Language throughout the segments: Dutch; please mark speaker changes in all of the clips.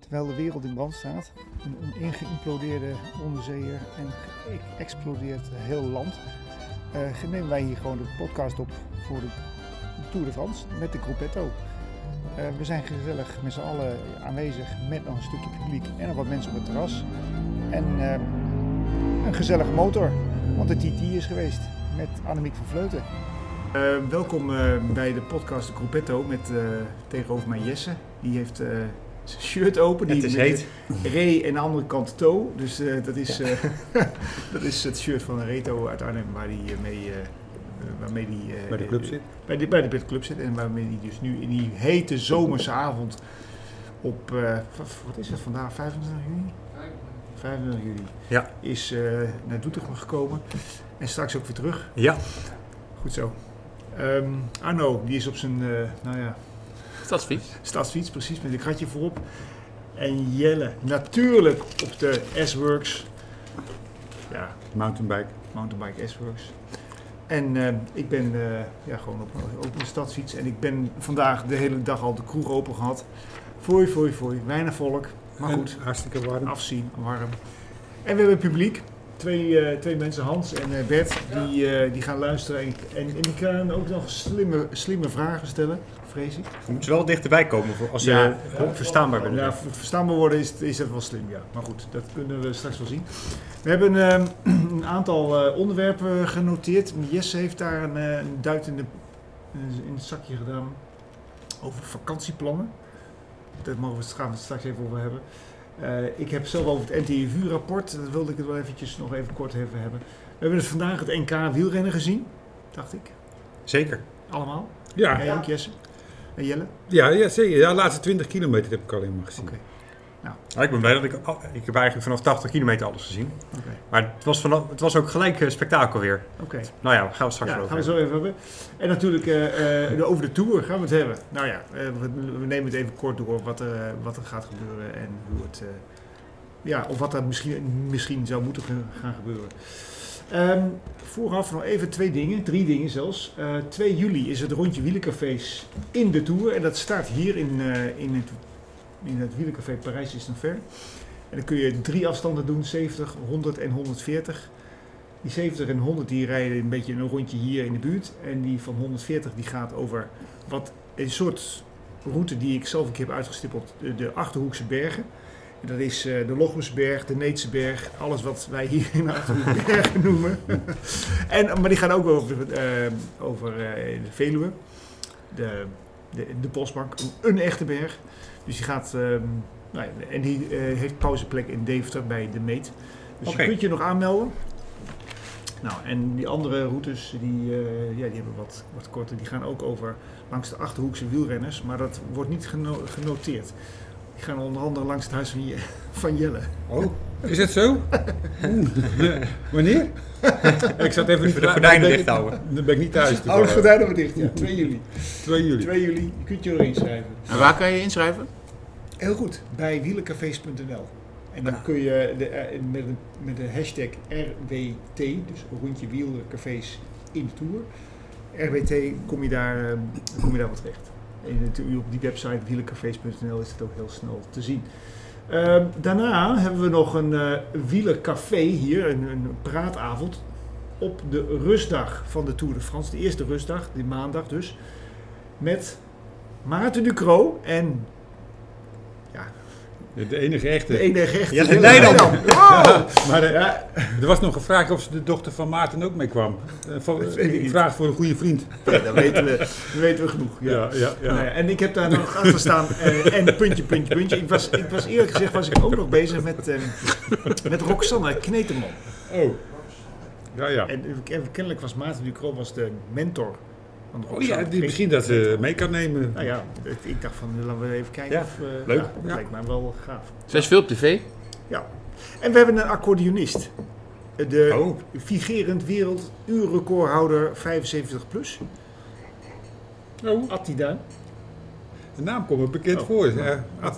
Speaker 1: Terwijl de wereld in brand staat. Een ingeïmplodeerde onderzeeër en geëxplodeerd heel land. eh, nemen wij hier gewoon de podcast op voor de Tour de France met de Gruppetto. Eh, we zijn gezellig met z'n allen aanwezig met nog een stukje publiek en nog wat mensen op het terras. En eh, een gezellige motor, want de TT is geweest met Annemiek van Vleuten. welkom eh, bij de podcast de Gruppetto met eh, tegenover mij Jesse. Die heeft eh, zijn shirt open. die
Speaker 2: Het is
Speaker 1: met
Speaker 2: heet.
Speaker 1: de Re en de andere kant toe. Dus eh, dat, is, eh, dat is het shirt van Reto uit Arnhem waar die eh, mee... eh, waarmee die, eh,
Speaker 2: Bij de club zit.
Speaker 1: bij de, bij de Bit Club zit en waarmee hij dus nu in die hete zomerse avond op, eh, v- wat is het vandaag, 25 juni? 25 juli
Speaker 2: Ja.
Speaker 1: is eh, naar Doetinchem gekomen en straks ook weer terug.
Speaker 2: Ja,
Speaker 1: Goed zo. Ehm, Arno, die is op zijn eh, nou ja,
Speaker 3: Stadsfiets.
Speaker 1: stadsfiets, precies, met een kratje voorop. En Jelle, natuurlijk op de S-Works. Ja,
Speaker 2: mountainbike.
Speaker 1: mountainbike S-Works. En eh, ik ben eh, ja, gewoon op, op de stadsfiets. En ik ben vandaag de hele dag al de kroeg open gehad. Fooi, fooi, fooi. Weinig volk. Maar goed,
Speaker 2: En Hartstikke warm.
Speaker 1: afzien, warm. En we hebben publiek. Twee, eh, twee mensen, Hans en eh, Bert, die, eh, die gaan luisteren. En, en, en die gaan ook nog slimme, slimme vragen stellen, vrees ik.
Speaker 2: Je moet wel dichterbij komen voor als
Speaker 1: Ja.
Speaker 2: je eh, verstaanbaar bent.
Speaker 1: Ja, voor het verstaanbaar worden is, is dat wel slim, ja. Maar goed, dat kunnen we straks wel zien. We hebben ehm, een aantal eh, onderwerpen genoteerd. Jesse heeft daar een, eh, een duit in, de, in het zakje gedaan over vakantieplannen. Daar mogen we het gaan we het straks even over hebben. Eh, ik heb zelf over het NTIV-rapport, daar wilde ik het wel eventjes nog even kort even hebben. We hebben dus vandaag het NK wielrennen gezien, dacht ik.
Speaker 2: Zeker.
Speaker 1: Allemaal.
Speaker 4: Ja,
Speaker 1: Jij ook, Jesse? En Jelle?
Speaker 4: ja, ja zeker. Ja, de laatste 20 kilometer heb ik alleen maar gezien.
Speaker 1: Oké.
Speaker 2: Ja, ik ben blij dat ik... oh, ik heb eigenlijk vanaf 80 kilometer alles gezien.
Speaker 1: Oké.
Speaker 2: Maar het was, vanaf, het was ook gelijk eh, spektakel weer.
Speaker 1: Oké.
Speaker 2: Nou ja, daar gaan we straks
Speaker 1: Ja,
Speaker 2: wel
Speaker 1: gaan
Speaker 2: over
Speaker 1: we zo
Speaker 2: hebben.
Speaker 1: even hebben. En natuurlijk eh, eh, de- over de tour gaan we het hebben. Nou ja, eh, we, we nemen het even kort door wat er, eh, wat er gaat gebeuren en hoe het. eh, ja, of wat er misschien, misschien zou moeten ge- gaan gebeuren. Ehm, vooraf nog even twee dingen, drie dingen zelfs. Eh 2 juli is het rondje wielencafés in de Tour. En dat staat hier in, eh, in, het, in het wielencafé Parijs is nog ver. En dan kun je drie afstanden doen, 70, 100 en 140. Die 70 en 100 die rijden een beetje een rondje hier in de buurt. En die van 140 die gaat over wat een soort route die ik zelf een keer heb uitgestippeld. De, de Achterhoekse bergen. En dat is eh, de Lochmusberg, de Needse berg. Alles wat wij hier in de Achterhoekse bergen noemen. en, maar die gaan ook over, eh, over eh, de Veluwe. De, de, de Bosbank. Een, een echte berg. Dus die gaat... ehm, nou ja, en die eh, heeft pauzeplek in Deventer bij de Meet. Dus
Speaker 2: Oké.
Speaker 1: je kunt je nog aanmelden. Nou, en die andere routes, die, eh, ja, die hebben wat, wat korter. Die gaan ook over langs de Achterhoekse wielrenners. Maar dat wordt niet geno- genoteerd. Die gaan onder andere langs het huis van, Je- van Jelle.
Speaker 2: Oh,
Speaker 4: Is dat zo? Oeh. Wanneer? ik zat even
Speaker 2: even de gordijnen
Speaker 4: ben-
Speaker 2: dicht houden.
Speaker 4: Dan ben ik niet thuis. toevallig.
Speaker 1: gordijnen dicht, ja. 2 juli.
Speaker 4: 2 juli.
Speaker 1: 2 juli, je kunt je erin schrijven.
Speaker 3: En waar kan je inschrijven?
Speaker 1: Heel goed, bij wielencafés.nl. En dan kun je de, eh, met, een- met de hashtag RWT, dus rondje wielencafés in de Tour. RWT kom je daar, eh, kom je daar wat terecht. En natuurlijk op die website wielencafés.nl is het ook heel snel te zien. Ehm, daarna hebben we nog een eh wielencafé hier, een, een praatavond. Op de rustdag van de Tour de France, de eerste rustdag, die maandag dus. Met Maarten Ducro en
Speaker 4: De enige echte.
Speaker 1: de enige echte.
Speaker 2: Ja,
Speaker 1: Willem
Speaker 2: Nijland.
Speaker 1: Nijland. Wow!
Speaker 4: Maar eh,
Speaker 1: Ja,
Speaker 4: er was nog gevraagd of ze de dochter van Maarten ook mee kwam. Eh, voor-
Speaker 1: Dat weet ik
Speaker 4: ik
Speaker 1: niet.
Speaker 4: vraag voor een goede vriend.
Speaker 1: dat weten we, dat weten we genoeg. Ja.
Speaker 4: ja.
Speaker 1: Nou ja, en ik heb daar nog achter staan. eh, en puntje, puntje, puntje. Ik was, ik was eerlijk gezegd was ik ook nog bezig met, eh, met Roxanne Kneteman.
Speaker 4: Oh. Ja, ja.
Speaker 1: En, eh, kennelijk was Maarten Ducro was de mentor van
Speaker 4: Oh
Speaker 1: Roxanne.
Speaker 4: ja, die, misschien dat ze mee kan nemen.
Speaker 1: Nou ja, het- ik dacht van eh, laten we even kijken.
Speaker 2: Ja,
Speaker 1: of, eh,
Speaker 2: leuk.
Speaker 1: ja, dat
Speaker 4: Ja.
Speaker 1: lijkt mij wel gaaf.
Speaker 3: Zij is veel op tv.
Speaker 1: Ja. En we hebben een accordeonist. De
Speaker 4: Eh,
Speaker 2: Oh.
Speaker 1: vigerend werelduurrecordhouder 75 plus,
Speaker 4: Oh,
Speaker 1: Attida.
Speaker 4: de naam komt me bekend
Speaker 1: Oh.
Speaker 4: voor. Ja,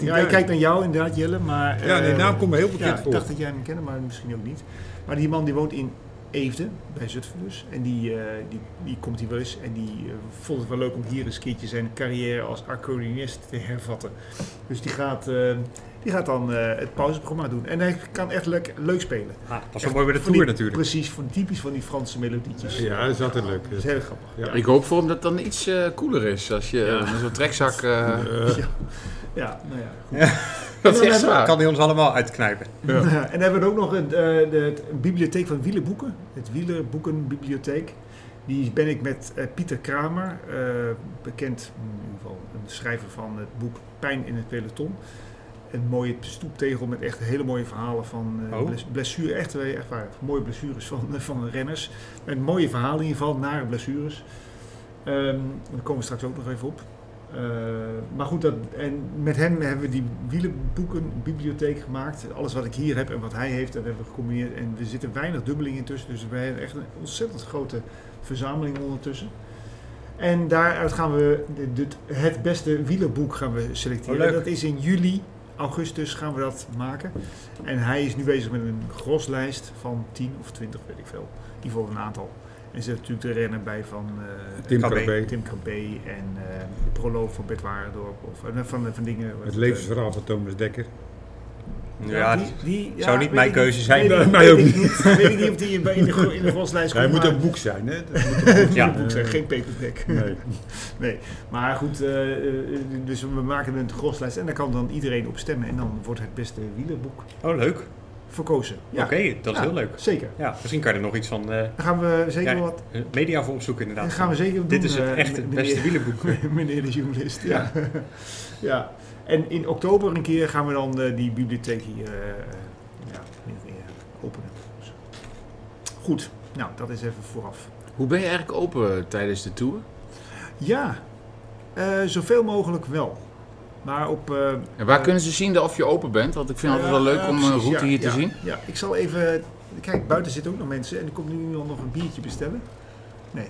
Speaker 1: Ja, ik kijk naar jou inderdaad, Jelle, maar...
Speaker 4: ja,
Speaker 1: eh,
Speaker 4: de naam komt me heel
Speaker 1: ja,
Speaker 4: bekend
Speaker 1: ik
Speaker 4: voor.
Speaker 1: dacht dat jij hem kende, maar misschien ook niet. Maar die man die woont in Eefde, bij Zutphen dus. En die, eh, die, die komt hier wel eens. En die eh, vond het wel leuk om hier eens een keertje zijn carrière als accordeonist te hervatten. Dus die gaat, eh, die gaat dan eh, het pauzeprogramma doen. En hij kan echt leuk, leuk spelen.
Speaker 2: Ah, pas
Speaker 1: Echt
Speaker 2: wel mooi bij de
Speaker 1: van die-
Speaker 2: tour natuurlijk.
Speaker 1: Precies, van, typisch van die Franse melodietjes.
Speaker 4: Ja, dat is altijd leuk.
Speaker 1: Dat is heel grappig.
Speaker 4: Ja.
Speaker 3: Ik hoop voor hem dat het dan iets eh cooler is. Als je
Speaker 1: Ja.
Speaker 3: eh, met zo'n trekzak... eh,
Speaker 4: Eh,
Speaker 1: Ja, nou ja.
Speaker 3: dat is
Speaker 1: dan
Speaker 3: echt waar.
Speaker 2: Kan die ons allemaal uitknijpen.
Speaker 1: en dan hebben we ook nog een, eh, de, een bibliotheek van wielerboeken. Het wielerboekenbibliotheek. Die ben ik met eh, Pieter Kramer, eh, bekend mm, in ieder geval een schrijver van het boek Pijn in het peloton. Een mooie stoeptegel met echt hele mooie verhalen van eh
Speaker 2: Oh.
Speaker 1: bles- blessure, echt, eh, echt waar, mooie blessures van, eh, van renners. Met mooie verhalen in ieder geval, nare blessures. Ehm, daar komen we straks ook nog even op. Eh, maar goed, dat, en met hem hebben we die wielenboekenbibliotheek gemaakt. Alles wat ik hier heb en wat hij heeft, dat hebben we gecombineerd. En er zitten weinig dubbelingen in tussen, dus we hebben echt een ontzettend grote verzameling ondertussen. En daaruit gaan we de- de- het beste wielerboek gaan we selecteren.
Speaker 2: Oh, leuk.
Speaker 1: dat is in juli, augustus gaan we dat maken. En hij is nu bezig met een groslijst van 10 of 20, weet ik veel. In ieder geval een aantal. En zet natuurlijk de renner bij van eh,
Speaker 4: Tim
Speaker 2: Krabbe.
Speaker 4: Krabbe.
Speaker 1: Tim Krabbe en eh, de proloog van Bert Warendorp. Of, eh, van, van dingen. eh,
Speaker 4: Het levensverhaal van Thomas Dekker.
Speaker 2: Ja,
Speaker 1: die, die-
Speaker 2: zou niet
Speaker 1: weet
Speaker 2: mijn
Speaker 1: ik
Speaker 2: keuze
Speaker 1: niet.
Speaker 2: zijn.
Speaker 1: Weet ik-
Speaker 4: Nee, mij ook
Speaker 1: weet ik niet. Weet ik niet of die in, in de, gro- in de groslijst
Speaker 4: Hij
Speaker 1: komt,
Speaker 4: moet
Speaker 1: maar-
Speaker 4: een boek zijn, hè? Dat moet
Speaker 2: Ja.
Speaker 1: moet een boek zijn,
Speaker 4: Eh,
Speaker 1: geen paperback.
Speaker 4: Nee.
Speaker 1: Maar goed, eh, eh, dus we maken een groslijst en daar kan dan iedereen op stemmen. En dan wordt het beste wielerboek
Speaker 2: Oh, leuk.
Speaker 1: verkozen. Ja,
Speaker 2: Oké, dat is
Speaker 1: Ja.
Speaker 2: heel leuk.
Speaker 1: zeker.
Speaker 2: Ja, misschien kan je er nog iets van eh,
Speaker 1: Daar gaan we zeker
Speaker 2: Ja,
Speaker 1: wat
Speaker 2: media voor opzoeken
Speaker 1: daar
Speaker 2: inderdaad.
Speaker 1: gaan we zeker
Speaker 2: Dit
Speaker 1: doen,
Speaker 2: is het
Speaker 1: eh,
Speaker 2: echt het
Speaker 1: meneer-
Speaker 2: beste wielenboek.
Speaker 1: meneer de journalist, ja. ja. En in oktober een keer gaan we dan eh, die bibliotheek hier eh, eh, ja, weer, eh, openen. Dus. Goed, nou dat is even vooraf.
Speaker 3: Hoe ben je eigenlijk open tijdens de tour?
Speaker 1: Ja, eh, zoveel mogelijk wel. Maar op... eh,
Speaker 3: En waar
Speaker 1: eh,
Speaker 3: kunnen ze zien of je open bent? Want ik vind het
Speaker 1: Ja,
Speaker 3: altijd wel leuk
Speaker 1: ja,
Speaker 3: om een
Speaker 1: precies,
Speaker 3: route
Speaker 1: ja,
Speaker 3: hier te
Speaker 1: ja,
Speaker 3: zien.
Speaker 1: Ja, ik zal even... Kijk, buiten zitten ook nog mensen en er komt nu iemand nog een biertje bestellen. Nee.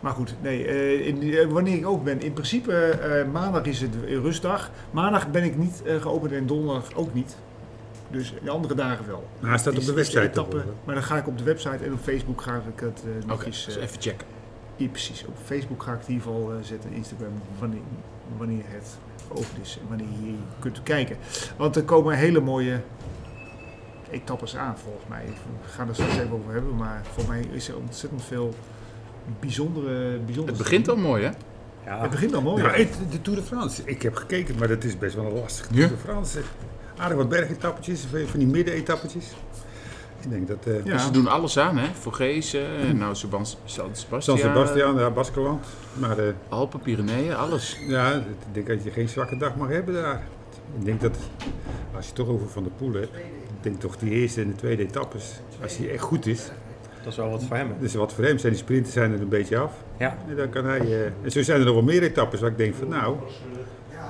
Speaker 1: Maar goed, nee, eh, in, eh, wanneer ik open ben. In principe, eh, eh, maandag is het rustdag. Maandag ben ik niet eh, geopend en donderdag ook niet. Dus de andere dagen wel.
Speaker 4: Maar hij staat op
Speaker 1: Is-
Speaker 4: de
Speaker 1: is
Speaker 4: website.
Speaker 1: etappe,
Speaker 4: toch wel, hè?
Speaker 1: maar dan ga ik op de website en op Facebook ga ik het eh
Speaker 3: Oké,
Speaker 1: netjes...
Speaker 3: dus
Speaker 1: eh,
Speaker 3: even checken.
Speaker 1: ja, precies. Op Facebook ga ik het in ieder geval eh, zetten, Instagram, wanneer, wanneer het open is en wanneer je hier kunt kijken. Want er komen hele mooie etappes aan volgens mij. We gaan er straks even over hebben, maar voor mij is er ontzettend veel bijzondere... bijzondere
Speaker 3: Het begint al mooi, hè?
Speaker 1: Het
Speaker 2: Ja,
Speaker 1: begint al mooi.
Speaker 4: Ja, het- de Tour de France. Ik heb gekeken, maar dat is best wel een lastige
Speaker 3: Ja.
Speaker 4: Tour de France. Aardig wat bergetappetjes, veel van die middenetappetjes. Ik denk dat... eh
Speaker 1: Ja.
Speaker 3: Dus Ze doen alles aan, hè? Vogees, eh, nou, Seban- San Sebastian,
Speaker 4: San Sebastian, ja, Baskeland. Maar eh,
Speaker 3: Alpen, Pyreneeën, alles.
Speaker 4: ja, ik denk dat je geen zwakke dag mag hebben daar. Ik denk dat, als je het toch over Van der Poel hebt, ik denk toch die eerste en de tweede etappes, als hij echt goed is,
Speaker 2: dat is wel wat voor hem. hè.
Speaker 4: dus wat voor hem zijn die sprinters zijn er een beetje af.
Speaker 2: Ja.
Speaker 4: En dan kan hij, eh, en zo zijn er nog wel meer etappes waar ik denk van nou,
Speaker 1: Ja.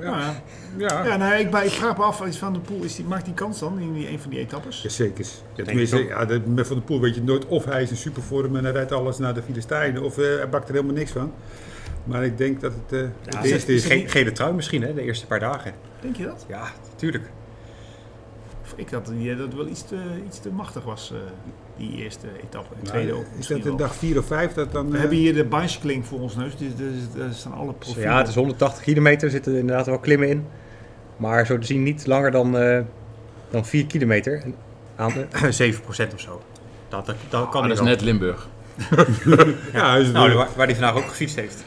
Speaker 1: Ja, ja.
Speaker 4: ja,
Speaker 1: ja nou, ik, maar ik vraag me af, is Van der Poel is die, maakt die kans dan in die, een van die etappes?
Speaker 4: Ja, zeker. Ja,
Speaker 2: ik
Speaker 4: tenminste,
Speaker 2: ook.
Speaker 4: ja, dat- met Van der Poel weet je nooit of hij is in supervorm en hij rijdt alles naar de Filistijnen of eh, hij bakt er helemaal niks van. Maar ik denk dat het eh
Speaker 2: Ja,
Speaker 4: het eerste is.
Speaker 2: Ge gele trui misschien, hè, de eerste paar dagen.
Speaker 1: Denk je dat?
Speaker 2: Ja, tuurlijk.
Speaker 1: Ik had het idee dat het wel iets te, iets te machtig was, eh, die eerste etappe. En tweede ook.
Speaker 4: Nou, is
Speaker 1: misschien
Speaker 4: dat
Speaker 1: wel.
Speaker 4: een dag 4 of 5 dat dan...
Speaker 1: We
Speaker 4: eh,
Speaker 1: hebben hier de bicycling voor ons neus. Dus daar zit- daar staan alle
Speaker 2: Dus
Speaker 1: profielen.
Speaker 2: ja, het is 180 kilometer, zitten er inderdaad wel klimmen in. Maar zo te zien niet langer dan, eh, dan 4 kilometer. En aan de 7 of zo. Dat, dat, dat kan hij
Speaker 3: Maar Ah, dat is
Speaker 2: wel.
Speaker 3: net Limburg.
Speaker 4: ja, hij is
Speaker 2: Nou,
Speaker 4: natuurlijk
Speaker 2: waar, waar hij vandaag ook gefietst heeft.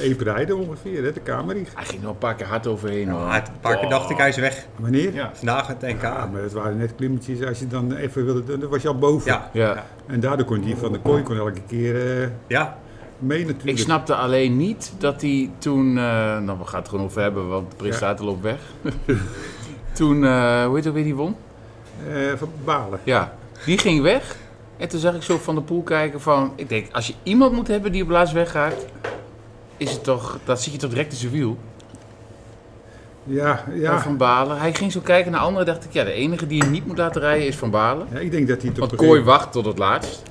Speaker 4: even rijden ongeveer, hè, de Kamerig.
Speaker 3: Hij ging er wel een paar keer hard overheen, hoor.
Speaker 2: Maar een paar keer dacht ik, hij is weg.
Speaker 4: Wanneer?
Speaker 1: Ja.
Speaker 2: Vandaag het NK.
Speaker 4: Ja, maar dat waren net klimmetjes. Als je dan even wilde, doen, dan was je al boven.
Speaker 2: Ja,
Speaker 3: Ja.
Speaker 4: En daardoor kon die van de kooi kon elke keer eh,
Speaker 2: ja.
Speaker 4: mee
Speaker 3: Ik
Speaker 4: natuurlijk.
Speaker 3: snapte alleen niet dat hij toen... eh nou, we gaan het er gewoon over hebben, want de presentator loopt weg. toen, eh, hoe heet dat weer die won?
Speaker 4: Eh, van Balen.
Speaker 3: Ja, die ging weg. En toen zag ik zo van de poel kijken van... Ik denk, als je iemand moet hebben die op laatst weggaat... Is het toch... Dat zit je toch direct in zijn wiel.
Speaker 4: Ja, ja.
Speaker 3: Van Balen. Hij ging zo kijken naar anderen. dacht ik, ja, de enige die je niet moet laten rijden is Van Balen.
Speaker 4: ja. Ik denk dat hij toch...
Speaker 3: Want Kooi wacht tot het laatst.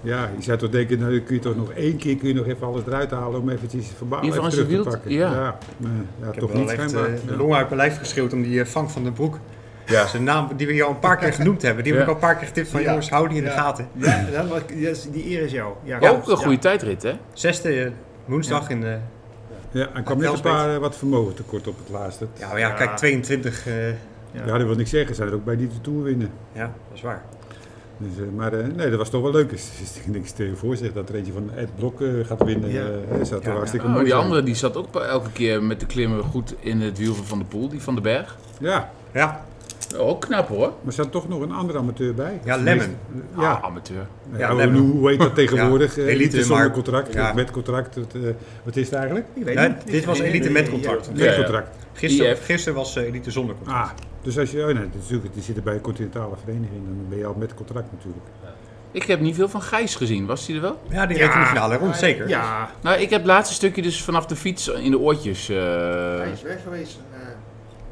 Speaker 4: Ja, je zou toch denken, nou dan kun je toch nog één keer kun je nog even alles eruit halen om eventjes verbaal
Speaker 3: In ieder
Speaker 4: even
Speaker 3: geval
Speaker 4: terug
Speaker 3: als je
Speaker 4: te
Speaker 3: wilt,
Speaker 4: pakken.
Speaker 3: ja.
Speaker 4: ja, maar, ja
Speaker 2: Ik
Speaker 4: toch
Speaker 2: heb
Speaker 4: niet
Speaker 2: wel echt
Speaker 4: schijnbaar.
Speaker 2: eh, de
Speaker 4: Ja.
Speaker 2: longen uit mijn lijf geschreeuwd om die eh, Frank van den Broek
Speaker 5: Ja.
Speaker 2: Zijn naam die we hier al een paar keer genoemd hebben. Die heb
Speaker 3: Ja.
Speaker 2: ik al een paar keer getipt van
Speaker 1: Ja.
Speaker 2: jongens, hou die in de
Speaker 1: Ja.
Speaker 2: gaten.
Speaker 1: Ja, dat was- ja, die eer is jou. Ja,
Speaker 2: Oh,
Speaker 3: ook een goede tijdrit, hè?
Speaker 2: Zesde eh, woensdag in... eh,
Speaker 4: Ja, en kwam net een paar eh, wat vermogen tekort op het laatste.
Speaker 2: ja, maar ja,
Speaker 1: Ja.
Speaker 2: kijk, 22... eh,
Speaker 1: Ja.
Speaker 4: Ja, dat wil niks zeggen. Zij er ook bij die de Tour winnen.
Speaker 2: ja, dat is waar.
Speaker 4: Dus, eh, maar eh, nee, dat was toch wel leuk. Dus, dus, ik denk, stel je voor zich dat er eentje van Ed Blok eh, gaat winnen.
Speaker 1: Ja.
Speaker 4: Ja. dat zou toch
Speaker 2: Ja.
Speaker 4: hartstikke
Speaker 3: Oh,
Speaker 4: mooi
Speaker 3: die
Speaker 4: zijn.
Speaker 3: andere die zat ook elke keer met de klimmen goed in het wiel van Van de Poel, die van de Berg.
Speaker 4: Ja,
Speaker 2: Ja,
Speaker 3: Ook knap hoor.
Speaker 4: maar er staat toch nog een andere amateur bij.
Speaker 2: ja
Speaker 4: Tenminste,
Speaker 2: Lemon.
Speaker 4: eh, Ja,
Speaker 3: Ah, amateur.
Speaker 2: Ja,
Speaker 4: ja, hoe,
Speaker 2: Lemon.
Speaker 4: hoe heet dat tegenwoordig? Eh,
Speaker 2: elite,
Speaker 4: elite zonder
Speaker 2: maar-
Speaker 4: contract,
Speaker 2: ja.
Speaker 4: of met contract. het, eh, wat is het eigenlijk?
Speaker 1: Ik weet
Speaker 2: Nee,
Speaker 1: niet.
Speaker 2: dit was elite met contract.
Speaker 4: Met
Speaker 3: Ja, ja.
Speaker 4: contract.
Speaker 2: Gisteren,
Speaker 3: IF.
Speaker 2: gisteren was eh, Elite zonder contract.
Speaker 4: Ah, dus als je, oh nee, dat is natuurlijk, die zitten bij een continentale vereniging, dan ben je al met contract natuurlijk.
Speaker 3: Ik heb niet veel van Gijs gezien, was hij er wel?
Speaker 2: Ja, die reed in de finale rond, zeker.
Speaker 1: Ja,
Speaker 3: Nou, ik heb het laatste stukje dus vanaf de fiets in de oortjes. eh,
Speaker 6: Hij is weg geweest. eh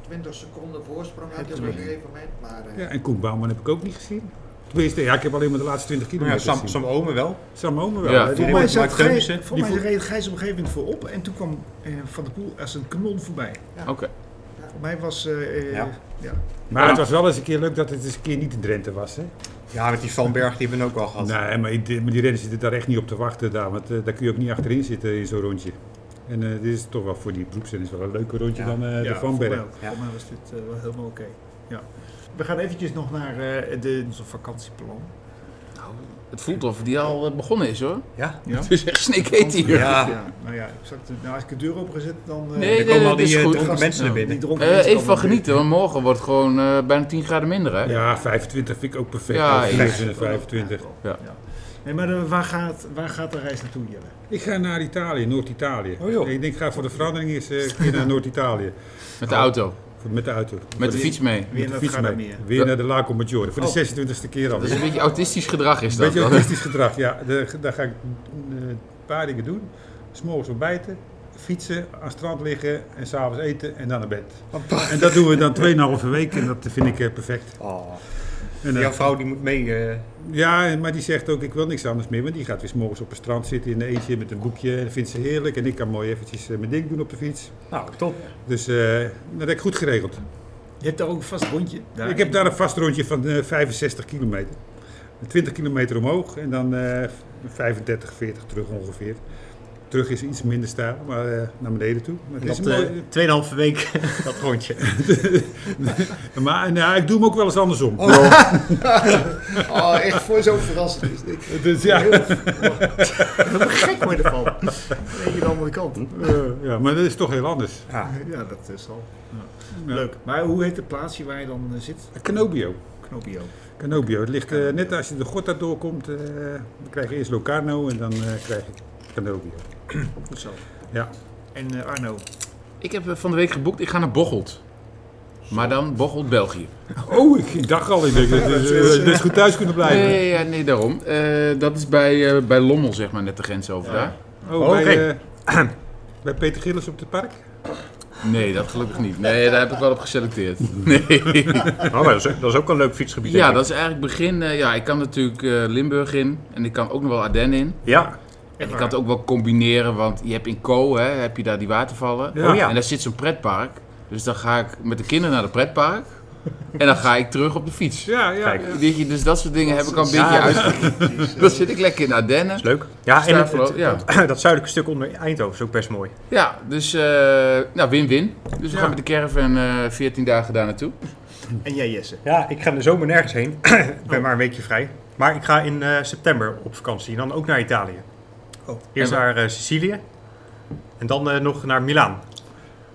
Speaker 6: 20 seconden voorsprong had hij op een gegeven moment. Maar eh,
Speaker 4: Ja, en Koen Bouwman heb ik ook niet gezien. Tenminste, ja, ik heb alleen maar de laatste 20
Speaker 2: Maar Nou ja,
Speaker 4: kilometer
Speaker 2: Sam,
Speaker 4: gezien.
Speaker 2: Sam Omen wel.
Speaker 4: Sam Omer wel.
Speaker 3: Ja,
Speaker 4: hè, die
Speaker 1: volgens mij,
Speaker 2: Mark
Speaker 1: zat Gij-
Speaker 2: Teunissen,
Speaker 1: volgens mij reed Gijs op een gegeven moment voorop en toen kwam eh, Van der Poel als een kanon voorbij.
Speaker 3: Oké.
Speaker 1: Voor mij was... eh, eh,
Speaker 2: Ja.
Speaker 1: ja.
Speaker 4: Maar het was wel eens een keer leuk dat het eens een keer niet in Drenthe was. Hè?
Speaker 2: Ja, met die Van Berg, die hebben we ook al gehad.
Speaker 4: Nee, maar die, maar die renners zitten daar echt niet op te wachten. Daar, want eh, daar kun je ook niet achterin zitten in zo'n rondje. En eh, dit is toch wel voor die beroepsrenners wel een leuker rondje
Speaker 2: Ja.
Speaker 4: dan eh,
Speaker 1: Ja,
Speaker 4: de Van
Speaker 1: voor mij
Speaker 4: Berg.
Speaker 1: ook.
Speaker 2: Ja.
Speaker 1: Voor mij was dit eh, wel helemaal oké. Ja. We gaan eventjes nog naar eh, de, onze vakantieplan.
Speaker 3: Het voelt of die al eh, begonnen is hoor.
Speaker 2: Ja?
Speaker 1: Ja.
Speaker 3: Het is echt snake heet hier.
Speaker 2: Ja.
Speaker 1: Nou ja, ik zat, nou, als ik de deur opengezet, dan... eh,
Speaker 3: Nee,
Speaker 1: dan
Speaker 2: Er komen
Speaker 3: nee,
Speaker 2: al
Speaker 3: dat is
Speaker 2: die eh,
Speaker 3: goed.
Speaker 2: dronken mensen naar
Speaker 1: die
Speaker 2: binnen.
Speaker 1: dronken
Speaker 3: Eh,
Speaker 1: mensen
Speaker 3: even
Speaker 1: dan wel
Speaker 3: van
Speaker 1: mee.
Speaker 3: genieten, want morgen wordt het gewoon eh, bijna 10 graden minder hè.
Speaker 4: Ja, 25 vind ik ook perfect.
Speaker 3: Ja,
Speaker 4: Ja,
Speaker 3: ja.
Speaker 4: 24, 25.
Speaker 3: Ja.
Speaker 1: Nee, maar eh, waar, gaat, waar gaat de reis naartoe, Jelle?
Speaker 4: Ik ga naar Italië, Noord-Italië.
Speaker 2: Oh, joh.
Speaker 4: ik denk, ik ga voor de verandering eens eh, een keer naar Noord-Italië.
Speaker 3: Met de auto,
Speaker 4: Voor- Met de auto.
Speaker 3: met de fiets mee.
Speaker 1: Weer naar
Speaker 4: Fiets
Speaker 1: het
Speaker 4: mee.
Speaker 1: meer.
Speaker 4: Weer naar de Lago Maggiore. Voor
Speaker 1: Oh.
Speaker 4: de 26e keer
Speaker 3: Dat Dus is
Speaker 4: alweer.
Speaker 3: een beetje autistisch gedrag is dat.
Speaker 4: Beetje
Speaker 3: dan.
Speaker 4: autistisch gedrag, ja. De- Daar ga ik eh, een paar dingen doen. S'morgens ontbijten, fietsen, aan het strand liggen en s'avonds eten en dan naar bed. En dat doen we dan 2,5 week en dat vind ik eh, perfect.
Speaker 2: Oh,
Speaker 4: En, eh,
Speaker 2: jouw vrouw die moet mee. eh,
Speaker 4: ja, en- maar die zegt ook, ik wil niks anders meer. Want die gaat weer 's morgens op het strand zitten in een eentje met een boekje. En dat vindt ze heerlijk. En ik kan mooi eventjes eh, mijn ding doen op de fiets.
Speaker 2: nou, top.
Speaker 4: Dus eh, dat heb ik goed geregeld.
Speaker 1: Je hebt daar ook een vast rondje.
Speaker 4: ik heb daar een vast rondje van eh, 65 kilometer. 20 kilometer omhoog en dan eh, 35, 40 terug ongeveer. Terug is iets minder stijl, maar eh, naar beneden toe. Maar, het is
Speaker 2: Dat
Speaker 4: een mooi-
Speaker 2: eh 2,5 week dat rondje.
Speaker 4: maar nou, ik doe hem ook wel eens andersom.
Speaker 6: oh, echt voor zo'n verrassing is dit.
Speaker 4: Dus, ja,
Speaker 1: Daar word ik gek mee ervan. Dan denk je de andere kant.
Speaker 4: eh, ja, maar dat is toch heel anders.
Speaker 1: Ja, dat is al.
Speaker 4: Ja.
Speaker 1: Leuk. Maar hoe heet het plaatsje waar je dan eh, zit?
Speaker 4: Canobio.
Speaker 1: Knopio.
Speaker 4: Canobio. Het ligt eh, net als je de Gotha doorkomt, eh, dan krijg je eerst Locarno en dan eh, krijg je Canobio.
Speaker 1: Goed zo.
Speaker 4: Ja.
Speaker 1: En eh, Arno.
Speaker 3: Ik heb eh, van de week geboekt, ik ga naar Bocholt. Maar dan Bocholt, België.
Speaker 4: Oh, ik, ik dacht al, ik denk, dat is, eh, dat is goed thuis kunnen blijven.
Speaker 3: Nee, ja, nee daarom. Eh, dat is bij, eh, bij Lommel, zeg maar, net de grens over daar.
Speaker 4: Oh,
Speaker 2: Oké.
Speaker 4: bij, eh, bij Peter Gillis op het park?
Speaker 3: Nee, dat gelukkig niet. Nee, daar heb ik wel op geselecteerd. Nee.
Speaker 2: Oh, dat, is, ook een leuk fietsgebied.
Speaker 3: Ja, dat is eigenlijk begin. eh, ja, ik kan natuurlijk eh, Limburg in en ik kan ook nog wel Ardennen in.
Speaker 2: Ja.
Speaker 3: En ik kan het ook wel combineren, want je hebt in Co, hè, heb je daar die watervallen.
Speaker 4: Ja.
Speaker 2: Oh ja.
Speaker 3: En daar zit zo'n pretpark. Dus dan ga ik met de kinderen naar het pretpark. En dan ga ik terug op de fiets.
Speaker 4: Ja, ja.
Speaker 2: Kijk.
Speaker 4: ja.
Speaker 3: Weet je, dus dat soort dingen heb ik al een beetje uit. Dan zit ik lekker in Ardennen.
Speaker 2: Leuk. Ja, en het,
Speaker 3: Staafvlo-
Speaker 2: het-
Speaker 3: ja.
Speaker 2: dat- dat zuidelijke stuk onder Eindhoven is ook best mooi.
Speaker 3: Ja, dus eh, nou, win-win. Dus we gaan met de caravan eh 14 dagen daar naartoe.
Speaker 1: En jij Jesse.
Speaker 2: Ja, ik ga in de zomer nergens heen. ik ben maar een weekje vrij. Maar ik ga in eh, september op vakantie. En dan ook naar Italië. Eerst
Speaker 3: En-
Speaker 2: naar eh, Sicilië. En dan eh, nog naar Milaan.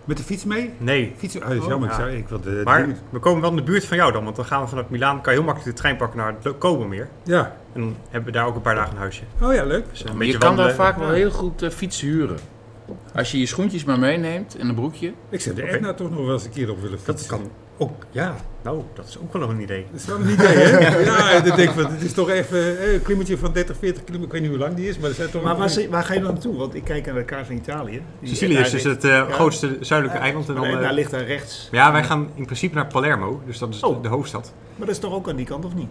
Speaker 4: Met de fiets mee?
Speaker 2: Nee.
Speaker 4: Fiets, oh, dat is jammer.
Speaker 2: ja.
Speaker 4: Ik, zou, ik wilde de
Speaker 2: Maar
Speaker 4: dingen-
Speaker 2: we komen wel in de buurt van jou dan. Want dan gaan we vanuit Milaan. Kan je heel makkelijk de trein pakken naar het Kobermeer.
Speaker 4: Ja.
Speaker 2: En dan hebben we daar ook een paar dagen een huisje.
Speaker 4: Oh ja, leuk.
Speaker 2: Dus een
Speaker 3: Je
Speaker 2: beetje
Speaker 3: kan daar
Speaker 2: wandelen.
Speaker 3: vaak wel heel goed eh, fietsen huren. Als je je schoentjes maar meeneemt en een broekje.
Speaker 4: Ik zou er
Speaker 2: Oké.
Speaker 4: echt nou toch nog wel eens een keer op willen fietsen.
Speaker 2: Dat kan ook. Ja, nou, dat is ook wel een idee.
Speaker 4: Dat is wel een idee, hè? ja, dat denk ik, van, het is toch even eh, een klimmetje van 30, 40 kilometer. Ik weet niet hoe lang die is, maar dat zijn toch...
Speaker 1: Maar waar, zi- waar ga je dan naartoe? Want ik kijk naar de kaart van Italië. Die-
Speaker 2: Sicilië
Speaker 1: en
Speaker 2: is
Speaker 1: daar
Speaker 2: dus
Speaker 1: ligt-
Speaker 2: het eh, grootste zuidelijke eiland. En dan,
Speaker 1: en
Speaker 2: eh,
Speaker 1: daar ligt daar rechts.
Speaker 2: ja, wij gaan in principe naar Palermo. Dus dat is
Speaker 1: Oh.
Speaker 2: de hoofdstad.
Speaker 1: Maar dat is toch ook aan die kant, of niet?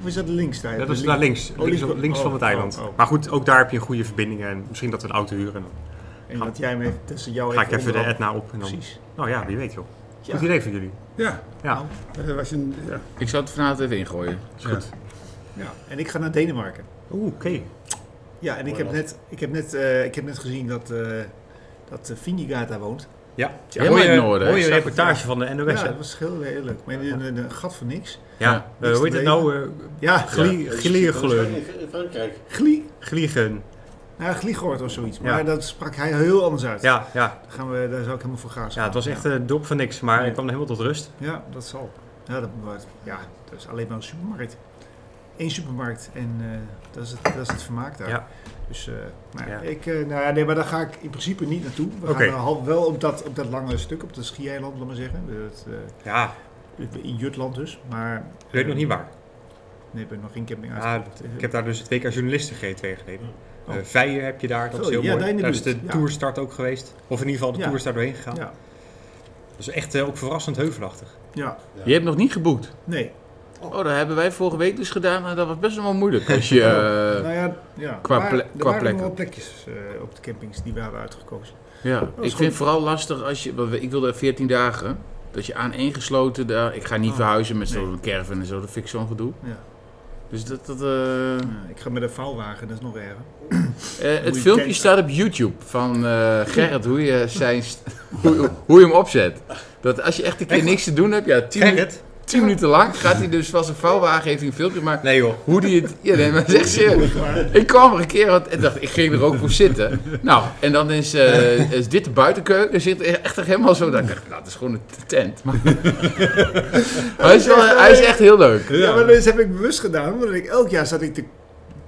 Speaker 1: Of is dat links daar?
Speaker 2: Ja, dat is daar links. Links,
Speaker 1: links-
Speaker 2: links van het
Speaker 1: oh,
Speaker 2: eiland.
Speaker 1: oh, oh.
Speaker 2: Maar goed, ook daar heb je een goede verbindingen. En misschien dat we een auto huren. En dan
Speaker 1: En dat jij me tussen jou
Speaker 2: ga ik even de
Speaker 1: onderhand-
Speaker 2: Etna op. En dan,
Speaker 1: Precies.
Speaker 2: Nou ja, Nou, wie weet joh. Goed idee van jullie.
Speaker 4: Ja,
Speaker 2: Ja.
Speaker 4: dat was een... Ja.
Speaker 3: Ik zou het vanavond even ingooien.
Speaker 4: Is goed.
Speaker 1: Ja. En ik ga naar Denemarken.
Speaker 2: Oeh, oké.
Speaker 1: Ja, en ik heb, net, ik, heb net, eh, ik heb net gezien dat, eh dat eh, Finnegaard daar woont.
Speaker 2: Ja.
Speaker 3: Helemaal in het noorden, hè?
Speaker 2: Mooie reportage van de NOS.
Speaker 1: ja,
Speaker 2: hè?
Speaker 1: dat was heel, heel leuk. Maar in een, een gat van niks.
Speaker 2: Ja, eh, hoe heet het nou? eh
Speaker 1: Ja,
Speaker 2: glie- Gliergleun.
Speaker 5: In Frankrijk.
Speaker 1: Glie.
Speaker 2: Gliegen.
Speaker 1: Nou, Gliegoord of zoiets.
Speaker 2: Ja.
Speaker 1: Maar dat sprak hij heel anders uit.
Speaker 2: Ja, ja.
Speaker 1: Daar, gaan we, daar zou ik helemaal voor gaan.
Speaker 2: ja, het was echt een dop van niks, maar ik kwam helemaal tot rust.
Speaker 1: Ja, dat zal. Ja, dat, wordt- ja, dat is alleen maar een supermarkt. Eén supermarkt en eh, dat, is het, dat is het vermaak daar.
Speaker 2: Ja.
Speaker 1: Dus, eh, nou, ja.
Speaker 2: Ja.
Speaker 1: Ik, eh, nou ja, nee, maar daar ga ik in principe niet naartoe. We
Speaker 2: Oké.
Speaker 1: gaan eh, half- wel op dat, op dat lange stuk, op dat schiereiland, laat maar zeggen. Dat, eh,
Speaker 2: Ja,
Speaker 1: in Jutland dus, maar... eh,
Speaker 2: ik weet nog niet waar.
Speaker 1: Nee, ik ben nog geen camping uit.
Speaker 2: Ja, ik heb daar dus twee keer journalisten GT gereden.
Speaker 1: Oh.
Speaker 2: Eh Veijer heb je daar, dat
Speaker 1: Zo,
Speaker 2: is heel
Speaker 1: Oh, ja, daar in
Speaker 2: mooi.
Speaker 1: de
Speaker 2: Daar is
Speaker 1: buurt,
Speaker 2: de
Speaker 1: ja.
Speaker 2: tourstart ook geweest. Of in ieder geval de
Speaker 1: Ja.
Speaker 2: tours daar doorheen gegaan.
Speaker 1: Ja,
Speaker 2: Dat is echt eh, ook verrassend heuvelachtig.
Speaker 1: ja,
Speaker 3: Je hebt nog niet geboekt.
Speaker 1: nee.
Speaker 3: Oh, dat hebben wij vorige week dus gedaan. En dat was best wel moeilijk. Als je, eh,
Speaker 1: nou ja, ja.
Speaker 3: qua
Speaker 1: Maar
Speaker 3: ple-
Speaker 1: er
Speaker 3: qua
Speaker 1: waren nog
Speaker 3: plekken.
Speaker 1: wel plekjes eh, op de campings die we hadden uitgekozen.
Speaker 3: ja. Ik
Speaker 1: is
Speaker 3: vind
Speaker 1: goed.
Speaker 3: het vooral lastig als je... want Ik wilde 14 dagen. Dat je aaneengesloten daar... Ik ga niet
Speaker 1: Oh,
Speaker 3: verhuizen met zo'n
Speaker 1: nee.
Speaker 3: caravan en zo. Dat vind ik zo'n gedoe.
Speaker 1: Ja.
Speaker 3: Dus dat... dat eh,
Speaker 1: Ja, ik ga met een vouwwagen, dat is nog erger.
Speaker 3: Eh,
Speaker 1: Moet
Speaker 3: het
Speaker 1: je
Speaker 3: filmpje
Speaker 1: tanken.
Speaker 3: staat op YouTube van eh, Gerrit, hoe je, zijn st- hoe, hoe je hem opzet. Dat als je echt een keer niks te doen hebt, ja, tien, minu-
Speaker 2: Gerrit?
Speaker 3: tien minuten lang gaat hij dus van zijn vouwwagen heeft hij een filmpje gemaakt.
Speaker 2: Nee joh.
Speaker 3: Hoe die het. Ja, nee, maar zeg serieus. Ik kwam er een keer want, en dacht, ik ging er ook voor zitten. Nou, en dan is, eh, is dit de buitenkeuken. Er zit echt echt helemaal zo. Dat ik dacht, nou, dat is gewoon een t- tent. Maar, hij, is wel- hij is echt heel leuk.
Speaker 1: Ja, maar dat heb ik bewust gedaan. Omdat ik elk jaar zat ik te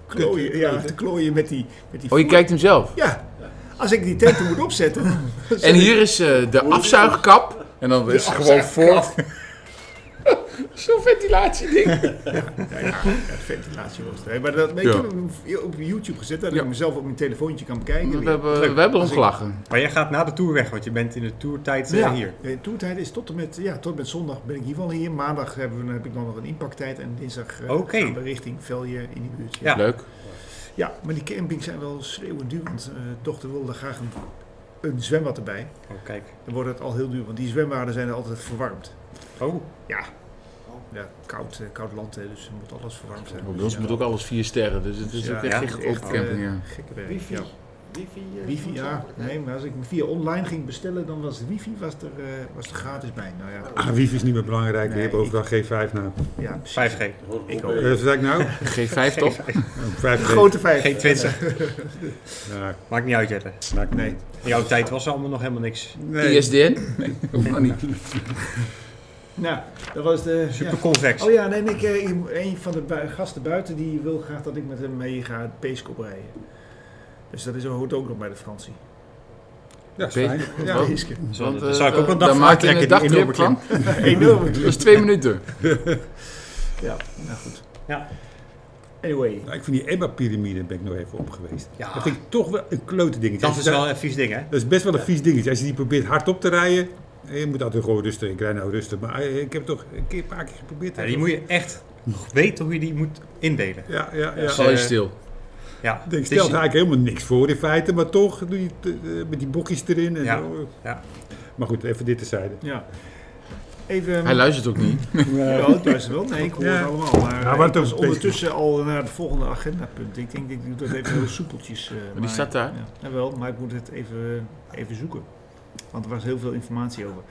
Speaker 1: klooien, ja, te klooien met die, met die
Speaker 3: Oh, je
Speaker 1: voer.
Speaker 3: kijkt hem zelf.
Speaker 1: Ja. Als ik die tenten moet opzetten.
Speaker 3: En hier is eh, de afzuigkap. En dan is het gewoon voor. Zo'n ventilatieding.
Speaker 1: Ja, ventilatie was het. hè. Maar dat, maar
Speaker 3: Ja.
Speaker 1: ik heb hem op YouTube gezet. Dat
Speaker 3: Ja.
Speaker 1: ik mezelf op mijn telefoontje kan bekijken.
Speaker 3: We hebben, we hebben gelachen.
Speaker 2: Maar jij gaat na de tour weg, want je bent in de tourtijd eh,
Speaker 1: ja.
Speaker 2: hier.
Speaker 1: Eh, Toertijd is tot en met, ja, tot en met zondag ben ik hier wel hier. Maandag hebben we, dan heb ik dan nog een impacttijd. En dinsdag eh,
Speaker 2: Oké.
Speaker 1: gaan we richting Velje in die buurt.
Speaker 2: Ja.
Speaker 3: Leuk.
Speaker 1: Ja, maar die campings zijn wel schreeuwend duur. Want eh dochter wilde graag een, een zwembad erbij.
Speaker 2: Oh, kijk.
Speaker 1: Dan wordt het al heel duur. Want die zwembaden zijn altijd verwarmd.
Speaker 2: Oh,
Speaker 1: Ja, koud, eh, koud land, hè, dus er moet alles verwarmd zijn.
Speaker 3: Oh, Bij ons
Speaker 1: Ja.
Speaker 3: moet ook alles vier sterren, dus het is
Speaker 1: Ja,
Speaker 3: ook echt
Speaker 2: ja.
Speaker 3: geen goedkope
Speaker 1: Echt,
Speaker 3: camping.
Speaker 1: eh,
Speaker 3: ja.
Speaker 1: Gekke werk.
Speaker 6: Wifi.
Speaker 1: ja.
Speaker 6: Wifi, eh,
Speaker 1: Wifi, ja.
Speaker 6: noodzakelijk, hè?
Speaker 1: Nee, maar als ik via online ging bestellen, dan was wifi was er, eh, was er gratis bij. Nou ja,
Speaker 4: Ah, wifi is niet meer belangrijk.
Speaker 1: Nee,
Speaker 4: we hebben overal G5 nou.
Speaker 1: ja precies.
Speaker 2: 5G.
Speaker 5: Ik
Speaker 4: Eh, Wat zei ik nou?
Speaker 3: G5 toch?
Speaker 4: Oh, 5G.
Speaker 1: Grote vijf.
Speaker 2: G20.
Speaker 4: Ja,
Speaker 2: Maakt niet uit, Jelle.
Speaker 4: maakt
Speaker 1: Nee.
Speaker 4: niet.
Speaker 2: In jouw tijd was er allemaal nog helemaal niks.
Speaker 4: Nee.
Speaker 3: ISDN? Nee, hoeft nog niet.
Speaker 1: Nou, dat was de... ja.
Speaker 2: Super convex.
Speaker 1: Oh ja, nee, en ik, eh, een van de bui- gasten buiten die wil graag dat ik met hem mee ga het Peeskop rijden. Dus dat is hoort ook nog bij de vakantie.
Speaker 4: Ja, is fijn. Ja.
Speaker 3: Oh.
Speaker 1: Peeskop.
Speaker 2: Zo,
Speaker 3: Want,
Speaker 2: daar
Speaker 3: eh,
Speaker 2: zou ik ook een dag
Speaker 3: daar
Speaker 2: van
Speaker 3: maak je een
Speaker 2: aantrekken, die
Speaker 3: dagtrip
Speaker 2: enorme
Speaker 3: van.
Speaker 1: Enorm.
Speaker 3: Dat is twee minuten.
Speaker 1: Ja, nou goed.
Speaker 2: Ja.
Speaker 1: Anyway.
Speaker 4: Nou, ik vind die Ebba-pyramide ben ik nog even op geweest.
Speaker 2: Ja.
Speaker 4: Dat vind ik toch wel een klote dingetje.
Speaker 2: Dat is wel een vies ding, hè?
Speaker 4: dat is best wel een vies dingetje. Als je die probeert hard op te rijden. eh, Je moet altijd gewoon rustig. Ik rij nou rustig. Maar eh, ik heb het toch een keer een paar keer geprobeerd.
Speaker 2: Ja, die moet je echt weten hoe je die moet indelen.
Speaker 4: Ja, ja, ja.
Speaker 2: Ja,
Speaker 4: ja.
Speaker 3: Val je
Speaker 2: eh,
Speaker 3: stil.
Speaker 2: Ja,
Speaker 4: Ik denk,
Speaker 2: Het
Speaker 4: stelt
Speaker 2: is-
Speaker 4: eigenlijk helemaal niks voor in feite, maar toch doe je het, eh, met die bokjes erin. En
Speaker 2: Ja.
Speaker 4: zo.
Speaker 2: Ja.
Speaker 4: Maar goed, even dit terzijde.
Speaker 1: Ja. Even...
Speaker 3: Hij luistert ook niet.
Speaker 1: Ja, ik luister wel. Nee, ik hoor
Speaker 4: Ja.
Speaker 1: het allemaal. Maar
Speaker 4: Ja,
Speaker 1: eh,
Speaker 4: maar
Speaker 1: ik
Speaker 4: het
Speaker 1: was
Speaker 4: is-
Speaker 1: ondertussen al naar het volgende agendapunt. Ik denk, ik doe dat even heel soepeltjes. eh, maar
Speaker 3: die staat daar.
Speaker 1: Ja, jawel, maar ik moet het even, eh, even zoeken. Want er was heel veel informatie over.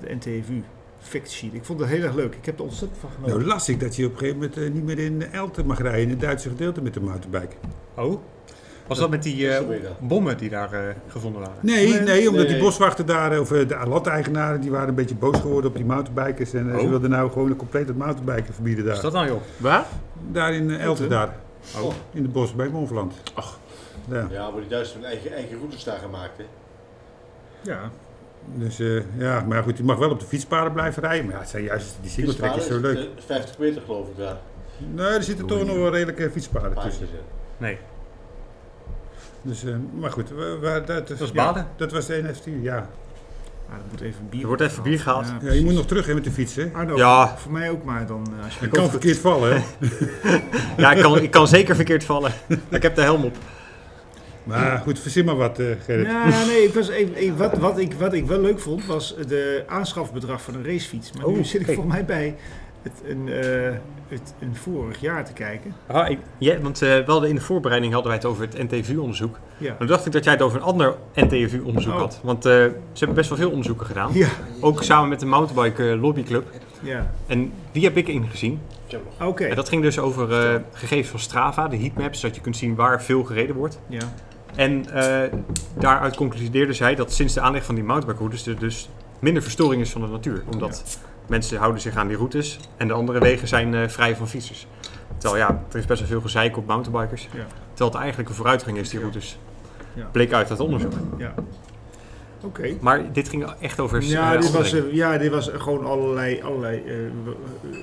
Speaker 1: Het NTFU, fact sheet. Ik vond het heel erg leuk. Ik heb er ontzettend van genoten.
Speaker 4: Nou las ik dat je op een gegeven moment eh, niet meer in Elten mag rijden, in het Duitse gedeelte met de mountainbike.
Speaker 2: Oh, was dat met die eh,
Speaker 5: Vanmiddag.
Speaker 2: bommen die daar eh, gevonden waren?
Speaker 4: Nee, nee, omdat
Speaker 5: Nee.
Speaker 4: die boswachten daar, of eh, de landeigenaren, die waren een beetje boos geworden op die mountainbikers. En eh, ze
Speaker 2: Oh.
Speaker 4: wilden nou gewoon een compleet het mountainbiken verbieden
Speaker 2: Is
Speaker 4: daar.
Speaker 2: dat nou, joh?
Speaker 3: Waar?
Speaker 4: Daar in eh, Elten, daar.
Speaker 2: Oh.
Speaker 4: In de bos bij Monverland.
Speaker 3: Ach.
Speaker 4: Ja.
Speaker 5: Ja, maar die Duitsers hebben eigen, eigen routes daar gemaakt. Hè.
Speaker 1: Ja.
Speaker 4: Dus eh, ja, maar goed, je mag wel op de fietspaden blijven rijden. Maar ja, het zijn juist die singeltrekkers zo leuk.
Speaker 5: Eh, 50 meter geloof ik daar.
Speaker 4: Nee, er zitten toch nog wel redelijke fietspaden tussen.
Speaker 5: Paardjes, hè.
Speaker 2: Nee.
Speaker 4: Dus, eh, maar goed, we, we- dat,
Speaker 2: was
Speaker 4: ja,
Speaker 2: baden.
Speaker 4: dat was de NFT, ja.
Speaker 1: Maar er moet even bier
Speaker 2: Er wordt even bier gehaald.
Speaker 1: Ja.
Speaker 4: ja. Je moet nog terug hè, met de fiets,
Speaker 2: Ah.
Speaker 4: hè.
Speaker 1: Arno,
Speaker 2: Ja.
Speaker 1: voor mij ook maar dan. eh, Als je
Speaker 4: Je kan verkeerd vallen, hè.
Speaker 2: Ja, ik kan, ik kan zeker verkeerd vallen. ik heb de helm op.
Speaker 4: Maar goed, verzin maar wat, eh, Gerrit.
Speaker 1: Ja, ja, nee, ik was even, ik- wat, wat, ik, wat ik wel leuk vond was de aanschafbedrag van een racefiets. Maar
Speaker 2: Oh,
Speaker 1: nu zit ik
Speaker 2: kijk.
Speaker 1: volgens mij bij het, een, eh, het, een vorig jaar te kijken.
Speaker 2: Ah, ik- ja, want eh, we hadden in de voorbereiding hadden wij het over het NTVU-onderzoek.
Speaker 1: Ja.
Speaker 2: Toen dacht ik dat jij het over een ander NTVU-onderzoek
Speaker 1: Oh.
Speaker 2: had. Want eh, ze hebben best wel veel onderzoeken gedaan.
Speaker 1: Ja,
Speaker 2: Ook samen met de Mountainbike eh, Lobbyclub.
Speaker 1: ja.
Speaker 2: En die heb ik ingezien.
Speaker 5: Jammer.
Speaker 1: Oké.
Speaker 2: En dat ging dus over eh, gegevens van Strava, de heatmaps, zodat je kunt zien waar veel gereden wordt.
Speaker 1: Ja.
Speaker 2: En eh, daaruit concludeerde zij dat sinds de aanleg van die mountainbike-routes er dus minder verstoring is van de natuur. Omdat mensen houden zich aan die routes en de andere wegen zijn eh, vrij van fietsers. Terwijl ja, er is best wel veel gezeik op mountainbikers.
Speaker 1: Ja.
Speaker 2: Terwijl het eigenlijk een vooruitgang is, die routes.
Speaker 1: Ja.
Speaker 2: Bleek uit dat onderzoek.
Speaker 1: ja. Oké.
Speaker 2: Maar dit ging echt over...
Speaker 1: Ja,
Speaker 2: eh,
Speaker 1: dit was,
Speaker 2: andere
Speaker 1: eh, ja, dit was gewoon allerlei, allerlei eh, w- eh,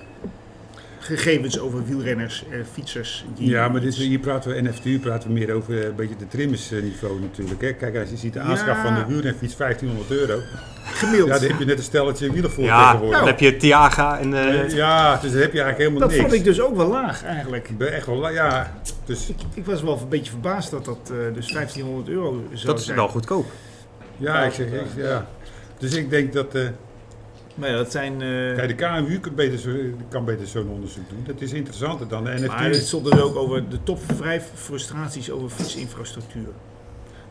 Speaker 1: gegevens over wielrenners, eh, fietsers. die-
Speaker 4: Ja, maar dit, is- hier praten we, NFTU praten we meer over eh, een beetje de trimmersniveau natuurlijk. Hè. Kijk, als je ziet de aanschaf
Speaker 1: Ja.
Speaker 4: van de wielrenfiets, 1500 euro.
Speaker 1: gemiddeld.
Speaker 4: Ja, daar heb je net een stelletje wielen
Speaker 1: eh,
Speaker 4: voor
Speaker 2: ja,
Speaker 4: tegenwoordig.
Speaker 2: dan heb je Tiaga en... eh,
Speaker 4: Ja, dus daar heb je eigenlijk helemaal
Speaker 1: dat
Speaker 4: niks.
Speaker 1: vond ik dus ook wel laag eigenlijk.
Speaker 4: Ik ben echt wel, la- ja, dus
Speaker 1: Ik, ik was wel een beetje verbaasd dat dat eh, dus 1500 euro zou zijn.
Speaker 2: dat is wel goedkoop.
Speaker 4: ja, ik zeg, ik- ja. Dus ik denk dat, eh,
Speaker 1: Maar ja, dat zijn... eh,
Speaker 4: kijk, de KMU kan beter, zo, kan beter zo'n onderzoek doen. Dat is interessanter dan de
Speaker 1: maar
Speaker 4: NFTU.
Speaker 1: het stond dus ook over de top 5 frustraties over fietsinfrastructuur.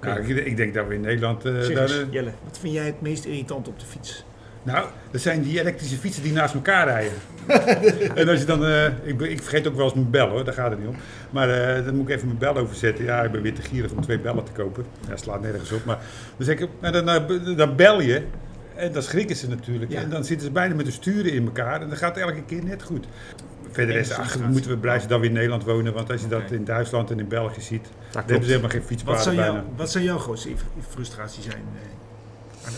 Speaker 2: Eh,
Speaker 4: Nou, ik, ik denk dat we in Nederland, eh,
Speaker 1: Zeg
Speaker 4: daar,
Speaker 1: eens,
Speaker 4: eh,
Speaker 1: Jelle, wat vind jij het meest irritant op de fiets?
Speaker 4: nou, dat zijn die elektrische fietsen die naast elkaar rijden. en als je dan, eh, ik, ben- ik vergeet ook wel eens mijn bel hoor, daar gaat het niet om. Maar eh, dan moet ik even mijn bel overzetten. Ja, ik ben weer te gierig om twee bellen te kopen. Ja, slaat nergens op. Maar dan, zeg ik, nou, dan, eh, dan bel je. En dan schrikken ze natuurlijk.
Speaker 1: Ja.
Speaker 4: En dan zitten ze bijna met de sturen in elkaar. En dat gaat elke keer net goed. Verder
Speaker 1: Eén
Speaker 4: is, ach,
Speaker 1: frustratie.
Speaker 4: moeten we blij zijn dat we in Nederland wonen. Want als je dat
Speaker 1: Oké.
Speaker 4: in Duitsland en in België ziet,
Speaker 2: Dat
Speaker 4: dan hebben
Speaker 2: klopt.
Speaker 4: ze helemaal geen
Speaker 1: Wat zou,
Speaker 4: fietspaden bijna.
Speaker 1: jou, wat zou jouw grootste inf- frustratie zijn? eh?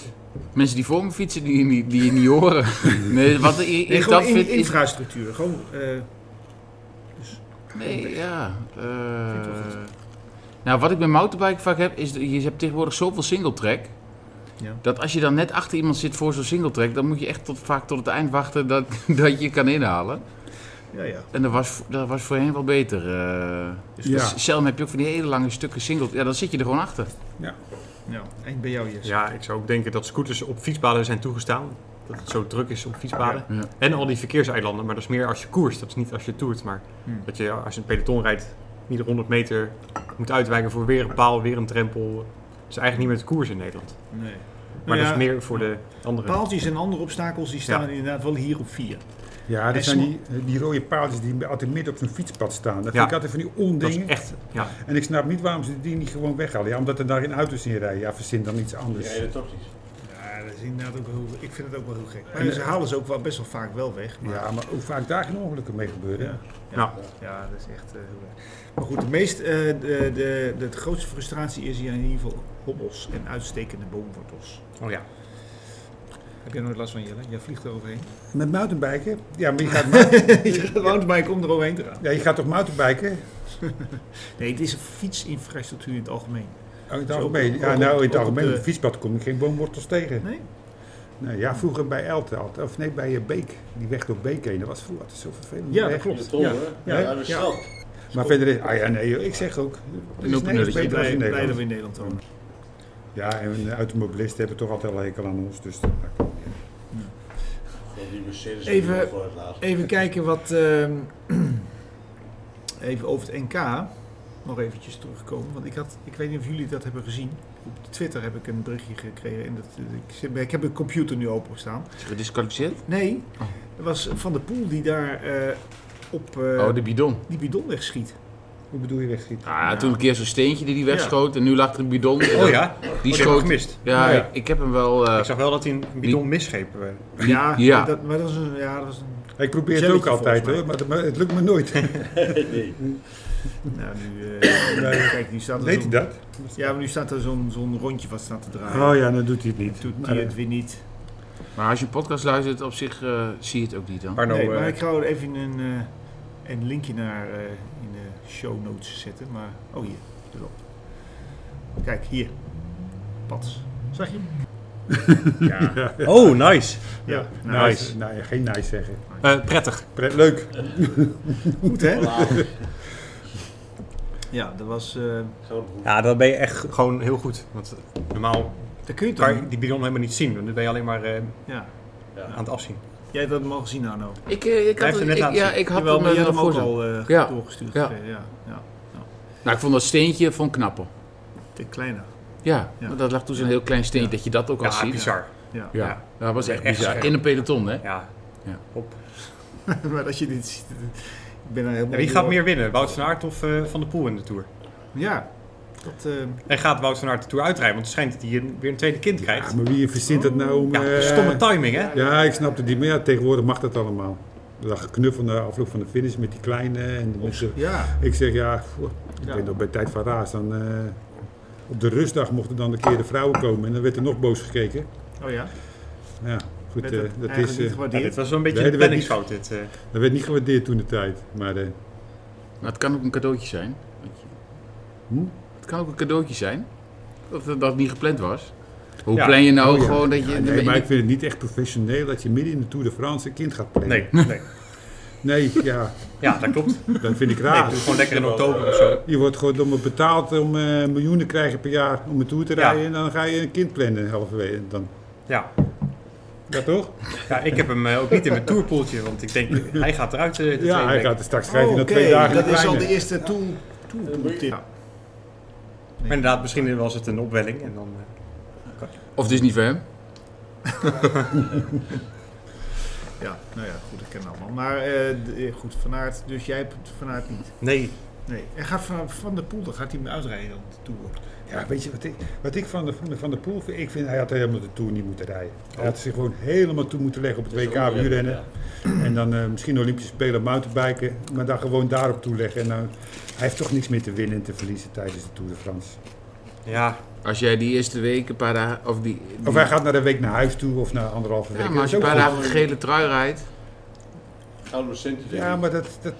Speaker 3: Mensen die voor me fietsen, die, die, die je niet horen. Nee, wat ik, ik
Speaker 1: Nee,
Speaker 3: dat
Speaker 1: gewoon in,
Speaker 3: vind is...
Speaker 1: infrastructuur. Gewoon, eh,
Speaker 3: Nee, ja. eh, nou, wat ik bij mountainbike vaak heb, is dat je hebt tegenwoordig zoveel singletrack.
Speaker 1: Ja.
Speaker 3: Dat als je dan net achter iemand zit voor zo'n singletrack, dan moet je echt tot, vaak tot het eind wachten dat, dat je kan inhalen.
Speaker 1: ja, ja.
Speaker 3: En dat was, dat was voorheen wel beter. eh. dus
Speaker 4: Ja.
Speaker 3: dus Zelf heb je ook van die hele lange stukken single. Ja, dan zit je er gewoon achter.
Speaker 1: Nou, eind bij jou, Jesse.
Speaker 2: Ja, ik zou ook denken dat scooters op fietspaden zijn toegestaan. Dat het zo druk is op fietspaden.
Speaker 3: Ja.
Speaker 2: En al die verkeerseilanden, maar dat is meer als je koerst. Dat is niet als je toert, maar
Speaker 1: Hmm.
Speaker 2: dat je als je een peloton rijdt, iedere 100 meter moet uitwijken voor weer een paal, weer een drempel. Dat is eigenlijk niet meer het koers in Nederland.
Speaker 1: Nee.
Speaker 2: Maar
Speaker 1: Nou
Speaker 2: dat
Speaker 1: ja,
Speaker 2: is meer voor de andere.
Speaker 1: Paaltjes en andere obstakels die staan inderdaad wel hier op vier.
Speaker 4: Ja,
Speaker 1: En
Speaker 4: dat zijn
Speaker 1: sma-
Speaker 4: die, eh, die rode paaltjes die altijd midden op zo'n fietspad staan. Dat vind
Speaker 2: Ja.
Speaker 4: ik altijd van die
Speaker 2: Dat is
Speaker 4: ondingen.
Speaker 2: echt, ja.
Speaker 4: En ik snap niet waarom ze die niet gewoon weghalen. Ja, omdat er daarin auto's in rijden. Ja, verzin dan iets anders.
Speaker 5: Ja, dat toch niet.
Speaker 1: Ja, dat is inderdaad ook heel, ik vind het ook wel heel gek. Maar ze
Speaker 2: eh,
Speaker 1: halen ze ook wel best wel vaak wel weg. Maar ja.
Speaker 4: Ja, maar hoe vaak daar geen ongelukken mee gebeuren.
Speaker 1: Ja.
Speaker 2: Nou,
Speaker 1: ja, dat is echt eh, heel erg. Maar goed, de, meest, eh, de, de, de, de grootste frustratie is hier in ieder geval hobbels en uitstekende boomwortels.
Speaker 2: oh ja.
Speaker 1: Heb jij nooit last van Jelle? Jij vliegt er overheen.
Speaker 4: Met mountainbiken? Ja, maar je gaat, mou-
Speaker 1: Mountainbike om er overheen te gaan.
Speaker 4: ja, je gaat toch mountainbiken?
Speaker 1: Nee, het is een fietsinfrastructuur in het algemeen.
Speaker 4: Oh, in het
Speaker 1: Zo,
Speaker 4: algemeen.
Speaker 1: ook
Speaker 4: Ja,
Speaker 1: op-
Speaker 4: nou, in
Speaker 1: ook
Speaker 4: het
Speaker 1: op
Speaker 4: algemeen.
Speaker 1: de-
Speaker 4: Op het fietspad kom ik geen boomwortels tegen.
Speaker 1: Nee?
Speaker 4: Nou, ja, vroeger bij Elte altijd. Of nee, bij eh, Beek. Die weg door Beek heen. Dat was vroeger altijd zo vervelend.
Speaker 1: Ja, dat
Speaker 4: weg.
Speaker 1: klopt.
Speaker 5: De tol,
Speaker 1: Ja.
Speaker 5: hoor.
Speaker 4: Ja,
Speaker 5: Ja,
Speaker 4: hè?
Speaker 5: aan de
Speaker 1: Ja.
Speaker 5: strand.
Speaker 4: Maar verder is... Ah ja, nee, joh, ik zeg ook. Er is
Speaker 3: op een
Speaker 4: nergens
Speaker 3: nulletje.
Speaker 1: Ik ben
Speaker 4: beter als
Speaker 1: blij,
Speaker 4: in
Speaker 1: blij dat we
Speaker 4: Nederland.
Speaker 1: in Nederland wonen.
Speaker 4: Ja, en de automobilisten hebben toch altijd wel hekel aan ons. Dus dat maakt niet uit.
Speaker 5: Want die Mercedes
Speaker 1: Even-
Speaker 5: hebben we voor het laatst.
Speaker 1: Even kijken wat. ehm, even over het NK. Nog eventjes terugkomen. Want ik, had, ik weet niet of jullie dat hebben gezien. Op Twitter heb ik een berichtje gekregen. En dat, ik, zit- ik heb de computer nu openstaan.
Speaker 3: Gedisqualificeerd?
Speaker 1: Nee,
Speaker 3: Oh.
Speaker 1: er was Van der Poel die daar eh, op eh,
Speaker 3: oh, de bidon.
Speaker 1: die bidon wegschiet.
Speaker 4: Hoe bedoel je wegschieten?
Speaker 3: Ah, Toen een keer zo'n steentje die die wegschoot en nu lag er een bidon.
Speaker 2: Oh ja,
Speaker 3: Die
Speaker 2: die heb ik
Speaker 3: schoot.
Speaker 2: gemist.
Speaker 3: Ja,
Speaker 4: Ja.
Speaker 3: Ik, ik heb hem wel. eh,
Speaker 2: Ik zag wel dat hij een bidon misgreep. eh.
Speaker 1: Ja,
Speaker 3: ja.
Speaker 1: Dat, maar dat is een. Ja, dat is een
Speaker 4: Ik probeer het ook
Speaker 1: Jelletje,
Speaker 4: altijd
Speaker 1: volgens
Speaker 4: hoor, maar het- maar het lukt me nooit.
Speaker 5: nee.
Speaker 1: nou, nu. eh, kijk, nu staat er
Speaker 4: Weet
Speaker 1: zo'n-
Speaker 4: hij dat? Oh,
Speaker 1: Ja, maar nu staat er zo'n zo'n rondje wat staat te draaien.
Speaker 4: ja, dan doet hij het niet.
Speaker 1: Doet
Speaker 4: Maar,
Speaker 1: hij
Speaker 4: eh,
Speaker 1: het weer niet.
Speaker 3: Maar als je een podcast luistert, op zich eh, zie je het ook niet dan.
Speaker 2: Arno,
Speaker 1: nee, maar
Speaker 2: eh,
Speaker 1: ik ga er even een, eh, een linkje naar eh, in de show notes zetten. Maar, oh hier, erop. Kijk, hier. Pats. Zag je?
Speaker 4: ja.
Speaker 2: Oh, nice.
Speaker 1: Ja.
Speaker 4: Nou,
Speaker 2: Nice.
Speaker 4: is- nou ja, geen nice zeggen.
Speaker 2: Eh, prettig.
Speaker 4: Pre- leuk.
Speaker 1: Goed, hè?
Speaker 5: Vanavond.
Speaker 7: Ja, dat was... eh,
Speaker 5: Groot broer.
Speaker 2: Ja, dan ben je echt gewoon heel goed. Want eh, normaal
Speaker 7: dat kun je toch
Speaker 2: kan je
Speaker 7: niet?
Speaker 2: die bidon helemaal niet zien. want Dan ben je alleen maar eh,
Speaker 7: Ja.
Speaker 2: aan het afzien.
Speaker 7: Jij hebt dat mogen zien, Arno.
Speaker 3: Ik, eh, ik,
Speaker 2: Hij
Speaker 3: had,
Speaker 2: heeft hem
Speaker 3: het-
Speaker 2: net
Speaker 3: ik,
Speaker 2: laten zien.
Speaker 3: ja, ik had
Speaker 7: Jawel,
Speaker 3: hem,
Speaker 7: maar
Speaker 3: eh,
Speaker 7: jij hebt
Speaker 3: naar
Speaker 7: hem ook
Speaker 3: voren.
Speaker 7: al eh,
Speaker 3: Ja.
Speaker 7: doorgestuurd.
Speaker 3: Ja.
Speaker 7: Ja. Ja. ja,
Speaker 3: Nou, ik vond dat steentje vond ik knapper.
Speaker 7: de kleine.
Speaker 3: Ja,
Speaker 7: Ja.
Speaker 3: want dat lag toen zo'n heel klein steentje dat je dat ook al
Speaker 2: Ja,
Speaker 3: ziet.
Speaker 2: bizar.
Speaker 7: Ja.
Speaker 3: Ja.
Speaker 2: Ja.
Speaker 3: dat was echt
Speaker 2: Echt
Speaker 3: bizar.
Speaker 2: scherp.
Speaker 3: In een peloton, hè?
Speaker 2: Ja.
Speaker 1: maar als je dit ziet, eh, ik ben er helemaal...
Speaker 2: Ja, wie gaat
Speaker 1: door.
Speaker 2: meer winnen? Wout van Aert of eh, Van der Poel in de Tour?
Speaker 1: Ja, dat... eh,
Speaker 2: En gaat Wout van Aert de Tour uitrijden? Want het schijnt dat hij een- weer een tweede kind
Speaker 4: Ja,
Speaker 2: krijgt.
Speaker 4: maar wie verzint dat nou om...
Speaker 2: Ja,
Speaker 4: eh,
Speaker 2: stomme timing, hè?
Speaker 4: Ja, ik snap het niet meer. Ja, tegenwoordig mag dat allemaal. Dat geknuffel aan de afloop van de finish met die kleine. En met z'n-
Speaker 1: ja,
Speaker 4: ik zeg ja, pff, ik weet nog bij Tijd van Raas. Dan, eh, op de rustdag mochten dan een keer de vrouwen komen. En dan werd er nog boos gekeken.
Speaker 1: oh ja.
Speaker 4: Ja, goed,
Speaker 1: Werd
Speaker 4: eh,
Speaker 1: het
Speaker 4: dat,
Speaker 1: eigenlijk
Speaker 4: is,
Speaker 1: niet
Speaker 4: eh,
Speaker 2: Ja, dit
Speaker 1: gewaardeerd.
Speaker 2: was wel een beetje
Speaker 4: Nee,
Speaker 2: een
Speaker 4: dat werd niet-
Speaker 2: planningsfout. Dit, eh.
Speaker 4: dat werd niet gewaardeerd toen de tijd. Maar eh,
Speaker 3: Maar Nou, het kan ook een cadeautje zijn. Weet je.
Speaker 4: Hm?
Speaker 3: Het kan ook een cadeautje zijn. Dat dat het niet gepland was. Hoe
Speaker 2: Ja.
Speaker 3: plan je nou
Speaker 4: Oh, ja.
Speaker 3: gewoon dat je...
Speaker 4: nee, maar ik vind het niet echt professioneel dat je midden in de Tour de France een kind gaat plannen.
Speaker 2: Nee, nee.
Speaker 4: Nee, ja,
Speaker 2: Ja, dat klopt. Nee,
Speaker 4: dat vind ik
Speaker 2: ik
Speaker 4: raar.
Speaker 2: doe gewoon lekker in oktober of zo.
Speaker 4: Je wordt gewoon domme betaald om eh, miljoenen te krijgen per jaar om een tour te
Speaker 2: Ja.
Speaker 4: rijden. En dan ga je een kind plannen halverwege. Dan,
Speaker 2: Ja.
Speaker 4: ja, toch?
Speaker 2: ja, ik heb hem eh, ook niet in mijn tourpoeltje. Want ik denk, hij gaat eruit. eh, de
Speaker 4: Ja,
Speaker 2: tweede
Speaker 4: hij
Speaker 2: week.
Speaker 4: gaat er straks
Speaker 1: Oh,
Speaker 4: schrijven
Speaker 1: Oké,
Speaker 4: na twee dagen
Speaker 1: dat
Speaker 4: in de
Speaker 1: is al de
Speaker 4: kleine.
Speaker 1: eerste tool. tool tip.
Speaker 2: Maar inderdaad, misschien was het een opwelling. En dan, eh,
Speaker 3: Of het is niet voor hem.
Speaker 1: Ja, nou ja, goed, ik ken het allemaal. Maar eh, d- eh, goed, Van Aert, dus jij hebt het Van Aert niet.
Speaker 2: nee,
Speaker 1: Nee. En gaat Van, van der Poel, dan gaat hij hem uitrijden dan de Tour.
Speaker 4: Ja, weet je wat ik, wat ik van, de, van, de, van de Poel vind? Ik vind, hij had helemaal de Tour niet moeten rijden. Hij had zich gewoon helemaal toe moeten leggen op het WK wielrennen. En dan eh, misschien Olympische Spelen mountainbiken. Maar dan gewoon daarop toeleggen. En dan, hij heeft toch niks meer te winnen en te verliezen tijdens de Tour de France.
Speaker 2: ja,
Speaker 3: Als jij die eerste week een paar dagen... Of, die, die-
Speaker 4: Of hij gaat naar een week naar huis toe of naar anderhalve week.
Speaker 3: Ja,
Speaker 4: Dat
Speaker 3: maar als
Speaker 4: is
Speaker 3: je een
Speaker 4: ook
Speaker 3: paar
Speaker 4: goed.
Speaker 3: dagen een gele trui rijdt...
Speaker 5: Gouden centen. denk
Speaker 4: Ja,
Speaker 5: ik.
Speaker 4: maar dat, dat,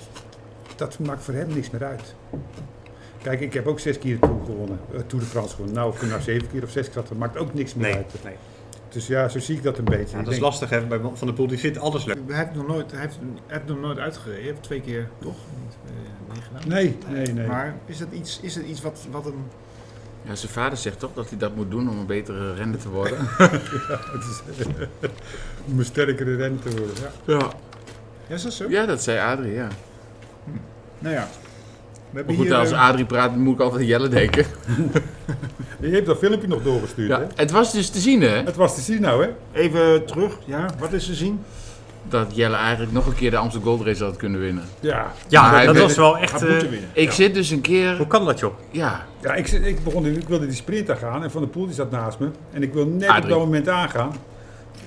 Speaker 4: dat maakt voor hem niks meer uit. Kijk, ik heb ook zes keer de Tour gewonnen. eh, Tour de France gewonnen. Nou, of ik er nou zeven keer of zes keer had, dat maakt ook niks meer
Speaker 2: nee.
Speaker 4: uit.
Speaker 2: nee.
Speaker 4: Dus ja, zo zie ik dat een beetje.
Speaker 2: Ja,
Speaker 4: Ik
Speaker 2: dat is
Speaker 4: denk,
Speaker 2: lastig hè, bij Van der Poel. Die vindt alles leuk.
Speaker 1: Hij heeft nog nooit, hij heeft, hij heeft nog nooit uitgereden. Hij heeft twee keer toch niet, eh, meegedaan.
Speaker 4: Nee, nee, nee.
Speaker 1: Maar is dat iets, is dat iets wat, wat hem...
Speaker 3: Ja, zijn vader zegt toch dat hij dat moet doen om een betere renner te worden.
Speaker 4: Het is, eh, om een sterkere renner te worden. Ja.
Speaker 3: Ja,
Speaker 1: Ja, is dat zo?
Speaker 3: ja dat zei Adrie, ja.
Speaker 1: Nou ja. We hebben
Speaker 3: Maar goed,
Speaker 1: hier,
Speaker 3: als
Speaker 1: eh,
Speaker 3: Adrie praat moet ik altijd aan Jelle denken.
Speaker 4: Je hebt dat filmpje nog doorgestuurd, hè?
Speaker 3: Ja, het was dus te zien, hè,
Speaker 4: Het was te zien nou, hè?
Speaker 1: Even terug, ja, wat is te zien?
Speaker 3: dat Jelle eigenlijk nog een keer de Amsterdam Gold Race had kunnen winnen.
Speaker 4: Ja.
Speaker 3: Maar
Speaker 2: Ja,
Speaker 3: hij
Speaker 2: dat
Speaker 3: werd-
Speaker 2: was wel echt...
Speaker 1: Gaat moeten
Speaker 2: eh,
Speaker 1: winnen.
Speaker 3: Ik zit dus een keer...
Speaker 2: Hoe kan dat joh?
Speaker 3: Ja,
Speaker 4: Ja, ik, zit- ik, begon, ik wilde die sprinter gaan en Van der Poel die zat naast me. En ik wil net op
Speaker 3: Adrie.
Speaker 4: dat moment aangaan.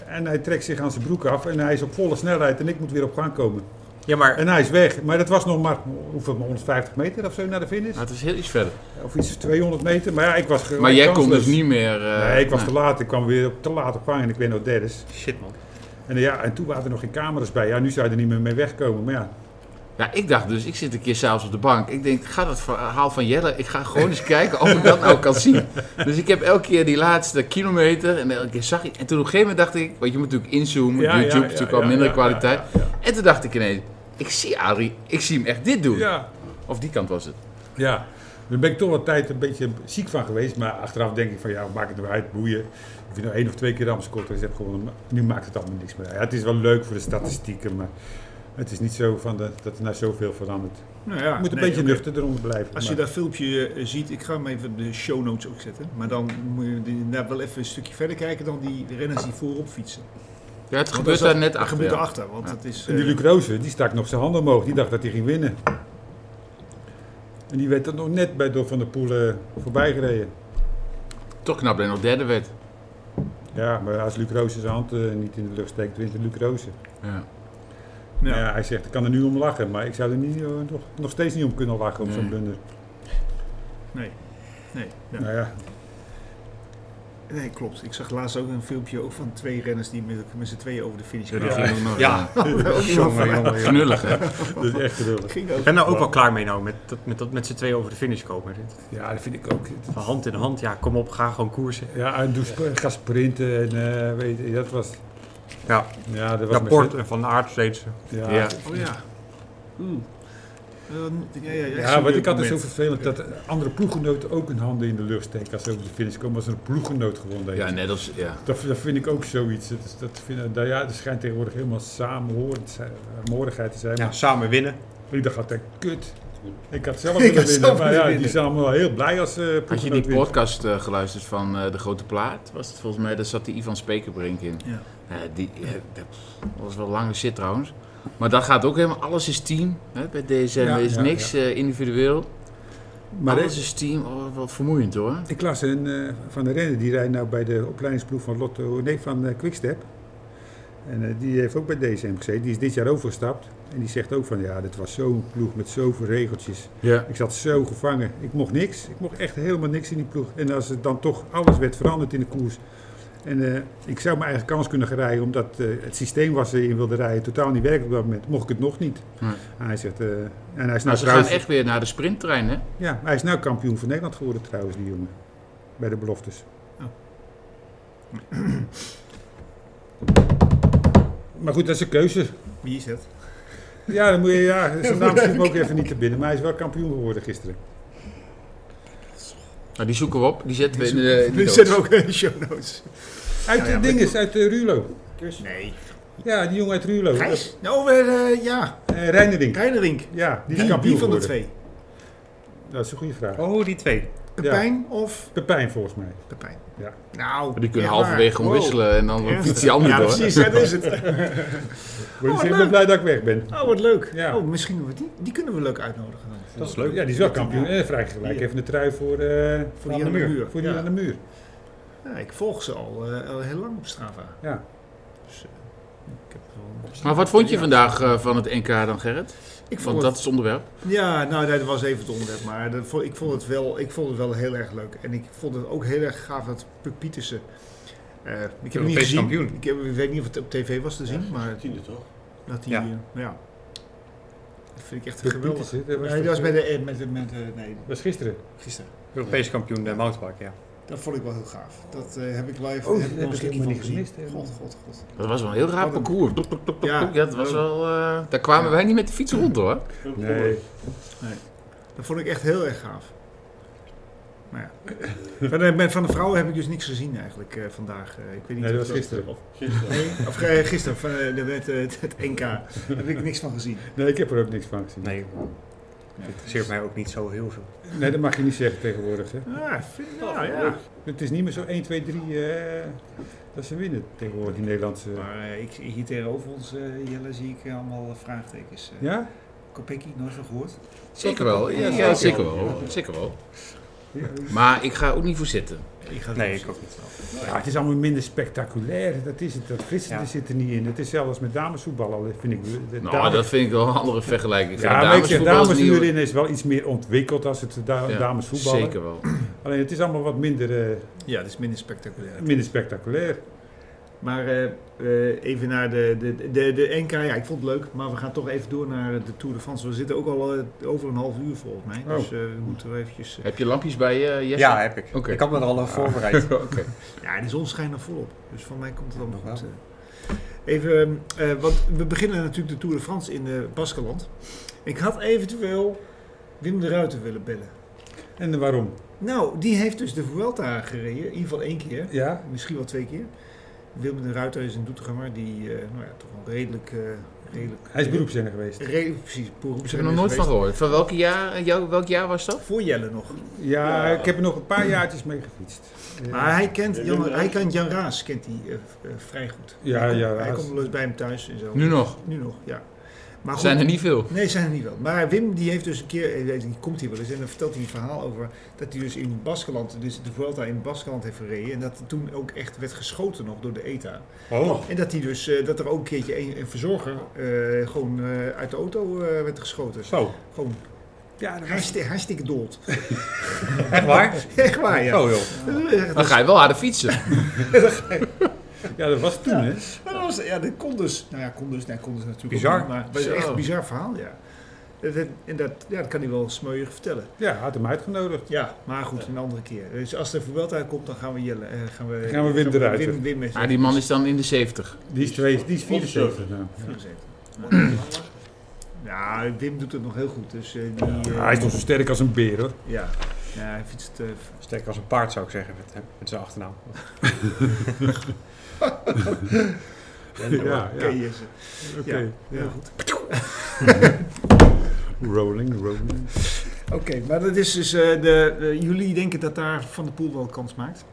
Speaker 4: En hij trekt zich aan zijn broek af en hij is op volle snelheid en ik moet weer op gang komen.
Speaker 2: Ja, maar
Speaker 4: En hij is weg. Maar dat was nog maar hoeveel, 150 meter of zo naar de finish.
Speaker 3: maar het is heel iets verder.
Speaker 4: Of iets 200 meter. Maar ja, ik was gewoon
Speaker 3: Maar jij
Speaker 4: kansloos.
Speaker 3: kon dus niet meer... eh,
Speaker 4: Nee, ik was te
Speaker 3: nou,
Speaker 4: laat. Ik kwam weer op- te laat op gang en ik werd nog derde.
Speaker 2: shit man.
Speaker 4: En, eh, ja, en toen waren er nog geen camera's bij. Ja, nu zou je er niet meer mee wegkomen. Maar ja,
Speaker 3: Ja, ik dacht dus, ik zit een keer s'avonds op de bank. Ik denk, ga dat verhaal van Jelle, ik ga gewoon eens kijken of ik dat nou kan zien. Dus ik heb elke keer die laatste kilometer en elke keer zag ik... En toen op een gegeven moment dacht ik, want je moet natuurlijk inzoomen,
Speaker 4: Ja, ja,
Speaker 3: YouTube,
Speaker 4: ja,
Speaker 3: natuurlijk al
Speaker 4: ja,
Speaker 3: minder
Speaker 4: ja,
Speaker 3: kwaliteit.
Speaker 4: ja,
Speaker 3: En toen dacht ik ineens, ik zie Adrie, ik zie hem echt dit doen.
Speaker 4: ja.
Speaker 3: Of die kant was het.
Speaker 4: Ja, daar ben ik toch wat tijd een beetje ziek van geweest. Maar achteraf denk ik van ja, maakt het nou uit, boeien. Of je nou één of twee keer de Amstel hebt gewonnen. maar Nu maakt het allemaal niks meer uit. Ja, het is wel leuk voor de statistieken, maar het is niet zo van de, dat er nou zoveel verandert.
Speaker 1: Nou ja,
Speaker 4: Je moet een
Speaker 1: nee,
Speaker 4: beetje
Speaker 1: oké.
Speaker 4: nuchter eronder blijven.
Speaker 1: Als je
Speaker 4: maar-
Speaker 1: dat filmpje eh, ziet, ik ga hem even op de show notes ook zetten. Maar dan moet je inderdaad wel even een stukje verder kijken dan die renners die voorop fietsen.
Speaker 3: Ja, het
Speaker 1: Want
Speaker 3: gebeurt
Speaker 1: dat-
Speaker 3: daar net
Speaker 1: dat
Speaker 3: achter.
Speaker 1: gebeurt
Speaker 3: ja.
Speaker 1: erachter, want het is...
Speaker 4: En die
Speaker 1: eh,
Speaker 4: Luc Rozen, die stak nog zijn handen omhoog. Die dacht dat hij ging winnen. En die werd dan nog net bij door Van der Poel eh, voorbij gereden.
Speaker 3: Toch knap dat hij nog derde werd.
Speaker 4: Ja, maar als Luc Rozen zijn hand eh, niet in de lucht steekt, wint Luc Rozen.
Speaker 3: Ja.
Speaker 1: nou,
Speaker 4: Ja. hij zegt, ik kan er nu om lachen, maar ik zou er niet, eh, nog, nog steeds niet om kunnen lachen om zo'n
Speaker 3: Nee.
Speaker 4: blunder.
Speaker 1: Nee. Nee, ja.
Speaker 4: Nou ja,
Speaker 1: nee, klopt. Ik zag laatst ook een filmpje ook van twee renners die met, met z'n tweeën over de finish
Speaker 3: Ja, die
Speaker 1: kwamen.
Speaker 3: ging nog nooit.
Speaker 2: Ja, jongen, jongen, jongen.
Speaker 3: Knullig, hè?
Speaker 4: dat is echt geweldig.
Speaker 1: Ging
Speaker 2: Ik
Speaker 1: ook.
Speaker 2: ben nou ook wel klaar mee nou, met, dat, met, dat, met z'n tweeën over de finish komen. Dit-
Speaker 4: Ja, dat vind ik ook.
Speaker 2: Van hand in hand, ja, kom op, ga gewoon koersen.
Speaker 4: Ja, en doe sp- ga sprinten en eh, weet je, dat was...
Speaker 2: Ja,
Speaker 4: Ja, dat was...
Speaker 2: eh, rapport en van de aard steeds.
Speaker 4: Ja,
Speaker 3: Ja.
Speaker 1: Oh ja. Oh, Oeh. ja, ja, ja,
Speaker 4: Ja, wat ik
Speaker 3: dus
Speaker 4: altijd zo vervelend dat andere ploeggenoten ook hun handen in de lucht steken als ze over de finish komen, als er een ploeggenoot gewonnen heeft.
Speaker 3: Ja, net als... Ja.
Speaker 4: Dat, dat vind ik ook zoiets. Dat, is- dat, vind, dat, ja, dat schijnt tegenwoordig helemaal samenhorend zijn- samenhorigheid te zijn.
Speaker 2: Ja, samen winnen.
Speaker 4: Maar ik dacht altijd, kut. Ik had zelf
Speaker 1: Ik
Speaker 4: willen
Speaker 1: had
Speaker 4: winnen.
Speaker 1: zelf
Speaker 4: maar
Speaker 1: willen
Speaker 4: ja, die
Speaker 1: winnen.
Speaker 4: zijn allemaal heel blij als eh
Speaker 3: Had je
Speaker 4: ploeggenoot
Speaker 3: die
Speaker 4: wint.
Speaker 3: podcast eh, geluisterd van eh, De Grote Plaat? Was het volgens mij, daar zat die Ivan Spekerbrink in.
Speaker 1: Ja.
Speaker 3: Ja, die, ja, dat was wel lange shit trouwens. Maar dat gaat ook helemaal, alles is team. Hè? Bij DSM
Speaker 4: Ja,
Speaker 3: is
Speaker 4: ja,
Speaker 3: niks eh, individueel.
Speaker 4: Maar
Speaker 3: alles
Speaker 4: ik,
Speaker 3: is team, oh, wat vermoeiend hoor.
Speaker 4: ik las een eh, van de renner, die rijdt nou bij de opleidingsploeg van Lotto, nee, van eh, Quickstep. En eh, die heeft ook bij DSM gezeten. Die is dit jaar overgestapt. En die zegt ook van, ja, dit was zo'n ploeg met zoveel regeltjes.
Speaker 3: Ja.
Speaker 4: Ik zat zo gevangen. Ik mocht niks. Ik mocht echt helemaal niks in die ploeg. En als het dan toch alles werd veranderd in de koers. En eh, ik zou mijn eigen kans kunnen rijden, omdat eh, het systeem waar ze in wilden rijden totaal niet werkte op dat moment. Mocht ik het nog niet.
Speaker 3: Nee.
Speaker 4: En hij zegt, eh, en hij is nou
Speaker 3: Nou, ze gaan
Speaker 4: trouwens,
Speaker 3: echt weer naar de sprinttrein hè?
Speaker 4: ja, hij is nou kampioen van Nederland geworden trouwens, die jongen. Bij de beloftes.
Speaker 1: Oh.
Speaker 4: Maar goed, dat is een keuze.
Speaker 1: Wie is het?
Speaker 4: Ja, dan moet je, ja, zijn naam schiet me ook even niet te binnen, maar hij is wel kampioen geworden gisteren.
Speaker 3: Nou, die zoeken we op, die zetten we in de, in de
Speaker 1: Dit
Speaker 3: notes.
Speaker 1: zetten we ook in de show notes. Nou
Speaker 4: Uit de dinges, uit de Rulo.
Speaker 1: Nee.
Speaker 4: Ja, die jongen uit Rulo.
Speaker 1: Gijs? Nou, eh, eh, ja.
Speaker 4: Eh, Reinering.
Speaker 1: Reinerink.
Speaker 4: Ja, die is
Speaker 1: Wie,
Speaker 4: kampioen
Speaker 1: wie van de
Speaker 4: geworden.
Speaker 1: twee?
Speaker 4: Dat is een goede vraag.
Speaker 2: Oh, die twee.
Speaker 1: Pepijn of
Speaker 4: Pepijn volgens mij.
Speaker 1: Pepijn?
Speaker 4: Ja.
Speaker 1: Nou,
Speaker 3: Die kunnen
Speaker 1: echt
Speaker 3: halverwege
Speaker 1: waar.
Speaker 3: gewoon
Speaker 1: Wow.
Speaker 3: wisselen en dan
Speaker 1: Ernstig.
Speaker 3: fietst die ander
Speaker 1: Ja,
Speaker 3: door.
Speaker 1: precies, dat is het.
Speaker 4: Ik wil niet
Speaker 1: Oh,
Speaker 4: zeggen, ik
Speaker 1: leuk.
Speaker 4: ben blij dat ik weg ben.
Speaker 1: Oh, wat leuk.
Speaker 4: Ja.
Speaker 1: Oh, misschien we die, die kunnen we leuk uitnodigen dan.
Speaker 4: Dat is leuk. Ja, die is wel kampioen. En vrij gelijk even de trui voor, eh
Speaker 1: Voor die aan de muur.
Speaker 4: Voor die
Speaker 1: Ja.
Speaker 4: aan de muur.
Speaker 1: Ja, ik volg ze al, eh, al heel lang op Strava.
Speaker 4: Ja.
Speaker 1: Dus, eh, ik heb wel...
Speaker 3: Maar wat vond je vandaag eh, van het NK dan, Gerrit?
Speaker 1: Ik vond
Speaker 3: Want
Speaker 1: het-
Speaker 3: dat is het onderwerp.
Speaker 1: Ja, nou dat was even het onderwerp, maar dat vond- ik, vond het wel, ik vond het wel heel erg leuk. En ik vond het ook heel erg gaaf dat Puk Pietersen... eh, ik heb hem niet
Speaker 2: Europees
Speaker 1: gezien.
Speaker 2: kampioen.
Speaker 1: Ik, heb, ik weet niet of het op tv was te zien, maar
Speaker 5: Tiende toch?
Speaker 1: dat hij...
Speaker 2: Ja.
Speaker 1: Ja. ja. Dat vind ik echt
Speaker 4: Puk
Speaker 1: geweldig.
Speaker 4: Pietersen, dat was
Speaker 1: Nee,
Speaker 4: toch-
Speaker 1: dat was bij de... eh, Met, de- met, de- nee,
Speaker 4: Dat was gisteren.
Speaker 1: gisteren.
Speaker 2: Europees kampioen de mountainbike, ja.
Speaker 1: Dat vond ik wel heel gaaf. Dat eh, heb ik live
Speaker 4: Oh,
Speaker 1: heb ik nog een
Speaker 4: dat heb ik
Speaker 1: stukje
Speaker 4: helemaal
Speaker 1: van
Speaker 4: niet
Speaker 1: gezien.
Speaker 4: gemist, helemaal.
Speaker 1: God, god, god.
Speaker 3: Dat was wel een heel raar
Speaker 1: Wat een-
Speaker 3: parcours. Tok, tok, tok, tok,
Speaker 1: Ja.
Speaker 3: tok. Ja, dat was wel... eh, daar kwamen wij niet met de fiets rond hoor.
Speaker 4: Nee.
Speaker 1: Dat vond ik echt heel erg gaaf. Maar ja. van, de, met- van de vrouwen heb ik dus niks gezien eigenlijk eh, vandaag. Eh, ik weet niet
Speaker 4: Nee, dat
Speaker 1: of
Speaker 4: was gisteren.
Speaker 1: Of,
Speaker 5: Gisteren.
Speaker 1: nee, of eh, gisteren, van, eh, de, met, eh, het, het NK. Daar heb ik niks van gezien.
Speaker 4: Nee, ik heb er ook niks van gezien.
Speaker 2: Nee, dat interesseert mij ook niet zo heel veel.
Speaker 4: Nee, dat mag je niet zeggen tegenwoordig. Hè.
Speaker 1: Ja, vind, nou, ja.
Speaker 4: Het is niet meer zo 1, 2, 3 eh, dat ze winnen tegenwoordig, die Nederlandse.
Speaker 1: Maar eh, ik, hier tegenover ons, eh, Jelle, zie ik eh, allemaal vraagtekens. eh.
Speaker 4: Ja?
Speaker 1: Kopecky, nooit van gehoord.
Speaker 3: Zeker wel. Ja, ja, zeker wel. Zeker wel. Maar ik ga er ook niet voor zitten.
Speaker 1: Ik ga het
Speaker 2: Nee,
Speaker 1: doen.
Speaker 2: ik ook niet.
Speaker 4: Ja, het is allemaal minder spectaculair. Dat is het. Dat gisteren
Speaker 2: Ja.
Speaker 4: zit er niet in. Het is zelfs met damesvoetbal al, vind ik. De
Speaker 3: Nou,
Speaker 4: dames-
Speaker 3: dat vind ik wel een andere vergelijking. Ik vind
Speaker 4: Ja, maar ik zeg,
Speaker 3: damesvoetbal is nieuw.
Speaker 4: dameshuurin is wel iets meer ontwikkeld als het da
Speaker 3: Ja,
Speaker 4: damesvoetballen.
Speaker 3: Zeker wel.
Speaker 4: Alleen het is allemaal wat minder, eh,
Speaker 1: Ja, dat is minder spectaculair.
Speaker 4: minder spectaculair.
Speaker 1: Maar eh, eh, even naar de, de, de, de NK. Ja, ik vond het leuk. Maar we gaan toch even door naar de Tour de France. We zitten ook al eh, over een half uur volgens mij. Dus eh, we moeten wel eventjes... eh,
Speaker 3: Heb je lampjes bij je, Jesse?
Speaker 2: Ja, heb ik.
Speaker 3: Oké.
Speaker 2: Ik had me er al op voorbereid.
Speaker 3: Oké.
Speaker 1: ja, de zon schijnt nog volop. Dus van mij komt het allemaal
Speaker 2: Nog
Speaker 1: goed. eh. even, eh, want we beginnen natuurlijk de Tour de France in eh Baskeland. Ik had eventueel Wim de Ruiter willen bellen.
Speaker 4: En waarom?
Speaker 1: Nou, die heeft dus de Vuelta gereden. In ieder geval één keer.
Speaker 4: Ja,
Speaker 1: Misschien wel twee keer. Willem de Ruiter is een Doetinchemmer die eh, nou ja, toch wel redelijk... eh, redelijk
Speaker 4: hij is beroepsrenner geweest.
Speaker 1: Re- precies,
Speaker 3: Ik heb er nog nooit van gehoord. Van welk jaar, jou, welk jaar was dat?
Speaker 1: Voor Jelle nog.
Speaker 4: Ja, ik heb er nog een paar jaartjes mee gefietst.
Speaker 1: Maar hij kent
Speaker 5: Ja,
Speaker 1: Jan,
Speaker 5: Wim
Speaker 1: hij
Speaker 5: Raas.
Speaker 1: kent Jan Raas kent hij, eh, eh, vrij goed.
Speaker 4: Ja,
Speaker 1: hij komt,
Speaker 4: Jan
Speaker 1: Hij
Speaker 4: Raas.
Speaker 1: komt wel eens bij hem thuis en zo.
Speaker 3: Nu nog.
Speaker 1: Nu nog, ja. Maar goed,
Speaker 3: Zijn er niet veel.
Speaker 1: Nee, zijn er niet wel. Maar Wim die heeft dus een keer, eh, weet je, die komt hier wel eens en dan vertelt hij een verhaal over dat hij dus in Baskeland, dus de Vuelta in Baskeland heeft gereden en dat er toen ook echt werd geschoten nog door de ETA.
Speaker 2: Oh.
Speaker 1: En dat hij dus, eh, dat er ook een keertje een, een verzorger eh, gewoon eh, uit de auto eh, werd geschoten.
Speaker 2: Zo,
Speaker 1: Gewoon
Speaker 4: Ja, dat was...
Speaker 1: hartstikke, hartstikke dood.
Speaker 2: echt waar?
Speaker 1: Echt waar,
Speaker 4: Oh.
Speaker 1: ja.
Speaker 2: Zo Oh, joh.
Speaker 1: Dat is echt-
Speaker 3: Dan ga je wel harder fietsen.
Speaker 4: ja, dat was toen, hè?
Speaker 1: Maar dat was, ja, dat kon dus. Nou ja, kon dus, nee, kon dus natuurlijk
Speaker 2: Bizar.
Speaker 1: ook niet, maar het was
Speaker 3: Zo.
Speaker 1: echt
Speaker 4: Oh.
Speaker 1: een bizar verhaal, ja. Dat- dat- En dat, ja, dat kan hij wel smeuig vertellen.
Speaker 4: Ja, hij had hem uitgenodigd.
Speaker 1: Ja, maar goed, een andere keer. Dus als er voorbeeld uitkomt, dan gaan we Jelle... eh, gaan we,
Speaker 4: Gaan we Wim eruit
Speaker 1: Wim,
Speaker 4: zetten.
Speaker 1: Wim met
Speaker 3: Maar Ah, die man is dan in de 70.
Speaker 4: Die is, twee, die is 74 nou.
Speaker 1: Ja, zeker. Ja, Nou, Wim doet het nog heel goed. Dus, eh, die, eh,
Speaker 4: hij is toch zo sterk als een beer hoor.
Speaker 1: ja. ja, hij fietst... eh,
Speaker 2: Sterk als een paard zou ik zeggen, met, eh, met zijn achternaam.
Speaker 4: Ja, Ah, ja.
Speaker 1: oké, yes.
Speaker 4: oké.
Speaker 1: ja. heel goed.
Speaker 4: Rolling, rolling.
Speaker 1: Oké, maar dat is dus... eh, de, eh, jullie denken dat daar Van de Poel wel kans maakt?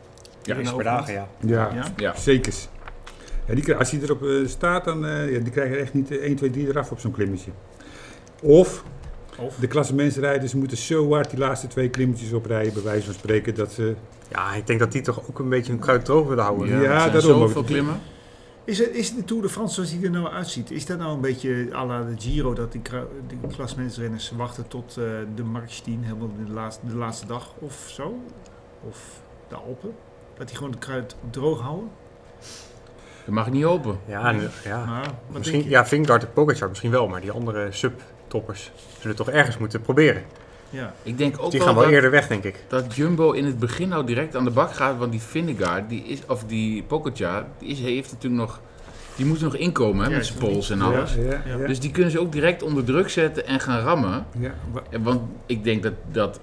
Speaker 2: Ja,
Speaker 1: In
Speaker 2: eens per
Speaker 1: Overmaat.
Speaker 2: dagen, ja.
Speaker 4: Ja,
Speaker 1: Ja?
Speaker 4: zeker. Ja, die, krijg- als hij erop eh, staat, dan eh, ja, die krijgen echt niet eh, 1, 2, 3 eraf op zo'n klimmetje. Of,
Speaker 1: Of?
Speaker 4: de klassementsrijders moeten zo hard die laatste twee klimmetjes oprijden, bij wijze van spreken, dat ze...
Speaker 2: Ja, ik denk dat die toch ook een beetje een kruid droog willen houden.
Speaker 4: Ja,
Speaker 3: er zijn
Speaker 4: daarom ook.
Speaker 3: Zoveel klimmen.
Speaker 1: Is, het, is de Tour de France zoals die er nou uitziet, is dat nou een beetje à la de Giro, dat die, kra- die klasmensrenners wachten tot eh, de March 10, helemaal de laatste, de laatste dag of zo? Of de Alpen? Dat die gewoon de kruid droog houden?
Speaker 3: Dat mag ik niet open.
Speaker 2: Ja, en,
Speaker 4: Ah,
Speaker 2: ja.
Speaker 1: Maar, wat
Speaker 2: Misschien,
Speaker 1: denk je?
Speaker 2: ja, Vingard en Pogacar misschien wel, maar die andere subtoppers zullen toch ergens moeten proberen.
Speaker 1: Ja.
Speaker 3: Ik denk ook
Speaker 2: Die
Speaker 3: wel
Speaker 2: gaan wel
Speaker 3: dat,
Speaker 2: eerder weg, denk ik.
Speaker 3: dat Jumbo in het begin nou direct aan de bak gaat. Want die Vindegaard, die is, of die Pogacar, die is, heeft natuurlijk nog... Die moet er nog inkomen hè,
Speaker 1: Ja,
Speaker 3: met
Speaker 1: is
Speaker 3: zijn
Speaker 1: nog
Speaker 3: pols en
Speaker 4: Ja,
Speaker 3: alles.
Speaker 4: ja, ja.
Speaker 3: Dus die kunnen ze ook direct onder druk zetten en gaan rammen.
Speaker 4: Ja, wa-
Speaker 3: Ja, Want ik denk dat dat.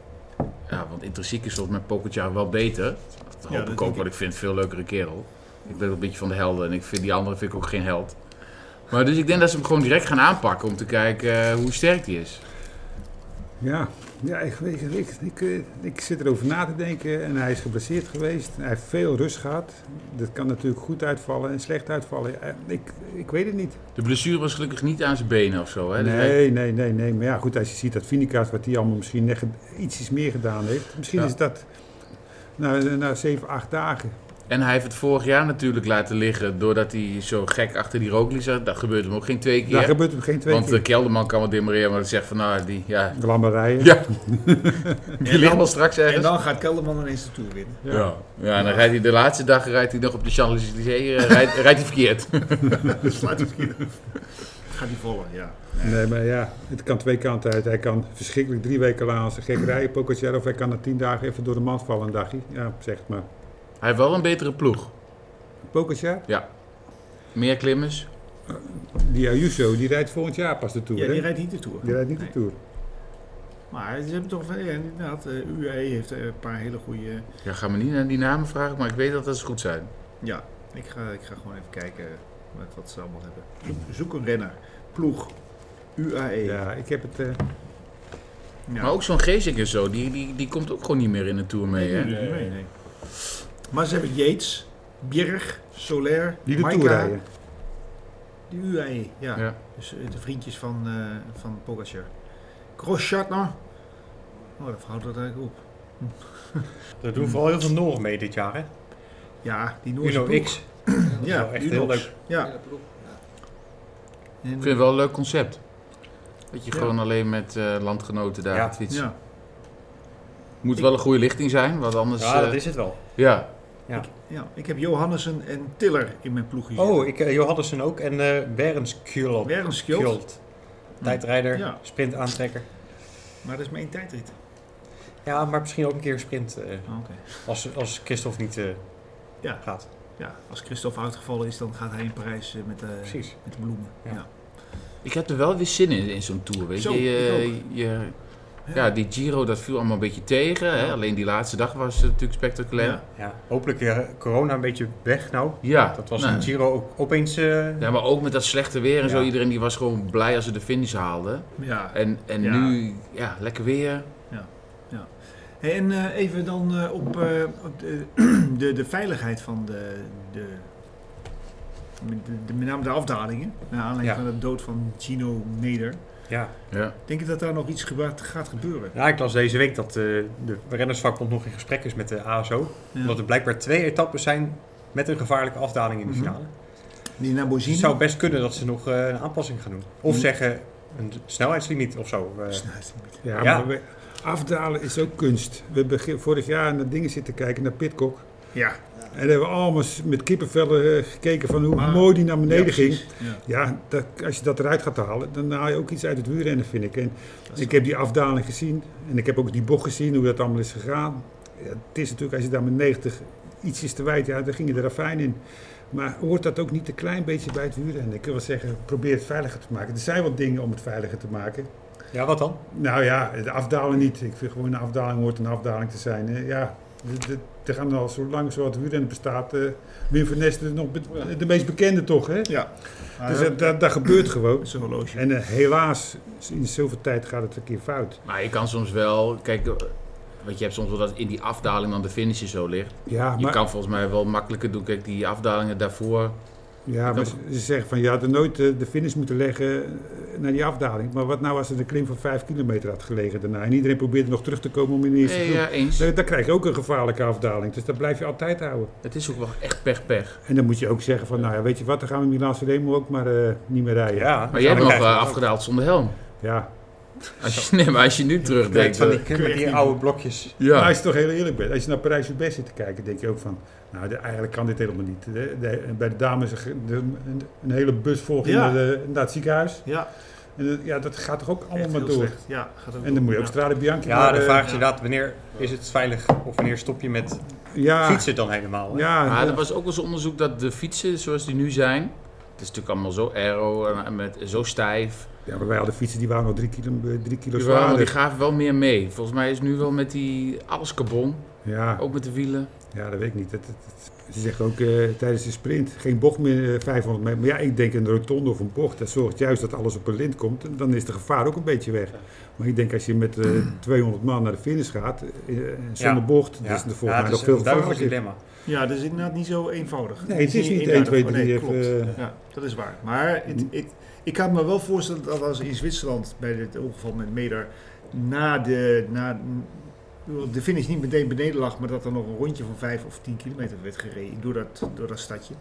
Speaker 3: Ja, want intrinsiek is volgens mij Pokertjaar wel beter. Dat
Speaker 1: Ja,
Speaker 3: hoop
Speaker 1: dat
Speaker 3: ik
Speaker 1: denk
Speaker 3: ook, want ik vind het een veel leukere kerel. Ik ben ook een beetje van de helden en ik vind die andere vind ik ook geen held. Maar dus ik denk dat ze hem gewoon direct gaan aanpakken om te kijken eh, hoe sterk die is.
Speaker 4: ja. ja ik, ik, ik, ik, eh, ik zit erover na te denken en hij is geblesseerd geweest. Hij heeft veel rust gehad. Dat kan natuurlijk goed uitvallen en slecht uitvallen. Eh, Ik, ik weet het niet.
Speaker 3: De blessure was gelukkig niet aan zijn benen of zo. Hè? Oh, Dus hij-
Speaker 4: Nee, nee, nee, nee. Maar ja, goed, als je ziet dat Vinicius, wat die allemaal misschien net ge- ietsjes meer gedaan heeft. Misschien
Speaker 3: Ja.
Speaker 4: is dat na, na 7, 8 dagen.
Speaker 3: En hij heeft het vorig jaar natuurlijk laten liggen doordat hij zo gek achter die rooklie zat. Dat gebeurt hem ook geen twee keer.
Speaker 4: Daar gebeurt het geen twee
Speaker 3: want de
Speaker 4: keer.
Speaker 3: kelderman kan wel demoreren, maar dat zegt van nou, die, ja,
Speaker 4: De lammen rijden.
Speaker 3: Ja. die ligt wel straks
Speaker 1: En
Speaker 3: ergens.
Speaker 1: dan gaat Kelderman ineens de Tour winnen.
Speaker 4: Ja.
Speaker 3: Ja. ja, en dan rijdt hij de laatste dag rijdt hij nog op de Champs-Élysées, eh, rijdt, rijdt hij verkeerd.
Speaker 1: Dus Gaat die volgen, ja.
Speaker 4: Nee, maar ja, het kan twee kanten uit. Hij kan verschrikkelijk drie weken lang als een gek rijden, Pogacar, of hij kan na tien dagen even door de mand vallen een dagje. Ja, zeg het maar.
Speaker 3: Hij heeft wel een betere ploeg.
Speaker 4: Pogacar,
Speaker 3: Meer klimmers.
Speaker 4: die Ayuso, die rijdt volgend jaar pas de Tour,
Speaker 1: Ja,
Speaker 4: hè?
Speaker 1: die rijdt niet de Tour.
Speaker 4: Die rijdt niet
Speaker 1: Nee.
Speaker 4: de Tour.
Speaker 1: Maar ze hebben toch, ja, inderdaad, eh, UAE heeft eh, een paar hele goede...
Speaker 3: Ja, ga me niet naar die namen vragen, maar ik weet dat dat ze goed zijn.
Speaker 1: Ja, ik ga, ik ga gewoon even kijken met wat ze allemaal hebben. Zoek, zoek een renner, ploeg, UAE.
Speaker 4: Ja, ik heb het... eh,
Speaker 1: Ja.
Speaker 3: Maar ook zo'n Geesink en zo, die, die, die komt ook gewoon niet meer in de Tour mee. Hè?
Speaker 1: Nee, nee, nee. Maar ze hebben Yates, Bjerg, Soler,
Speaker 4: die de Tour
Speaker 1: Maika,
Speaker 4: rijden.
Speaker 1: de UAE. Ja.
Speaker 3: Ja.
Speaker 1: Dus eh, de vriendjes van, eh van Pogacar. Grosschartner. Oh, dat houdt dat eigenlijk op.
Speaker 2: Er doen vooral heel veel Noren mee dit jaar, hè?
Speaker 1: Ja, die Noorse
Speaker 2: Uno
Speaker 1: ploeg.
Speaker 2: X.
Speaker 1: Ja,
Speaker 2: wel echt heel
Speaker 1: Unox.
Speaker 2: leuk.
Speaker 1: Ja.
Speaker 6: ploeg.
Speaker 1: En-
Speaker 3: Ik vind het wel een leuk concept. Dat je
Speaker 1: Ja.
Speaker 3: gewoon alleen met eh, landgenoten daar
Speaker 2: Ja.
Speaker 3: gaat fietsen.
Speaker 1: ja.
Speaker 3: Moet wel een goede lichting zijn, want anders...
Speaker 2: Ja, dat
Speaker 3: eh,
Speaker 2: is het wel.
Speaker 3: ja.
Speaker 1: ja, ik heb Johannessen en Tiller in mijn ploeg gezien.
Speaker 2: Oh, ik, eh, Johannessen ook en eh Berens Kjulop.
Speaker 1: Weer een skill,
Speaker 2: Kjult. Tijdrijder,
Speaker 1: Ja.
Speaker 2: sprintaantrekker.
Speaker 1: maar dat is mijn tijdrit.
Speaker 2: Ja, maar misschien ook een keer een sprint eh,
Speaker 1: Oh, Oké.
Speaker 2: als, als Christophe niet eh,
Speaker 1: Ja.
Speaker 2: gaat.
Speaker 1: Ja, als Christophe uitgevallen is, dan gaat hij in Parijs eh, met, de,
Speaker 2: Precies.
Speaker 1: met de bloemen.
Speaker 2: Ja.
Speaker 1: Ja.
Speaker 3: Ik heb er wel weer zin in, in zo'n Tour, weet
Speaker 1: Zo,
Speaker 3: je.
Speaker 1: ik
Speaker 3: je, je- ja, die Giro, dat viel allemaal een beetje tegen. Hè? Alleen die laatste dag was eh, natuurlijk spectaculair.
Speaker 1: Ja.
Speaker 2: Ja, hopelijk weer corona een beetje weg nou.
Speaker 3: Ja,
Speaker 2: Dat was
Speaker 3: nou,
Speaker 2: een Giro ook opeens... eh,
Speaker 3: Ja, maar ook met dat slechte weer en zo.
Speaker 2: Ja.
Speaker 3: Iedereen die was gewoon blij als ze de finish haalden.
Speaker 1: Ja.
Speaker 3: En, en
Speaker 1: Ja.
Speaker 3: nu, ja, lekker weer.
Speaker 1: Hey, en eh, even dan eh, op, eh, op de, de, de veiligheid van de, de, de, de- met name de afdalingen. Naar aanleiding
Speaker 2: Ja.
Speaker 1: van de dood van Gino Neder.
Speaker 2: ja.
Speaker 3: Ja.
Speaker 1: Denk je dat daar nog iets geba- gaat gebeuren?
Speaker 2: ja, ik las deze week dat eh, de rennersvakbond nog in gesprek is met de ASO.
Speaker 1: Ja.
Speaker 2: Omdat er blijkbaar twee etappes zijn met een gevaarlijke afdaling in de
Speaker 1: Mhm.
Speaker 2: finale.
Speaker 1: Die
Speaker 2: Dus
Speaker 1: Nabozini?
Speaker 2: het zou best kunnen dat ze nog eh, een aanpassing gaan doen. Of
Speaker 1: Mhm.
Speaker 2: zeggen een snelheidslimiet of zo. eh.
Speaker 1: Snuit.
Speaker 4: Ja,
Speaker 2: Ja.
Speaker 4: maar we- afdalen is ook kunst. We hebben vorig jaar naar dingen zitten kijken, naar Pitcock.
Speaker 1: Ja,
Speaker 4: En hebben we allemaal s- met kippenvellen eh, gekeken van hoe
Speaker 1: Maar-
Speaker 4: mooi die naar beneden
Speaker 1: Ah. Ja,
Speaker 4: ging.
Speaker 1: precies. Ja.
Speaker 4: Ja, dat, als je dat eruit gaat halen, dan haal je ook iets uit het wielrennen, vind ik. En
Speaker 1: Dat is-
Speaker 4: ik heb die afdaling gezien en ik heb ook die bocht gezien, hoe dat allemaal is gegaan. Ja, het is natuurlijk, als je daar met 90 ietsjes te wijd, ja, dan ging je de ravijn in. Maar hoort dat ook niet een klein beetje bij het wielrennen? Ik wil zeggen, probeer het veiliger te maken. Er zijn wat dingen om het veiliger te maken.
Speaker 2: Ja, wat dan?
Speaker 4: Nou ja, de afdaling niet. Ik vind gewoon een afdaling hoort een afdaling te zijn. Eh, Ja, de- de- er gaan al zo lang zoals het wielrennen bestaat. eh Wim van Nes is nog be- de meest bekende toch, hè?
Speaker 1: Ja.
Speaker 4: Dus dat, dat, dat gebeurt gewoon.
Speaker 1: Zo'n horloge.
Speaker 4: En eh, helaas, in zoveel tijd gaat het een keer fout.
Speaker 3: Maar je kan soms wel, kijk, eh, want je hebt soms wel dat in die afdaling dan de finish zo ligt.
Speaker 4: Ja,
Speaker 3: Je
Speaker 4: maar,
Speaker 3: kan volgens mij wel makkelijker doen. Kijk, die afdalingen daarvoor.
Speaker 4: ja, maar ze, ze zeggen van, je had er nooit eh, de finish moeten leggen eh, naar die afdaling. Maar wat nou als er een klim van vijf kilometer had gelegen daarna? En iedereen probeerde nog terug te komen om in de eerste
Speaker 3: Nee,
Speaker 4: groep.
Speaker 3: ja, eens.
Speaker 4: Dan, dan krijg je ook een gevaarlijke afdaling. Dus dat blijf je altijd houden.
Speaker 3: Het is ook wel echt pech-pech.
Speaker 4: En dan moet je ook zeggen van, nou ja, weet je wat, dan gaan we Milaan Remo ook maar eh, niet meer rijden.
Speaker 2: Ja.
Speaker 3: Maar jij hebt nog
Speaker 4: krijg je
Speaker 3: eh,
Speaker 4: dat
Speaker 3: afgedaald zonder helm.
Speaker 4: Ja.
Speaker 3: Als je, nee, maar als je nu terugdenkt.
Speaker 2: Van die,
Speaker 3: eh,
Speaker 2: met die oude blokjes.
Speaker 4: Maar
Speaker 3: ja.
Speaker 4: als je toch heel eerlijk bent, als je naar parijs best zit te kijken, denk je ook van, nou, de- eigenlijk kan dit helemaal niet. De- de- bij de dames een, de- een, een hele bus volgt
Speaker 1: Ja.
Speaker 4: naar, de- naar het ziekenhuis.
Speaker 1: Ja,
Speaker 4: En dat- ja, dat gaat toch ook allemaal
Speaker 1: echt
Speaker 4: maar
Speaker 1: heel
Speaker 4: door.
Speaker 1: slecht. Ja, gaat ook
Speaker 4: En dan
Speaker 1: door.
Speaker 4: moet je ook
Speaker 1: Ja.
Speaker 4: Strade Bianchi
Speaker 2: Ja,
Speaker 4: naar,
Speaker 2: de
Speaker 4: eh,
Speaker 2: vraag is inderdaad, wanneer is het veilig of wanneer stop je met
Speaker 4: ja,
Speaker 2: fietsen dan helemaal? hè?
Speaker 4: Ah. Ja,
Speaker 3: Maar
Speaker 4: ja.
Speaker 3: er was ook eens onderzoek dat de fietsen zoals die nu zijn. Het is natuurlijk allemaal zo aero en- en met, zo stijf.
Speaker 4: Ja, maar wij hadden fietsen die waren al drie kilo, eh, drie kilo
Speaker 3: Die, waren, die
Speaker 4: zwaarder.
Speaker 3: gaven wel meer mee. Volgens mij is nu wel met die alles carbon,
Speaker 4: Ja,
Speaker 3: ook met de wielen.
Speaker 2: Oh,
Speaker 4: ja, dat weet ik niet. Dat, dat- dat- ze zeggen ook eh, tijdens de sprint geen bocht meer eh, 500 meter. Maar ja, ik denk een rotonde of een bocht. Dat zorgt juist dat alles op een lint komt. En Dan is de gevaar ook een beetje weg. Maar ik denk als je met eh, 200 man naar de finish gaat, eh, zonder
Speaker 2: Ja.
Speaker 4: bocht,
Speaker 2: Ja.
Speaker 4: dus er
Speaker 2: Ja,
Speaker 4: volgens mij
Speaker 2: het
Speaker 4: nog
Speaker 2: is
Speaker 4: veel
Speaker 2: een duidelijk
Speaker 4: gevaarlijker.
Speaker 2: dilemma.
Speaker 1: Ja, dat is inderdaad niet zo eenvoudig.
Speaker 4: Nee, het is niet 1, 2, 3.
Speaker 1: eenvoudig. Nee, klopt.
Speaker 4: eh,
Speaker 1: Ja, dat is waar. Maar
Speaker 4: Mm.
Speaker 1: het, ik, ik kan me wel voorstellen dat als in Zwitserland bij dit ongeval met Meder na de, na, de finish niet meteen beneden lag, maar dat er nog een rondje van 5 of 10 kilometer werd gereden door dat, door dat stadje.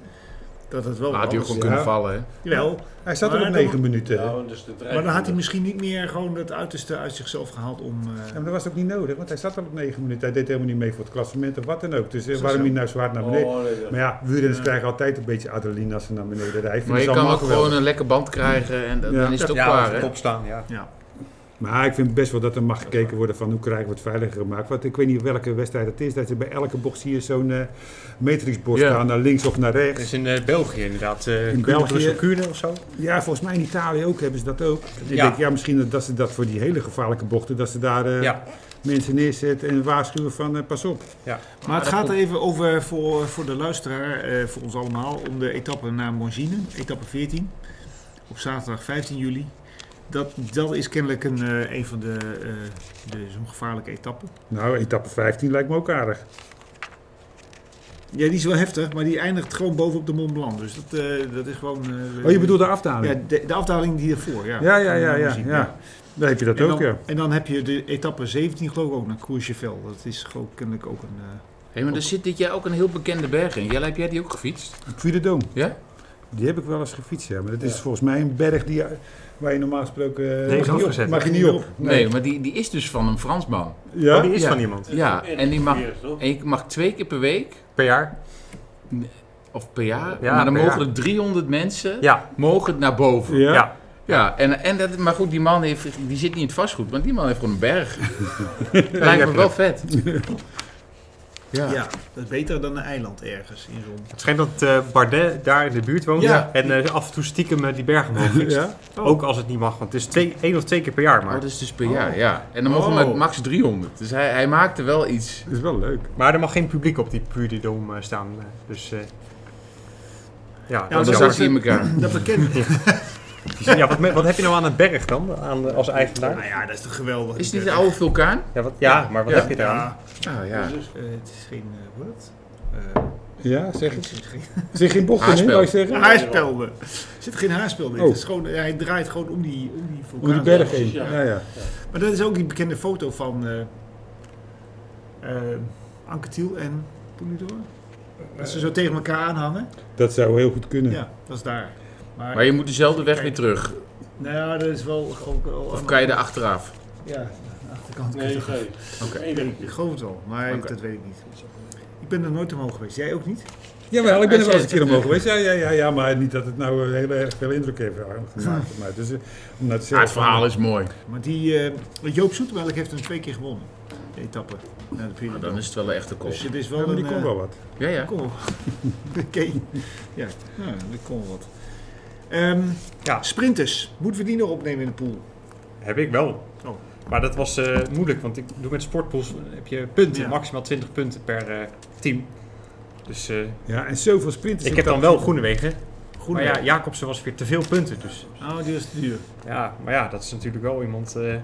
Speaker 1: Dat het wel
Speaker 3: Maar had hij ook gewoon
Speaker 4: ja.
Speaker 3: kunnen vallen. Hè?
Speaker 1: Wel,
Speaker 4: Hij staat er
Speaker 1: Maar
Speaker 4: op
Speaker 1: dan-
Speaker 4: 9 minuten.
Speaker 5: Ja, want dus de dreiging-
Speaker 1: maar dan had hij misschien niet meer gewoon het uiterste uit zichzelf gehaald om... eh,
Speaker 4: Ja, maar dat was ook niet nodig, want hij zat al op 9 minuten. Hij deed helemaal niet mee voor het klassement of wat dan ook. Dus eh,
Speaker 1: Zo,
Speaker 4: waarom
Speaker 1: zo.
Speaker 4: niet nou zwaar naar
Speaker 5: Oh,
Speaker 4: beneden?
Speaker 5: nee, dat-
Speaker 4: Maar ja, wielrenners krijgen altijd een beetje adrenaline als ze naar beneden rijden.
Speaker 3: Maar je
Speaker 4: Vinden ze
Speaker 3: kan
Speaker 4: allemaal
Speaker 3: ook gewoon
Speaker 4: geweldig.
Speaker 3: een lekker band krijgen en dan,
Speaker 4: Ja.
Speaker 3: dan is het ook
Speaker 2: Ja,
Speaker 3: klaar.
Speaker 2: op de
Speaker 3: hè?
Speaker 2: kop staan, ja.
Speaker 4: Maar ik vind best wel dat er mag gekeken worden van hoe krijgen we het veiliger gemaakt. Want ik weet niet welke wedstrijd het is. Dat je bij elke bocht zie je zo'n eh, matrixbord
Speaker 3: Ja.
Speaker 4: staan, naar links of naar
Speaker 2: Dat
Speaker 4: rechts.
Speaker 2: is in eh, België inderdaad. eh,
Speaker 4: In België.
Speaker 2: Brussel, Kuurne of zo.
Speaker 4: Ja, volgens mij in Italië ook hebben ze dat ook. Ik
Speaker 2: Ja.
Speaker 4: denk, ja, misschien dat ze dat voor die hele gevaarlijke bochten, dat ze daar eh,
Speaker 2: Ja.
Speaker 4: mensen neerzetten en waarschuwen van eh, pas op.
Speaker 1: Maar het gaat er even over voor, voor de luisteraar, eh, voor ons allemaal, om de etappe naar Mongine, etappe 14, op zaterdag 15 juli. Dat, dat is kennelijk een, eh, een van de, eh, de zo'n gevaarlijke etappen.
Speaker 4: Nou, etappe 15 lijkt me ook aardig.
Speaker 1: Ja, die is wel heftig, maar die eindigt gewoon bovenop de Mont Blanc. Dus dat, eh, dat is gewoon... eh,
Speaker 4: Oh, je bedoelt de afdaling?
Speaker 1: Ja, de, de afdaling die ervoor, ja.
Speaker 4: Ja, ja, ja,
Speaker 1: Van, eh,
Speaker 4: ja.
Speaker 1: Mongine,
Speaker 4: ja. Dan heb je dat
Speaker 1: En,
Speaker 4: ook,
Speaker 1: dan,
Speaker 4: ja.
Speaker 1: en dan heb je de etappe 17 geloof ik ook naar Courchevel. Dat is gewoon kennelijk ook een... eh,
Speaker 3: Hé, maar er zit dit jaar ook een heel bekende berg in. Jelle, heb jij die ook gefietst?
Speaker 4: Quidedoom.
Speaker 3: Ja?
Speaker 4: Die heb ik wel eens gefietst, ja. Maar dat is volgens mij een berg die, waar je normaal gesproken... eh,
Speaker 2: Nee,
Speaker 4: mag, niet op,
Speaker 2: afgezet.
Speaker 4: mag je niet op.
Speaker 3: Nee, maar die, die is dus van een Fransman.
Speaker 2: Oh,
Speaker 4: Ja?
Speaker 2: die is
Speaker 3: Ja.
Speaker 2: van iemand.
Speaker 3: Ja, en die mag,
Speaker 5: Eerst, toch?
Speaker 3: en je mag twee keer per week
Speaker 2: Per jaar?
Speaker 3: of per jaar,
Speaker 2: Ja,
Speaker 3: maar dan
Speaker 2: per
Speaker 3: mogen
Speaker 2: jaar.
Speaker 3: er 300 mensen
Speaker 2: Ja.
Speaker 3: mogen naar boven. Ja,
Speaker 4: Ja?
Speaker 2: Ja.
Speaker 3: en, en dat, maar goed, die man heeft, die zit niet in het vastgoed, want die man heeft gewoon een berg. Lijkt me
Speaker 2: hebt
Speaker 3: wel vet. Ja.
Speaker 1: ja. dat is beter dan een eiland ergens in zo'n...
Speaker 2: Het schijnt dat eh, Bardet daar in de buurt woont
Speaker 3: Ja.
Speaker 2: en eh, af en toe stiekem eh, die berg omhoog fietst.
Speaker 4: Ja? Oh.
Speaker 2: Ook als het niet mag, want het is twee, één of twee keer per jaar.
Speaker 3: Maar
Speaker 2: Maar,
Speaker 3: dat is dus per jaar, ja. En dan mogen we
Speaker 1: Oh.
Speaker 3: met max 300. Dus hij, hij maakte wel iets.
Speaker 4: Dat is wel leuk.
Speaker 2: maar er mag geen publiek op die Puridome eh staan. eh, dus eh, ja,
Speaker 1: dat
Speaker 3: Dan
Speaker 2: dat is
Speaker 1: is
Speaker 3: zag
Speaker 2: jammer.
Speaker 1: ook-
Speaker 3: hij in elkaar.
Speaker 1: Dat bekend.
Speaker 2: ja, wat, me- wat heb je nou aan een berg dan, aan, de- als eigenaar?
Speaker 1: Nou ja, dat is toch geweldig. Eh,
Speaker 3: Is nou- dit een oude vulkaan?
Speaker 2: Ja, wat, ja maar wat
Speaker 3: Ja.
Speaker 2: heb je daaraan?
Speaker 3: Nou ja.
Speaker 5: Dus-
Speaker 1: Eh, het is geen, eh, hoe heet dat?
Speaker 4: Ja, zeg
Speaker 1: Er
Speaker 4: eens.
Speaker 1: zit geen
Speaker 4: Zeg geen bochten in,
Speaker 3: Haarspel.
Speaker 4: wou je zeggen?
Speaker 1: haarspel meer. Er zit geen haarspel meer.
Speaker 4: Oh.
Speaker 1: Het is gewoon, hij draait gewoon om die, om die vulkaan.
Speaker 4: Om die berg heen.
Speaker 5: Ja.
Speaker 4: Ja, ja.
Speaker 1: Maar dat is ook die bekende foto van eh eh, Anke Thiel en Poelidor.
Speaker 3: Eh,
Speaker 1: Dat ze zo tegen elkaar aanhangen.
Speaker 4: Dat zou heel goed kunnen.
Speaker 1: Ja, dat is daar. Maar,
Speaker 3: Maar je moet dezelfde weg weer terug.
Speaker 1: nou ja, dat is wel... Ook, wel
Speaker 3: Of kan je er achteraf?
Speaker 1: Ja, aan de achterkant.
Speaker 5: Nee,
Speaker 1: Nee,
Speaker 5: nee.
Speaker 3: Oké.
Speaker 5: Eén ding.
Speaker 1: ik geloof het wel, maar
Speaker 3: Oké.
Speaker 1: dat weet ik niet. Ik ben er nooit omhoog geweest. Jij ook niet?
Speaker 4: Jawel, ik ben er wel eens een
Speaker 3: Ja,
Speaker 4: keer omhoog geweest. Ja, ja, ja, ja, maar niet dat het nou eh, heel erg veel indruk heeft gemaakt op mij. Dus, eh, om dat
Speaker 3: Ja,
Speaker 4: zelf
Speaker 3: het Ah, verhaal is mooi.
Speaker 1: Maar die, eh, Joop Zoetemelk heeft hem twee keer gewonnen. etappe. Naar de vierde
Speaker 3: Nou,
Speaker 1: dag.
Speaker 3: dan is het wel een echte kop.
Speaker 1: Dus het is
Speaker 4: Ja,
Speaker 1: wel
Speaker 4: maar
Speaker 1: een...
Speaker 4: die komt
Speaker 1: eh,
Speaker 4: wel wat.
Speaker 3: Ja, ja.
Speaker 1: Kom. Oké. Ja, nou, dat kon wel wat. Ehm, ja, sprinters. Moeten we die nog opnemen in de pool?
Speaker 2: Heb ik wel.
Speaker 1: Oh.
Speaker 2: Maar dat was eh, moeilijk, want ik doe met sportpools eh, heb je punten,
Speaker 1: Ja.
Speaker 2: maximaal 20 punten per eh, team. Dus eh,
Speaker 4: Ja, en zoveel sprinters.
Speaker 2: ik
Speaker 4: in
Speaker 2: heb dan
Speaker 4: dat-
Speaker 2: wel Groenewegen.
Speaker 1: Groene.
Speaker 2: Maar ja, Jacobsen was weer te veel punten. Dus.
Speaker 1: Oh, die was te duur.
Speaker 2: Ja, maar ja, dat is natuurlijk wel iemand. eh,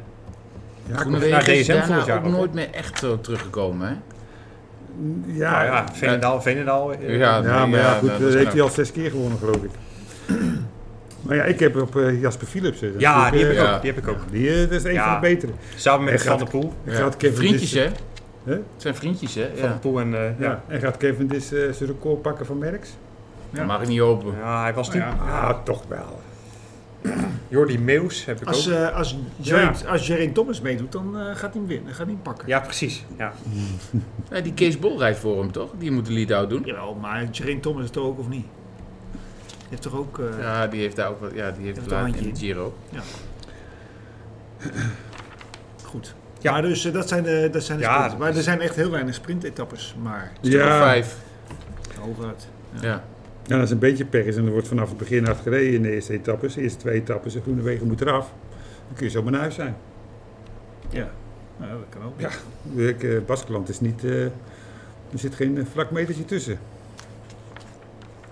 Speaker 4: Ja,
Speaker 2: naar
Speaker 3: Groenewegen is
Speaker 2: DSM vorig
Speaker 3: daarna
Speaker 2: jaar
Speaker 3: ook
Speaker 2: ook, hè?
Speaker 3: nooit meer echt zo teruggekomen, hè?
Speaker 4: mm, Ja,
Speaker 2: nou
Speaker 4: ja.
Speaker 2: ja, Veenendaal, Veenendaal. eh,
Speaker 3: Ja.
Speaker 4: Ja, maar
Speaker 3: Ja,
Speaker 4: ja,
Speaker 3: nou,
Speaker 4: goed,
Speaker 3: dat
Speaker 4: dat
Speaker 3: zijn
Speaker 4: heeft hij al zes keer gewonnen, geloof ik. Maar ja, ik heb op eh, Jasper Philips. eh, dat
Speaker 2: ja, die
Speaker 4: natuurlijk,
Speaker 2: heb ik
Speaker 3: Ja.
Speaker 2: ook. Die heb ik ook.
Speaker 4: eh, die eh, dat is een
Speaker 2: Ja.
Speaker 4: van de betere.
Speaker 2: Samen met
Speaker 4: Hij
Speaker 2: Van
Speaker 4: gaat-
Speaker 2: der Poel.
Speaker 4: En
Speaker 3: Ja.
Speaker 4: Gaat Kevin
Speaker 3: Vriendjes,
Speaker 4: Dis,
Speaker 3: hè?
Speaker 4: Hè?
Speaker 3: Het zijn vriendjes, hè?
Speaker 2: Van der
Speaker 3: Ja.
Speaker 2: Poel en eh, ja.
Speaker 4: ja. En gaat Kevin Dis eh, zijn record pakken van Merckx?
Speaker 3: Dat mag ik niet hopen.
Speaker 2: Ja, hij was toen.
Speaker 4: Ah, toch wel.
Speaker 2: Jordi Meus heb ik
Speaker 1: Als,
Speaker 2: ook.
Speaker 1: eh als, Geraint, als Geraint Thomas meedoet, dan eh, gaat hij hem winnen. Gaat hij hem pakken.
Speaker 2: Ja, precies. Ja.
Speaker 3: Nee, die Kees Bol rijdt voor hem, toch? Die moet de lead-out doen.
Speaker 1: Jawel, maar Geraint Thomas toch ook of niet? Je hebt toch ook... eh,
Speaker 3: Ja, die heeft daar ook wat. Ja, die heeft
Speaker 1: Heeft
Speaker 3: laat
Speaker 1: een
Speaker 3: in
Speaker 1: handje
Speaker 3: de Giro.
Speaker 1: Goed.
Speaker 2: Ja.
Speaker 1: Ja. Maar dus eh, dat zijn de, dat zijn de
Speaker 2: Ja,
Speaker 1: sprinten.
Speaker 2: dat
Speaker 1: Maar er zijn echt heel weinig sprintetappes. Maar
Speaker 3: Ja. Vijf.
Speaker 1: hooguit.
Speaker 3: Ja.
Speaker 4: En als een beetje pech Nou, is en er wordt vanaf het begin hard gereden in de eerste etappes, de eerste twee etappes, de groene wegen moeten eraf, dan kun je zomaar naar huis zijn.
Speaker 1: Nou, dat kan ook.
Speaker 4: Ja. Ik, eh, Baskeland is niet, eh, er zit geen eh, vlak metertje tussen.
Speaker 3: Ik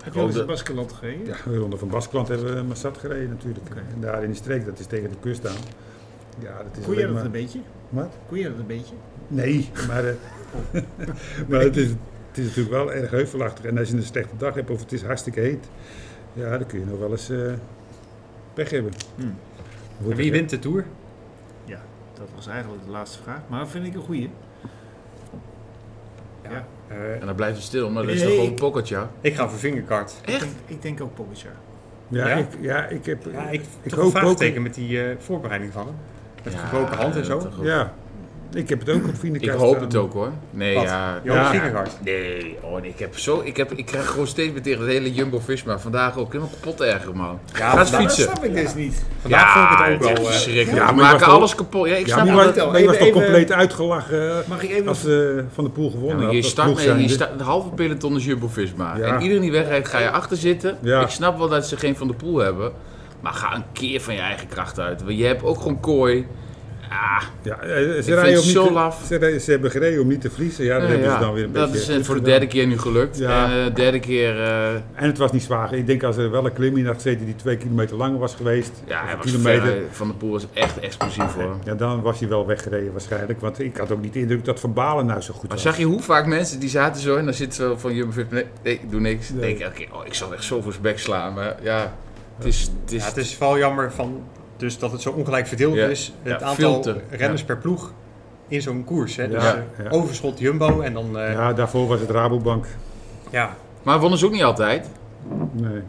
Speaker 1: Heb je al
Speaker 3: hoop
Speaker 1: eens in
Speaker 3: dat-
Speaker 1: Baskeland gereden?
Speaker 4: Ja, de ronde van Baskeland hebben we maar zat gereden natuurlijk. En daar in die streek, dat is tegen de kust aan. Ja, dat is
Speaker 1: Kon je
Speaker 4: alleen
Speaker 1: dat
Speaker 4: maar-
Speaker 1: een beetje?
Speaker 4: Wat?
Speaker 1: Kon je dat een beetje?
Speaker 4: Nee, maar, eh, maar het, is, het is natuurlijk wel erg heuvelachtig. En als je een slechte dag hebt of het is hartstikke heet, ja, dan kun je nog wel eens eh, pech hebben.
Speaker 1: Hmm.
Speaker 2: En
Speaker 4: Wordt
Speaker 2: wie
Speaker 4: er-
Speaker 2: wint de Tour?
Speaker 1: Dat was eigenlijk de laatste vraag. Maar vind ik een goeie. Ja.
Speaker 2: Eh,
Speaker 3: En dan blijft het stil, maar dat is
Speaker 1: Nee,
Speaker 3: toch gewoon
Speaker 1: ik-
Speaker 3: pocketje.
Speaker 2: ik ga voor Vingerkaart.
Speaker 1: Ik denk, ik denk ook Pogacar.
Speaker 4: Ja,
Speaker 2: Ja?
Speaker 4: Ik, ja, ik heb... eh,
Speaker 2: Ja, ik,
Speaker 4: ik
Speaker 2: toch een
Speaker 4: hoop
Speaker 2: vraagteken met die eh, voorbereiding van hem. Met gebroken hand en zo.
Speaker 4: Ja, ik heb het ook op eh, Vriendenkast
Speaker 3: Ik hoop
Speaker 4: staan.
Speaker 3: het ook hoor. Nee,
Speaker 2: Wat?
Speaker 3: ja.
Speaker 2: Johan
Speaker 4: Ja.
Speaker 2: Vingegaard.
Speaker 3: Nee, oh, nee, ik, heb zo, ik, heb, ik krijg gewoon steeds meer tegen het hele Jumbo-Visma. Vandaag ook helemaal kapot erger, man. Ga eens
Speaker 2: vandaag-
Speaker 1: Dat
Speaker 3: fietsen.
Speaker 1: snap ik dus niet.
Speaker 2: Vandaag vond ik het
Speaker 3: is
Speaker 2: ook wel.
Speaker 3: echt
Speaker 2: eh,
Speaker 3: verschrikkelijk.
Speaker 4: Ja,
Speaker 3: We
Speaker 4: maar je
Speaker 3: maken
Speaker 4: was
Speaker 3: alles kapot. Ja, ik
Speaker 4: Ja,
Speaker 3: snap
Speaker 4: maar je
Speaker 3: dat.
Speaker 4: was,
Speaker 1: wel.
Speaker 4: maar je was toch
Speaker 1: Even-
Speaker 4: compleet uitgelachen
Speaker 1: Mag ik even...
Speaker 4: als eh, Van de Poel
Speaker 3: Ja,
Speaker 4: gewonnen
Speaker 3: maar Nou, je
Speaker 4: had, als
Speaker 3: start met
Speaker 4: ploeg
Speaker 3: je
Speaker 4: zijnde.
Speaker 3: start, de halve peloton is Jumbo-Visma.
Speaker 4: Ja.
Speaker 3: En iedereen die wegrijdt, ga je achter zitten.
Speaker 4: Ja.
Speaker 3: Ik snap wel dat ze geen Van de Poel hebben. Maar ga een keer van je eigen kracht uit. Want je hebt ook gewoon kooi. Ah,
Speaker 4: Ja, eh, ze
Speaker 3: vind
Speaker 4: rijden
Speaker 3: het
Speaker 4: om niet
Speaker 3: zo
Speaker 4: te-
Speaker 3: laf.
Speaker 4: Ze, rijden- ze hebben gereden om niet te verliezen. Ja, dat
Speaker 3: nou
Speaker 4: hebben
Speaker 3: ja,
Speaker 4: ze dan weer een
Speaker 3: dat
Speaker 4: beetje...
Speaker 3: is eh,
Speaker 4: goed
Speaker 3: voor de
Speaker 4: gedaan.
Speaker 3: derde keer nu gelukt.
Speaker 4: Ja.
Speaker 3: En eh, derde keer... eh,
Speaker 4: En het was niet zwaar. Ik denk als er wel een klim in had gezeten die twee kilometer lang was geweest.
Speaker 3: ja,
Speaker 4: of
Speaker 3: hij
Speaker 4: een
Speaker 3: was
Speaker 4: kilometer.
Speaker 3: ver, eh, Van de Poel was echt explosief hoor.
Speaker 4: Ja, dan was hij wel weggereden waarschijnlijk. Want ik had ook niet de indruk dat Van Balen nou zo goed
Speaker 3: Maar
Speaker 4: was.
Speaker 3: zag je hoe vaak mensen die zaten zo en dan zitten ze van Jumbo Visma, nee, nee, ik doe niks.
Speaker 4: Nee.
Speaker 3: Denk ik, elke keer, oh, ik zal echt zo voor zijn bek slaan. Maar ja, het is, het is,
Speaker 2: Ja, het is wel jammer van, dus dat het zo ongelijk verdeeld
Speaker 3: Ja.
Speaker 2: is.
Speaker 3: Ja,
Speaker 2: Het
Speaker 3: veel
Speaker 2: aantal
Speaker 3: te.
Speaker 2: renners per ploeg in zo'n koers. Hè? Dus
Speaker 4: Ja,
Speaker 2: eh,
Speaker 4: ja.
Speaker 2: overschot Jumbo en dan... eh, ja.
Speaker 4: Ja, daarvoor was het Rabobank.
Speaker 2: Ja,
Speaker 3: Maar wonnen ze ook niet altijd.
Speaker 4: Nee.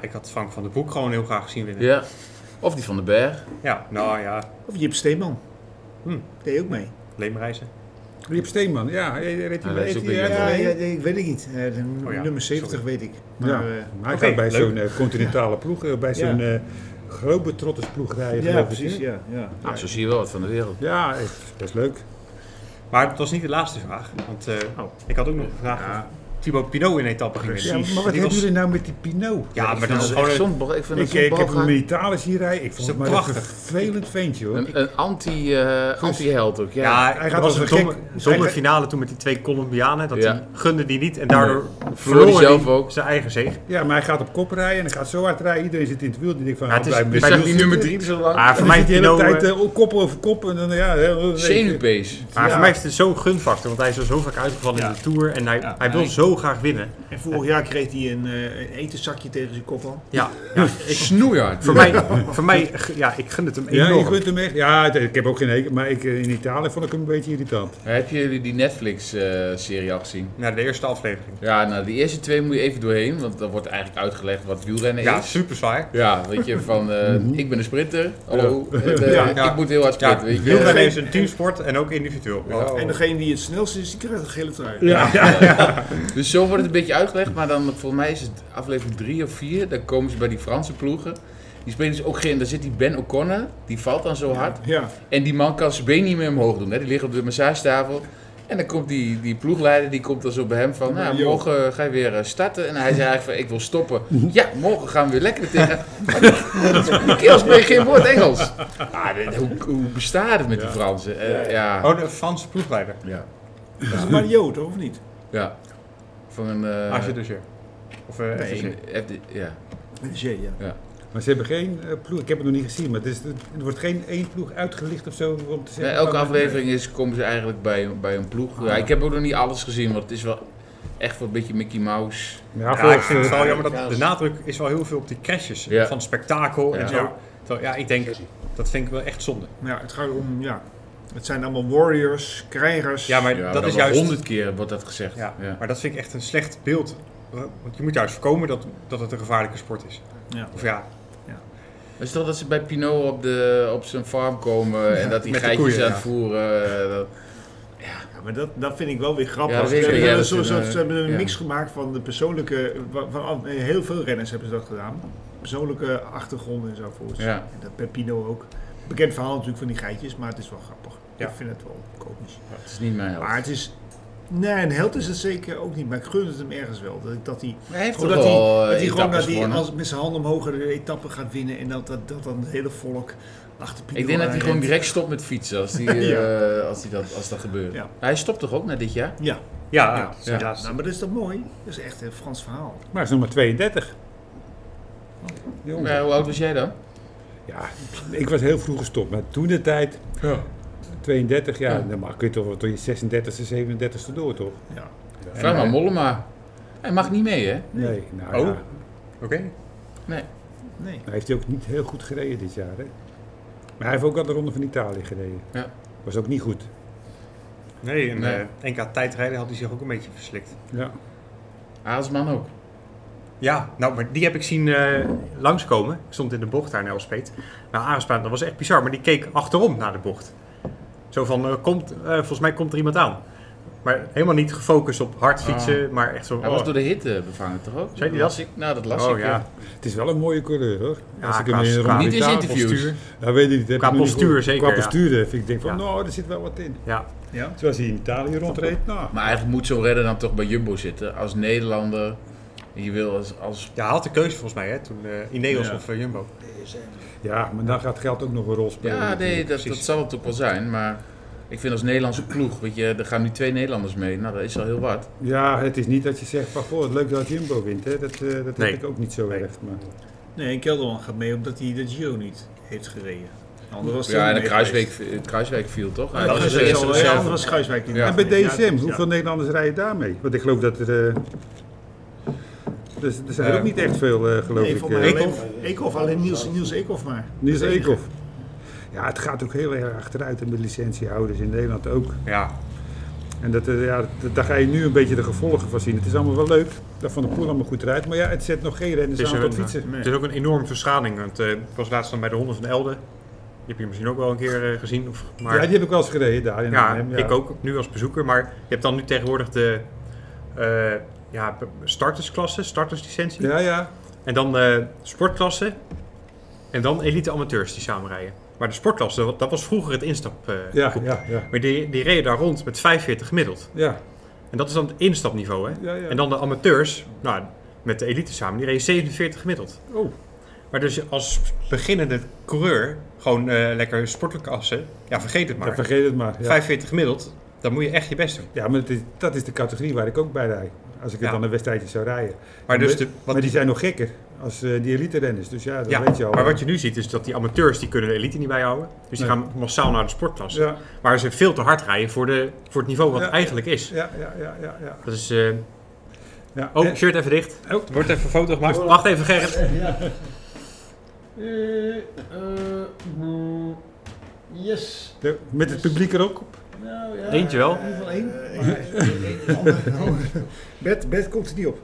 Speaker 2: ik had Frank van der Broek gewoon heel graag gezien winnen. Ja,
Speaker 3: Ja. Of die van den Berg.
Speaker 2: nou ja,
Speaker 1: Of Jip Steeman.
Speaker 2: Hm.
Speaker 1: Deed ook mee.
Speaker 2: leemreizen.
Speaker 4: Riep Steeman, ja. Hij reed
Speaker 3: Hij
Speaker 4: hij
Speaker 3: reed
Speaker 4: reed
Speaker 3: ook
Speaker 4: hij-
Speaker 3: weer,
Speaker 4: hij-
Speaker 1: Ja,
Speaker 4: hij-
Speaker 1: ja, nee, ik weet het niet. Eh, de n-
Speaker 2: Oh ja,
Speaker 1: Nummer 70 weet ik. Maar,
Speaker 4: Ja.
Speaker 1: eh,
Speaker 4: Maar hij
Speaker 2: Oké,
Speaker 4: gaat bij
Speaker 2: leuk.
Speaker 4: zo'n eh, continentale ploeg, eh, bij
Speaker 1: Ja.
Speaker 4: zo'n eh grote trottersploeg rijden.
Speaker 1: ja,
Speaker 4: geloof ik,
Speaker 1: precies.
Speaker 4: hè?
Speaker 1: Ja, ja.
Speaker 3: Nou, zo zie je wel wat van de wereld.
Speaker 4: Ja, het is best leuk.
Speaker 2: Maar het was niet de laatste vraag. Want eh,
Speaker 1: Oh.
Speaker 2: ik had ook nog een vraag of Thibaut Pinot in etappe ging
Speaker 4: Ja,
Speaker 2: winnen.
Speaker 4: maar
Speaker 2: Die
Speaker 4: wat hebben
Speaker 2: was-
Speaker 4: jullie nou met die Pinot?
Speaker 2: Ja, maar
Speaker 3: Ik vind
Speaker 2: dat is
Speaker 3: het
Speaker 2: gewoon
Speaker 3: echt
Speaker 2: een-
Speaker 3: zo'n bal- Ik vind het
Speaker 4: Ik,
Speaker 3: zo'n
Speaker 4: ik heb
Speaker 3: balgaar.
Speaker 4: hem in Italië zien rijden. Ik vond
Speaker 2: Zo
Speaker 4: het maar
Speaker 2: prachtig.
Speaker 4: een vervelend ventje hoor.
Speaker 3: Een, een anti, eh anti-held ook, ja.
Speaker 2: Ja,
Speaker 4: Hij
Speaker 2: dat
Speaker 4: gaat
Speaker 2: was
Speaker 4: als
Speaker 2: een
Speaker 4: een
Speaker 2: domme,
Speaker 4: gek.
Speaker 2: domme
Speaker 4: Hij-
Speaker 2: finale toen met die twee Colombianen. Dat
Speaker 3: Ja.
Speaker 2: die gunde die niet en daardoor verloor
Speaker 3: hij
Speaker 2: hij
Speaker 3: zelf ook.
Speaker 2: zijn eigen zege. Ah,
Speaker 4: Ja, maar hij gaat op kop rijden en hij gaat zo hard rijden. Iedereen zit in het wiel. Die denkt van, oh,
Speaker 2: Ja, het is- Ah,
Speaker 4: blijf
Speaker 3: Dus
Speaker 4: met
Speaker 3: zag
Speaker 4: wiel
Speaker 3: die
Speaker 4: zitten.
Speaker 3: nummer drie zo lang.
Speaker 2: Maar voor mij,
Speaker 4: Zit die hele
Speaker 2: Pinot,
Speaker 4: tijd
Speaker 2: eh,
Speaker 4: eh, kop over kop en dan ja... heel-
Speaker 3: Zenuwpees.
Speaker 2: maar
Speaker 4: ja.
Speaker 2: voor mij is het zo'n gunfactor, want hij is al zo vaak uitgevallen in de Tour en hij, hij wil zo graag winnen.
Speaker 1: En vorig jaar kreeg hij een, eh, een etenzakje tegen zijn kop al.
Speaker 2: Ja,
Speaker 3: Snoeihard.
Speaker 2: voor mij, voor mij ja, ik gun het hem
Speaker 4: Ja,
Speaker 2: enorm.
Speaker 4: je kunt hem echt. Ja, het- ik heb ook geen hekel, maar ik, eh, in Italië vond ik hem een beetje irritant.
Speaker 3: Heb jullie die Netflix-serie al gezien?
Speaker 2: Naar de eerste aflevering.
Speaker 3: Ja, nou, die eerste twee moet je even doorheen, want dan wordt eigenlijk uitgelegd wat wielrennen
Speaker 2: Ja,
Speaker 3: is.
Speaker 2: super saai.
Speaker 3: Ja, weet je, van eh, ik ben een sprinter, hallo, eh, eh,
Speaker 2: Ja, ja.
Speaker 3: ik moet heel hard
Speaker 2: Ja,
Speaker 3: sprinten, weet je.
Speaker 2: wielrennen is een teamsport en ook individueel.
Speaker 3: Ja.
Speaker 1: En degene die het snelst is, die krijgt een gele trui.
Speaker 4: Ja,
Speaker 3: Dus zo wordt het een beetje uitgelegd, maar dan volgens mij is het aflevering 3 of 4. Dan komen ze bij die Franse ploegen. Die spelen dus ook geen... Daar zit die Ben O'Connor, die valt dan zo hard.
Speaker 1: Ja.
Speaker 3: En die man kan zijn been niet meer omhoog doen. Hè. Die ligt op de massagetafel. En dan komt die, die ploegleider, die komt dan zo bij hem van... Nou,
Speaker 1: Yo.
Speaker 3: morgen ga je weer eh, starten. En hij zei eigenlijk van, ik wil stoppen. Ja, morgen gaan we weer lekker tegen... die kerel spreekt geen woord Engels. Ah, dit- hoe, hoe bestaat het met die Fransen? Eh, ja,
Speaker 4: Oh, de Franse ploegleider.
Speaker 3: ja,
Speaker 1: Dat is maar Jood, of niet?
Speaker 3: ja. Van een... eh,
Speaker 2: Als je dus je. Of eh,
Speaker 3: nee,
Speaker 2: FTC.
Speaker 3: een- FD ja.
Speaker 1: G, ja.
Speaker 4: Maar ze hebben geen eh, ploeg, ik heb het nog niet gezien, maar het is, er wordt geen één ploeg uitgelicht of zo om te
Speaker 3: Nee,
Speaker 4: zeggen...
Speaker 3: elke
Speaker 4: oh,
Speaker 3: aflevering is, komen ze eigenlijk bij, bij een ploeg. Ja, ik heb ook nog niet alles gezien, want het is wel echt wel een beetje Mickey Mouse.
Speaker 4: Ja,
Speaker 2: Ja, ik
Speaker 4: volgens,
Speaker 2: vind het
Speaker 4: eh,
Speaker 2: wel jammer dat de nadruk is wel heel veel op die crashes.
Speaker 3: Ja.
Speaker 2: Van spektakel
Speaker 3: Ja.
Speaker 2: en zo.
Speaker 1: Ja.
Speaker 2: Terwijl, ja, ik denk, dat vind ik wel echt zonde.
Speaker 1: Maar ja, het gaat om, ja. Het zijn allemaal warriors, krijgers.
Speaker 2: Ja, maar
Speaker 3: Ja,
Speaker 2: dat is
Speaker 3: wel
Speaker 2: juist...
Speaker 3: honderd keer wordt dat gezegd.
Speaker 2: Ja,
Speaker 3: Ja.
Speaker 2: maar dat vind ik echt een slecht beeld. Want je moet juist voorkomen dat, dat het een gevaarlijke sport is.
Speaker 1: Ja.
Speaker 2: Of ja,
Speaker 3: Het is toch dat ze bij Pinot op, de, op zijn farm komen en dat die
Speaker 2: met de
Speaker 3: geitjes
Speaker 2: koeien,
Speaker 3: aan
Speaker 2: ja.
Speaker 3: het voeren. eh, dat-
Speaker 1: Ja, maar dat, dat vind ik wel weer
Speaker 3: Ja,
Speaker 1: grappig.
Speaker 3: dat
Speaker 1: Ze
Speaker 3: weet ik,
Speaker 1: hebben
Speaker 3: ja,
Speaker 1: een
Speaker 3: dat
Speaker 1: soort-
Speaker 3: is een,
Speaker 1: soort- ze hebben een
Speaker 3: ja.
Speaker 1: mix gemaakt van de persoonlijke... Van, van- heel veel renners hebben ze dat gedaan. Persoonlijke achtergronden en zo voor ze.
Speaker 3: Ja.
Speaker 1: En dat Pepino ook. Bekend verhaal natuurlijk van die geitjes, maar het is wel grappig.
Speaker 2: Ja.
Speaker 1: Ik vind het wel komisch.
Speaker 3: dat is niet mijn held.
Speaker 1: Maar het is... Nee, een held is het zeker ook niet, maar ik gun het hem ergens wel. Dat, ik- dat hij
Speaker 3: Maar hij heeft
Speaker 1: Gewoon
Speaker 3: toch
Speaker 1: dat hij,
Speaker 3: wel eh,
Speaker 1: dat hij gewoon dat hij
Speaker 3: gewonnen.
Speaker 1: als met zijn handen omhoog de etappe gaat winnen en dat, dat, dat dan het hele volk achter Pino
Speaker 3: Ik denk dat hij
Speaker 1: aanrent.
Speaker 3: gewoon direct stopt met fietsen als, die, eh, als, die dat, als dat gebeurt.
Speaker 1: Ja.
Speaker 3: Hij stopt toch ook na dit jaar?
Speaker 1: Ja,
Speaker 2: ja, ja,
Speaker 3: Ja.
Speaker 1: ja. Nou, maar dat is toch mooi? Dat is echt een Frans verhaal.
Speaker 4: Maar hij is nummer 32. Jongen.
Speaker 3: Ja, Eh, hoe oud was jij dan?
Speaker 4: Ja, ik was heel vroeg gestopt, maar toen de tijd, 32 jaar,
Speaker 3: Ja.
Speaker 4: dan mag, kun je toch wel tot je 36e, 37e door, toch?
Speaker 1: Ja.
Speaker 3: Vraag maar Mollema. Hij mag niet mee, hè?
Speaker 4: Nee, nou
Speaker 2: Oh.
Speaker 4: ja.
Speaker 2: oké.
Speaker 3: Nee.
Speaker 1: Nee.
Speaker 4: Nou, heeft hij ook niet heel goed gereden dit jaar, hè? Maar hij heeft ook al de Ronde van Italië gereden.
Speaker 3: Ja.
Speaker 4: Was ook niet goed.
Speaker 2: Nee, en
Speaker 3: Nee.
Speaker 2: eh, NK tijdrijden had hij zich ook een beetje verslikt.
Speaker 4: Ja.
Speaker 3: Aasman ook.
Speaker 2: Ja, nou, maar die heb ik zien eh, langskomen. Ik stond in de bocht daar in Elspeet. Nou, Arenspaan, dat was echt bizar, maar die keek achterom naar de bocht. Zo van, eh, komt, eh, volgens mij komt er iemand aan. Maar helemaal niet gefocust op hard fietsen, maar echt zo...
Speaker 3: Hij
Speaker 2: oh.
Speaker 3: was door de hitte bevangen, toch ook?
Speaker 2: Zei hij
Speaker 3: Las ik? Nou, dat las
Speaker 2: Oh
Speaker 3: ik.
Speaker 2: ja,
Speaker 4: Het is wel een mooie coureur, hoor.
Speaker 2: Ja,
Speaker 4: Als ik
Speaker 2: qua-
Speaker 4: hem in de
Speaker 2: qua-
Speaker 4: Ronde
Speaker 3: Niet in zijn
Speaker 4: Italië-
Speaker 3: interviews.
Speaker 4: Ja, weet ik niet. heb
Speaker 2: Qua
Speaker 4: ik nog niet
Speaker 2: postuur
Speaker 4: gehoord.
Speaker 2: zeker,
Speaker 4: Qua
Speaker 2: ja.
Speaker 4: postuur eh, vind ik denk van,
Speaker 2: Ja.
Speaker 4: nou, er zit wel wat in.
Speaker 2: ja.
Speaker 1: Ja.
Speaker 4: Zoals hij in Italië rondreed, nou.
Speaker 3: Maar eigenlijk moet zo'n redder dan toch bij Jumbo zitten. Als Nederlander. Je wil als... als
Speaker 2: Ja, hij had de keuze volgens mij, hè, toen eh Ineos of eh, Jumbo.
Speaker 4: Ja, maar dan gaat geld ook nog een rol spelen.
Speaker 3: ja, nee,
Speaker 4: natuurlijk.
Speaker 3: dat, dat
Speaker 2: precies.
Speaker 3: zal het ook wel zijn. Maar ik vind als Nederlandse ploeg... Weet je, er gaan nu twee Nederlanders mee. Nou, dat is al heel wat.
Speaker 4: Ja, het is niet dat je zegt van, goh, leuk dat Jumbo wint, hè. Dat, eh, dat
Speaker 2: Nee.
Speaker 4: heb ik ook niet zo
Speaker 2: Nee.
Speaker 4: erg, maar...
Speaker 1: Nee, en Kelderman gaat mee omdat hij de Giro niet heeft gereden. Anders was hij
Speaker 3: Ja,
Speaker 1: ook
Speaker 3: en de
Speaker 1: mee
Speaker 3: Kruiswijk,
Speaker 1: geweest.
Speaker 3: Kruiswijk viel, toch?
Speaker 1: Ja, dat
Speaker 3: was
Speaker 1: is
Speaker 3: de eerste
Speaker 1: wel- ja,
Speaker 3: reserve.
Speaker 1: anders was Kruiswijk niet.
Speaker 3: Ja.
Speaker 4: En bij DCM,
Speaker 1: Ja,
Speaker 4: hoeveel Nederlanders rijden daarmee? Want ik geloof dat er... eh, dus, er zijn er
Speaker 3: Ja.
Speaker 4: ook niet echt veel, eh, geloof
Speaker 1: Nee,
Speaker 4: ik.
Speaker 1: volgens mij
Speaker 4: eh.
Speaker 1: alleen- Eekhoff. alleen Niels, Niels Eekhoff maar.
Speaker 4: Niels Eekhoff. Ja, het gaat ook heel erg achteruit hè, met licentiehouders in Nederland ook.
Speaker 2: Ja,
Speaker 4: En dat, eh, ja, dat- daar ga je nu een beetje de gevolgen van zien. Het is allemaal wel leuk, dat Van de Poel allemaal goed rijdt. Maar ja, het zet nog geen
Speaker 2: Het
Speaker 4: renners
Speaker 2: is,
Speaker 4: aan
Speaker 2: er
Speaker 4: tot
Speaker 2: een, eh,
Speaker 4: fietsen.
Speaker 2: het is ook een enorme verschaling. Want eh, ik was laatst dan bij de Honden van Elden. Die heb je misschien ook wel een keer eh, gezien. Of, maar,
Speaker 4: Ja,
Speaker 2: ja,
Speaker 4: die heb ik wel eens gereden daar in Arnhem,
Speaker 2: ik ook, nu als bezoeker. Maar je hebt dan nu tegenwoordig de eh ja, startersklasse, starterslicentie.
Speaker 4: Ja, ja.
Speaker 2: En dan eh sportklasse. En dan elite amateurs die samenrijden. Maar de sportklasse, dat- dat was vroeger het instap. eh,
Speaker 4: Ja,
Speaker 2: groep.
Speaker 4: ja, ja.
Speaker 2: Maar die, die reden daar rond met 45 gemiddeld.
Speaker 4: Ja,
Speaker 2: En dat is dan het instapniveau. Hè?
Speaker 4: ja, ja.
Speaker 2: En dan de amateurs, nou, met de elite samen, die reden 47 gemiddeld.
Speaker 4: Oh.
Speaker 2: Maar dus als beginnende coureur, gewoon eh, lekker sportelijke assen, ja vergeet het maar.
Speaker 4: Ja, vergeet het maar. Ja,
Speaker 2: 45 gemiddeld, dan moet je echt je best doen.
Speaker 4: ja maar het is- dat is de categorie waar ik ook bij rijd. Als ik het
Speaker 2: Ja.
Speaker 4: dan een wedstrijdje zou rijden.
Speaker 2: Maar, dus de, wat,
Speaker 4: Maar die zijn nog gekker als eh, die elite renners. Dus ja, dat
Speaker 2: ja,
Speaker 4: weet je al.
Speaker 2: maar wat je nu ziet is dat die amateurs, die kunnen de elite niet bijhouden. Dus die
Speaker 4: Nee.
Speaker 2: gaan massaal naar de sportklasse.
Speaker 4: Ja,
Speaker 2: Waar ze veel te hard rijden voor, de, voor het niveau wat
Speaker 4: Ja.
Speaker 2: het eigenlijk is.
Speaker 4: ja, ja, ja, ja. ja.
Speaker 2: Dat is... eh,
Speaker 4: ja.
Speaker 2: oh,
Speaker 4: en-
Speaker 2: shirt even dicht.
Speaker 4: Oh.
Speaker 2: Er Wordt even een foto gemaakt. Wacht even, Gerrit.
Speaker 7: yes.
Speaker 4: de- met het publiek er ook op.
Speaker 7: Nou, ja.
Speaker 2: Eentje wel.
Speaker 7: In ieder geval één.
Speaker 1: Eh, Bed, bed komt er niet op.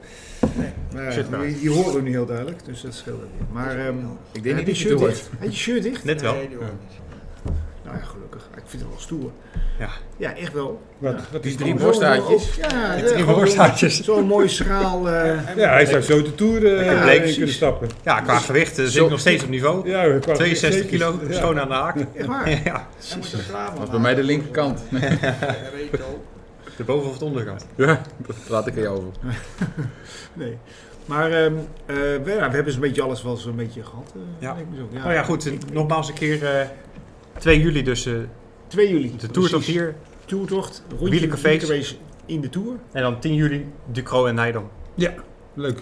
Speaker 1: Nee.
Speaker 2: Shit, nou.
Speaker 1: die, die horen we nu heel duidelijk, dus dat scheelt weer. Maar ehm,
Speaker 3: Ik
Speaker 1: heb je
Speaker 3: denk niet dat je het
Speaker 1: shirt
Speaker 3: hoort.
Speaker 1: dicht? Heb je shirt dicht?
Speaker 2: Net wel.
Speaker 6: Nee, die hoort niet.
Speaker 1: Nou, ja, gelukkig. Ik vind het wel stoer.
Speaker 2: Ja.
Speaker 1: ja, echt wel.
Speaker 4: Wat, wat
Speaker 3: Die drie
Speaker 4: is drie
Speaker 1: Zo'n-
Speaker 3: borstaartjes.
Speaker 1: Ja,
Speaker 2: Die
Speaker 1: eh,
Speaker 2: drie
Speaker 1: gewoon
Speaker 2: worstaartjes.
Speaker 1: Zo'n mooi schaal. eh,
Speaker 4: Ja, hij zou zo de Tour eh,
Speaker 1: Ja,
Speaker 4: in
Speaker 2: precies.
Speaker 4: kunnen stappen.
Speaker 2: Ja, qua gewicht eh, zit
Speaker 3: Zo-
Speaker 2: ik nog steeds op niveau.
Speaker 4: Ja, qua-
Speaker 2: 62
Speaker 4: zeker.
Speaker 2: kilo,
Speaker 4: Ja.
Speaker 2: schoon aan de haak.
Speaker 1: echt waar.
Speaker 2: Ja,
Speaker 6: Hij moet er klaar van
Speaker 3: Dat is bij mij de linkerkant.
Speaker 6: maken. Reto.
Speaker 2: de boven- of de onderkant.
Speaker 3: Ja, dat laat ik aan jou over.
Speaker 1: Nee. Maar ehm, eh, we, ja, we hebben zo'n beetje alles wel zo'n beetje gehad. eh,
Speaker 2: Ja.
Speaker 1: denk ik zo.
Speaker 2: Nou ja, goed. eh, Nogmaals een keer eh, 2 juli dus eh,
Speaker 1: 2 juli.
Speaker 2: de tour tot
Speaker 1: Precies.
Speaker 2: hier.
Speaker 1: Toertocht. Rondje
Speaker 2: Wielencafés.
Speaker 1: wielercafés in de Tour.
Speaker 2: En dan 10 juli Ducro en Nijdam.
Speaker 4: Leuk.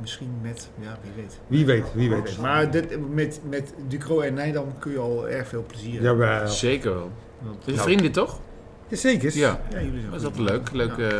Speaker 1: Misschien met, ja, wie weet.
Speaker 4: Wie weet, wie weet.
Speaker 1: Maar dit, met, met Ducro en Nijdam kun je al erg veel plezier hebben.
Speaker 4: Jawel.
Speaker 3: Zeker wel.
Speaker 1: Want- eh,
Speaker 3: Is een vriendin toch?
Speaker 4: Ja, zeker.
Speaker 3: Ja,
Speaker 1: Ja, jullie zijn
Speaker 3: dat is
Speaker 1: goed.
Speaker 3: altijd leuk. leuk eh,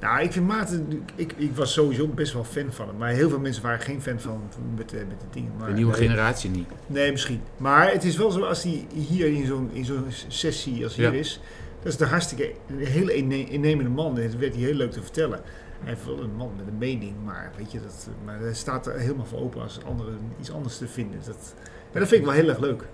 Speaker 1: Nou, ik vind Maarten, ik, ik was sowieso best wel fan van hem. Maar heel veel mensen waren geen fan van hem met, eh, met de dingen. Maar,
Speaker 3: de nieuwe
Speaker 1: nee,
Speaker 3: generatie niet.
Speaker 1: Nee, misschien. Maar het is wel zo, als hij hier in zo'n, in zo'n sessie als hier
Speaker 3: Ja.
Speaker 1: is... Dat is de hartstikke, een hele inne- innemende man. Dat werd hij heel leuk te vertellen. Hij heeft wel een man met een mening, maar weet je, dat, maar hij staat er helemaal voor open als anderen iets anders te vinden. Dat, maar dat vind ik wel heel erg leuk.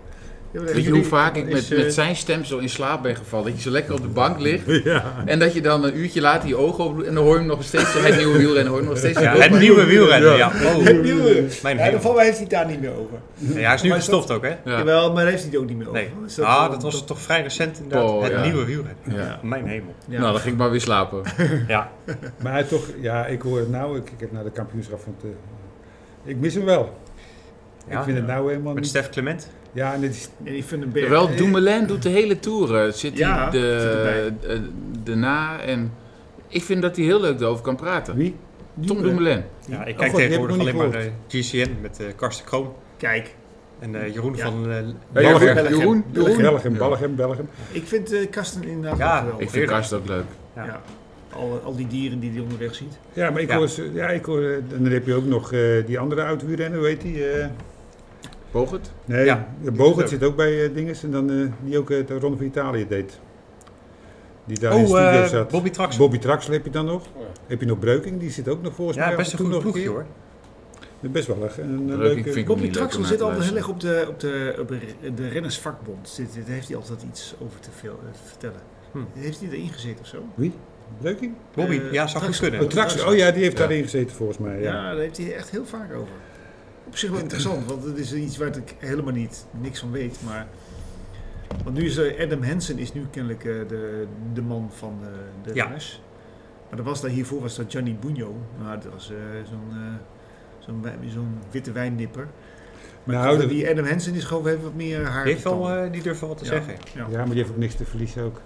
Speaker 3: Weet je hoe vaak ik met,
Speaker 1: Is, eh,
Speaker 3: met zijn stem zo in slaap ben gevallen? Dat je zo lekker op de bank ligt.
Speaker 4: Ja.
Speaker 3: En dat je dan een uurtje later je ogen opdoet. En dan hoor je hem nog steeds. Het nieuwe wielrennen hoor je hem nog steeds.
Speaker 2: Ja, het nieuwe wielrennen, ja.
Speaker 1: Het
Speaker 2: Oh,
Speaker 1: nieuwe.
Speaker 2: mijn
Speaker 1: Ja, dan
Speaker 2: hemel.
Speaker 1: valt- heeft hij het daar niet meer over.
Speaker 2: Ja, hij is nu gestopt ook, hè?
Speaker 3: Ja.
Speaker 1: Jawel, maar daar heeft hij het ook niet meer over.
Speaker 2: Nee.
Speaker 1: Is
Speaker 2: Ah,
Speaker 1: wel-
Speaker 2: dat was toch vrij recent inderdaad.
Speaker 3: Oh,
Speaker 2: het
Speaker 3: ja.
Speaker 2: nieuwe wielrennen.
Speaker 3: Ja.
Speaker 2: Mijn hemel.
Speaker 1: Ja.
Speaker 3: Nou, dan ging ik maar weer slapen.
Speaker 2: Ja,
Speaker 4: Maar hij toch, ja, ik hoor het nou. Ik, ik heb naar de kampioenschap van het, eh, Ik mis hem wel.
Speaker 2: Ja.
Speaker 4: ik vind het nou helemaal
Speaker 2: met
Speaker 4: niet.
Speaker 2: Stef Clement.
Speaker 4: Ja, en dit is...
Speaker 1: En die Vandenberg.
Speaker 3: Wel, Dumoulin doet de hele tour. eh, Zit
Speaker 1: Ja,
Speaker 3: hij de, eh, de na en... Ik vind dat hij heel leuk erover kan praten.
Speaker 4: Wie?
Speaker 3: Tom Dumoulin.
Speaker 2: Ja, ik kijk
Speaker 4: Oh, God, die heb ik
Speaker 2: tegenwoordig
Speaker 4: nog
Speaker 2: alleen
Speaker 4: niet
Speaker 2: maar eh, GCN met eh, Karsten Kroon
Speaker 1: Kijk,
Speaker 2: en eh, Jeroen
Speaker 1: Ja.
Speaker 2: van eh
Speaker 4: Jeroen-
Speaker 2: Belger.
Speaker 1: Belger.
Speaker 3: Jeroen,
Speaker 4: Belgium,
Speaker 3: Jeroen.
Speaker 4: Belgium, Belgium, Belgium.
Speaker 1: ik vind eh Karsten inderdaad
Speaker 2: Ja,
Speaker 1: wel geweldig.
Speaker 3: Ik vind Karst ook leuk.
Speaker 1: Ja. Al, al die dieren die hij onderweg ziet.
Speaker 4: Ja, maar ik
Speaker 2: Ja.
Speaker 4: hoor... ze- Ja, ik hoor... eh, En dan heb je ook nog eh, die andere oud-wielrenner, hoe heet die? eh,
Speaker 3: Bogert?
Speaker 4: Nee,
Speaker 2: Ja,
Speaker 4: de
Speaker 2: die
Speaker 4: Bogert
Speaker 2: is
Speaker 4: zit ook bij eh, dinges en dan, eh, die ook eh, de Ronde van Italië deed. Die daar in de
Speaker 2: Oh,
Speaker 4: studio
Speaker 2: eh,
Speaker 4: zat.
Speaker 2: Bobby Trax.
Speaker 4: Bobby Traxel heb je dan nog.
Speaker 5: ja.
Speaker 4: Heb je nog Breuking, die zit ook nog volgens mij.
Speaker 2: Ja,
Speaker 4: af en
Speaker 2: best een
Speaker 4: toe
Speaker 2: goed
Speaker 4: nog
Speaker 2: ploegje
Speaker 4: keer.
Speaker 2: hoor.
Speaker 4: Best wel een, een
Speaker 3: Leuk, ik
Speaker 4: leuke...
Speaker 3: vind hem
Speaker 1: Bobby
Speaker 3: niet leuk om
Speaker 1: Traxel
Speaker 3: naar
Speaker 1: zit
Speaker 3: te
Speaker 1: altijd heel
Speaker 3: luisteren.
Speaker 1: erg op de, op de, op de, de rennersvakbond. Zit, daar heeft hij altijd iets over te veel eh, te vertellen.
Speaker 2: Hm.
Speaker 1: Heeft hij erin gezeten of zo?
Speaker 4: Breuking?
Speaker 2: Bobby,
Speaker 1: Eh,
Speaker 2: ja, zou goed
Speaker 1: Trax-
Speaker 2: kunnen.
Speaker 4: Oh, Traxel. Oh ja, die heeft daarin gezeten volgens mij.
Speaker 1: Ja,
Speaker 4: Ja.
Speaker 1: daar heeft hij echt heel vaak over. Op zich wel interessant, want het is iets waar ik helemaal niet niks van weet. Maar, want nu is er- Adam Hansen is nu kennelijk eh, de, de man van eh, de
Speaker 2: Ja.
Speaker 1: renners. Maar dat was daar, hiervoor was dat Gianni Bugno. Nou, dat was eh, zo'n eh, zo'n wij- zo'n witte wijnnipper.
Speaker 4: Nou, dat-
Speaker 1: die Adam Hansen is gewoon even wat meer haar.
Speaker 2: Die, heeft wel,
Speaker 1: vertand.
Speaker 2: eh, die durft wel wat te
Speaker 1: Ja.
Speaker 2: zeggen.
Speaker 1: ja.
Speaker 4: ja, maar die heeft ook niks te verliezen ook.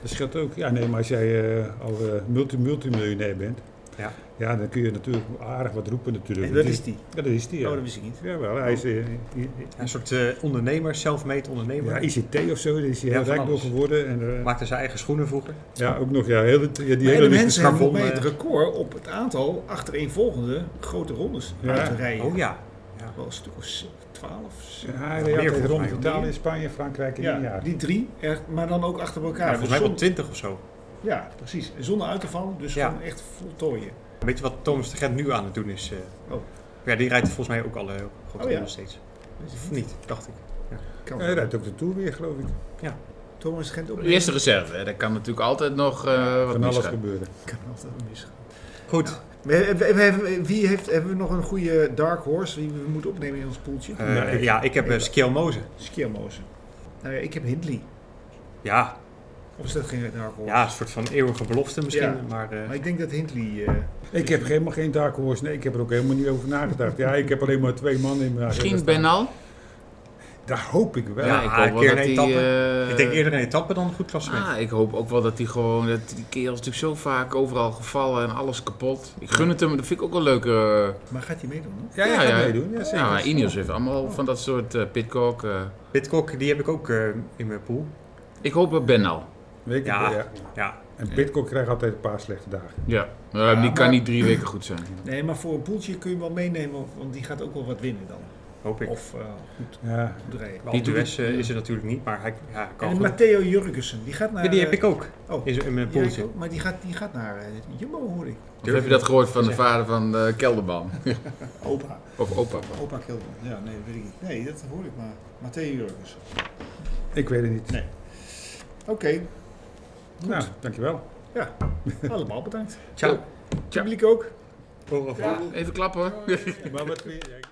Speaker 4: Dat scheelt ook. Ja, nee, maar als jij eh, al eh, multi multimiljonair bent,
Speaker 2: Ja.
Speaker 4: ja, dan kun je natuurlijk aardig wat roepen natuurlijk.
Speaker 1: En dat
Speaker 4: Die-
Speaker 1: is die.
Speaker 4: ja, dat is die, ja.
Speaker 1: Oh, dat wist ik niet.
Speaker 4: Jawel, hij is... eh, i- i-
Speaker 2: Een soort eh, ondernemer, self-made ondernemer.
Speaker 4: Ja, ICT of zo, daar is hij
Speaker 2: Ja,
Speaker 4: heel
Speaker 2: van
Speaker 4: rijk door
Speaker 2: alles.
Speaker 4: geworden. En, eh,
Speaker 2: Maakte zijn eigen schoenen vroeger.
Speaker 4: ja, ook nog, ja, heel, het- ja, die
Speaker 1: Maar
Speaker 4: hele
Speaker 1: Adam Hansen
Speaker 4: lichte
Speaker 1: heeft
Speaker 2: schabon,
Speaker 1: volgens mij
Speaker 2: eh,
Speaker 1: het record op het aantal achtereenvolgende grote rondes
Speaker 4: Ja.
Speaker 1: uit te rijden.
Speaker 2: Oh ja.
Speaker 1: Wel een stuk of z- 12,
Speaker 4: Ja, hij reed altijd
Speaker 2: volgens
Speaker 4: rond
Speaker 2: mij,
Speaker 4: Italië, Spanje, Frankrijk in
Speaker 1: Ja,
Speaker 4: een jaar.
Speaker 1: die drie, echt, maar dan ook achter
Speaker 2: Ja,
Speaker 1: elkaar.
Speaker 2: volgens mij wel
Speaker 1: Zon-
Speaker 2: twintig of zo.
Speaker 1: ja, precies. Zonder uit te vallen, dus
Speaker 2: Ja.
Speaker 1: gewoon echt voltooien.
Speaker 2: Weet je wat Thomas de Gent nu aan het doen is? eh,
Speaker 1: Oh.
Speaker 2: Ja, die rijdt volgens mij ook alle grote
Speaker 1: Oh, ja.
Speaker 2: rondes steeds. Of niet, dacht ik.
Speaker 1: Kan.
Speaker 4: Hij rijdt ook de Tour weer, geloof ik.
Speaker 1: Thomas Gent ook
Speaker 3: De eerste reserve, hè, daar kan natuurlijk altijd nog eh, wat
Speaker 4: Van alles
Speaker 3: misgaan.
Speaker 4: gebeuren.
Speaker 1: Kan altijd wel misgaan.
Speaker 2: Goed.
Speaker 1: We- we- we hebben- Wie heeft, hebben we nog een goede dark horse die we moeten opnemen in ons poeltje?
Speaker 2: Eh,
Speaker 4: Nee.
Speaker 2: ja, ik heb uh,
Speaker 1: Ik-
Speaker 2: Mozen.
Speaker 1: Skiermozen. Nou ja, ik heb Hindley.
Speaker 2: Ja,
Speaker 1: Of is dat geen dark horse?
Speaker 2: ja, een soort van eeuwige belofte misschien.
Speaker 1: Ja.
Speaker 2: Maar eh,
Speaker 1: Maar ik denk dat Hindley... eh
Speaker 4: Ik heb helemaal geen dark horse. Nee, ik heb er ook helemaal niet over nagedacht. Ja, ik heb alleen maar twee mannen in mijn agenda
Speaker 3: Misschien
Speaker 4: staan.
Speaker 3: Benal?
Speaker 4: Daar hoop ik wel.
Speaker 2: Ja,
Speaker 3: ik
Speaker 2: een
Speaker 3: hoop
Speaker 2: keer
Speaker 3: wel dat
Speaker 2: een
Speaker 3: hij...
Speaker 2: etappe.
Speaker 3: eh,
Speaker 2: ik denk eerder een etappe dan een goed klassement.
Speaker 3: Ah, ik hoop ook wel dat hij gewoon... Dat die kerel is natuurlijk zo vaak overal gevallen en alles kapot. Ik gun het hem, dat vind ik ook wel leuk. eh,
Speaker 1: maar gaat hij meedoen? Hoor?
Speaker 4: Ja, ja,
Speaker 3: Ja,
Speaker 4: gaat
Speaker 3: ja.
Speaker 4: meedoen. Ja, zeker.
Speaker 3: ja, maar Ineos heeft allemaal van dat soort eh pitcock. eh.
Speaker 2: Pitcock, die heb ik ook eh, in mijn pool.
Speaker 3: Ik hoop op Benal.
Speaker 4: Weet ik
Speaker 2: Ja.
Speaker 4: wel, ja.
Speaker 2: Ja,
Speaker 4: En Pitcock krijgt altijd een paar slechte dagen.
Speaker 3: Ja, maar die kan
Speaker 1: maar-
Speaker 3: niet drie weken goed zijn.
Speaker 1: Nee, maar voor een poeltje kun je hem wel meenemen, want die gaat ook wel wat winnen dan.
Speaker 2: hoop ik.
Speaker 1: Of eh goed,
Speaker 4: Ja,
Speaker 1: goed rijden.
Speaker 2: Wel,
Speaker 3: Die doet
Speaker 2: Dues eh, is er natuurlijk niet, maar hij ja, hij kan
Speaker 1: En
Speaker 2: goed.
Speaker 1: Matteo Jurgensen, die gaat naar...
Speaker 2: Ja, die heb
Speaker 1: eh,
Speaker 2: ik ook
Speaker 1: Oh,
Speaker 2: in, in mijn
Speaker 1: Ja, ik
Speaker 2: poeltje.
Speaker 1: ook, maar die gaat, die gaat naar eh, Jumbo, hoor ik.
Speaker 3: Of heb je dat gehoord van de vader van eh Kelderman?
Speaker 1: Opa.
Speaker 3: Of opa?
Speaker 1: Opa Kilden. Ja, nee, dat weet ik niet. Nee, dat hoor ik maar. Matteo Jurgens.
Speaker 4: Ik weet het niet.
Speaker 1: Nee. Oké,
Speaker 4: Nou, dankjewel.
Speaker 1: allemaal bedankt.
Speaker 2: Ciao.
Speaker 1: Publiek ook.
Speaker 3: Even klappen.
Speaker 4: Maar wat weer...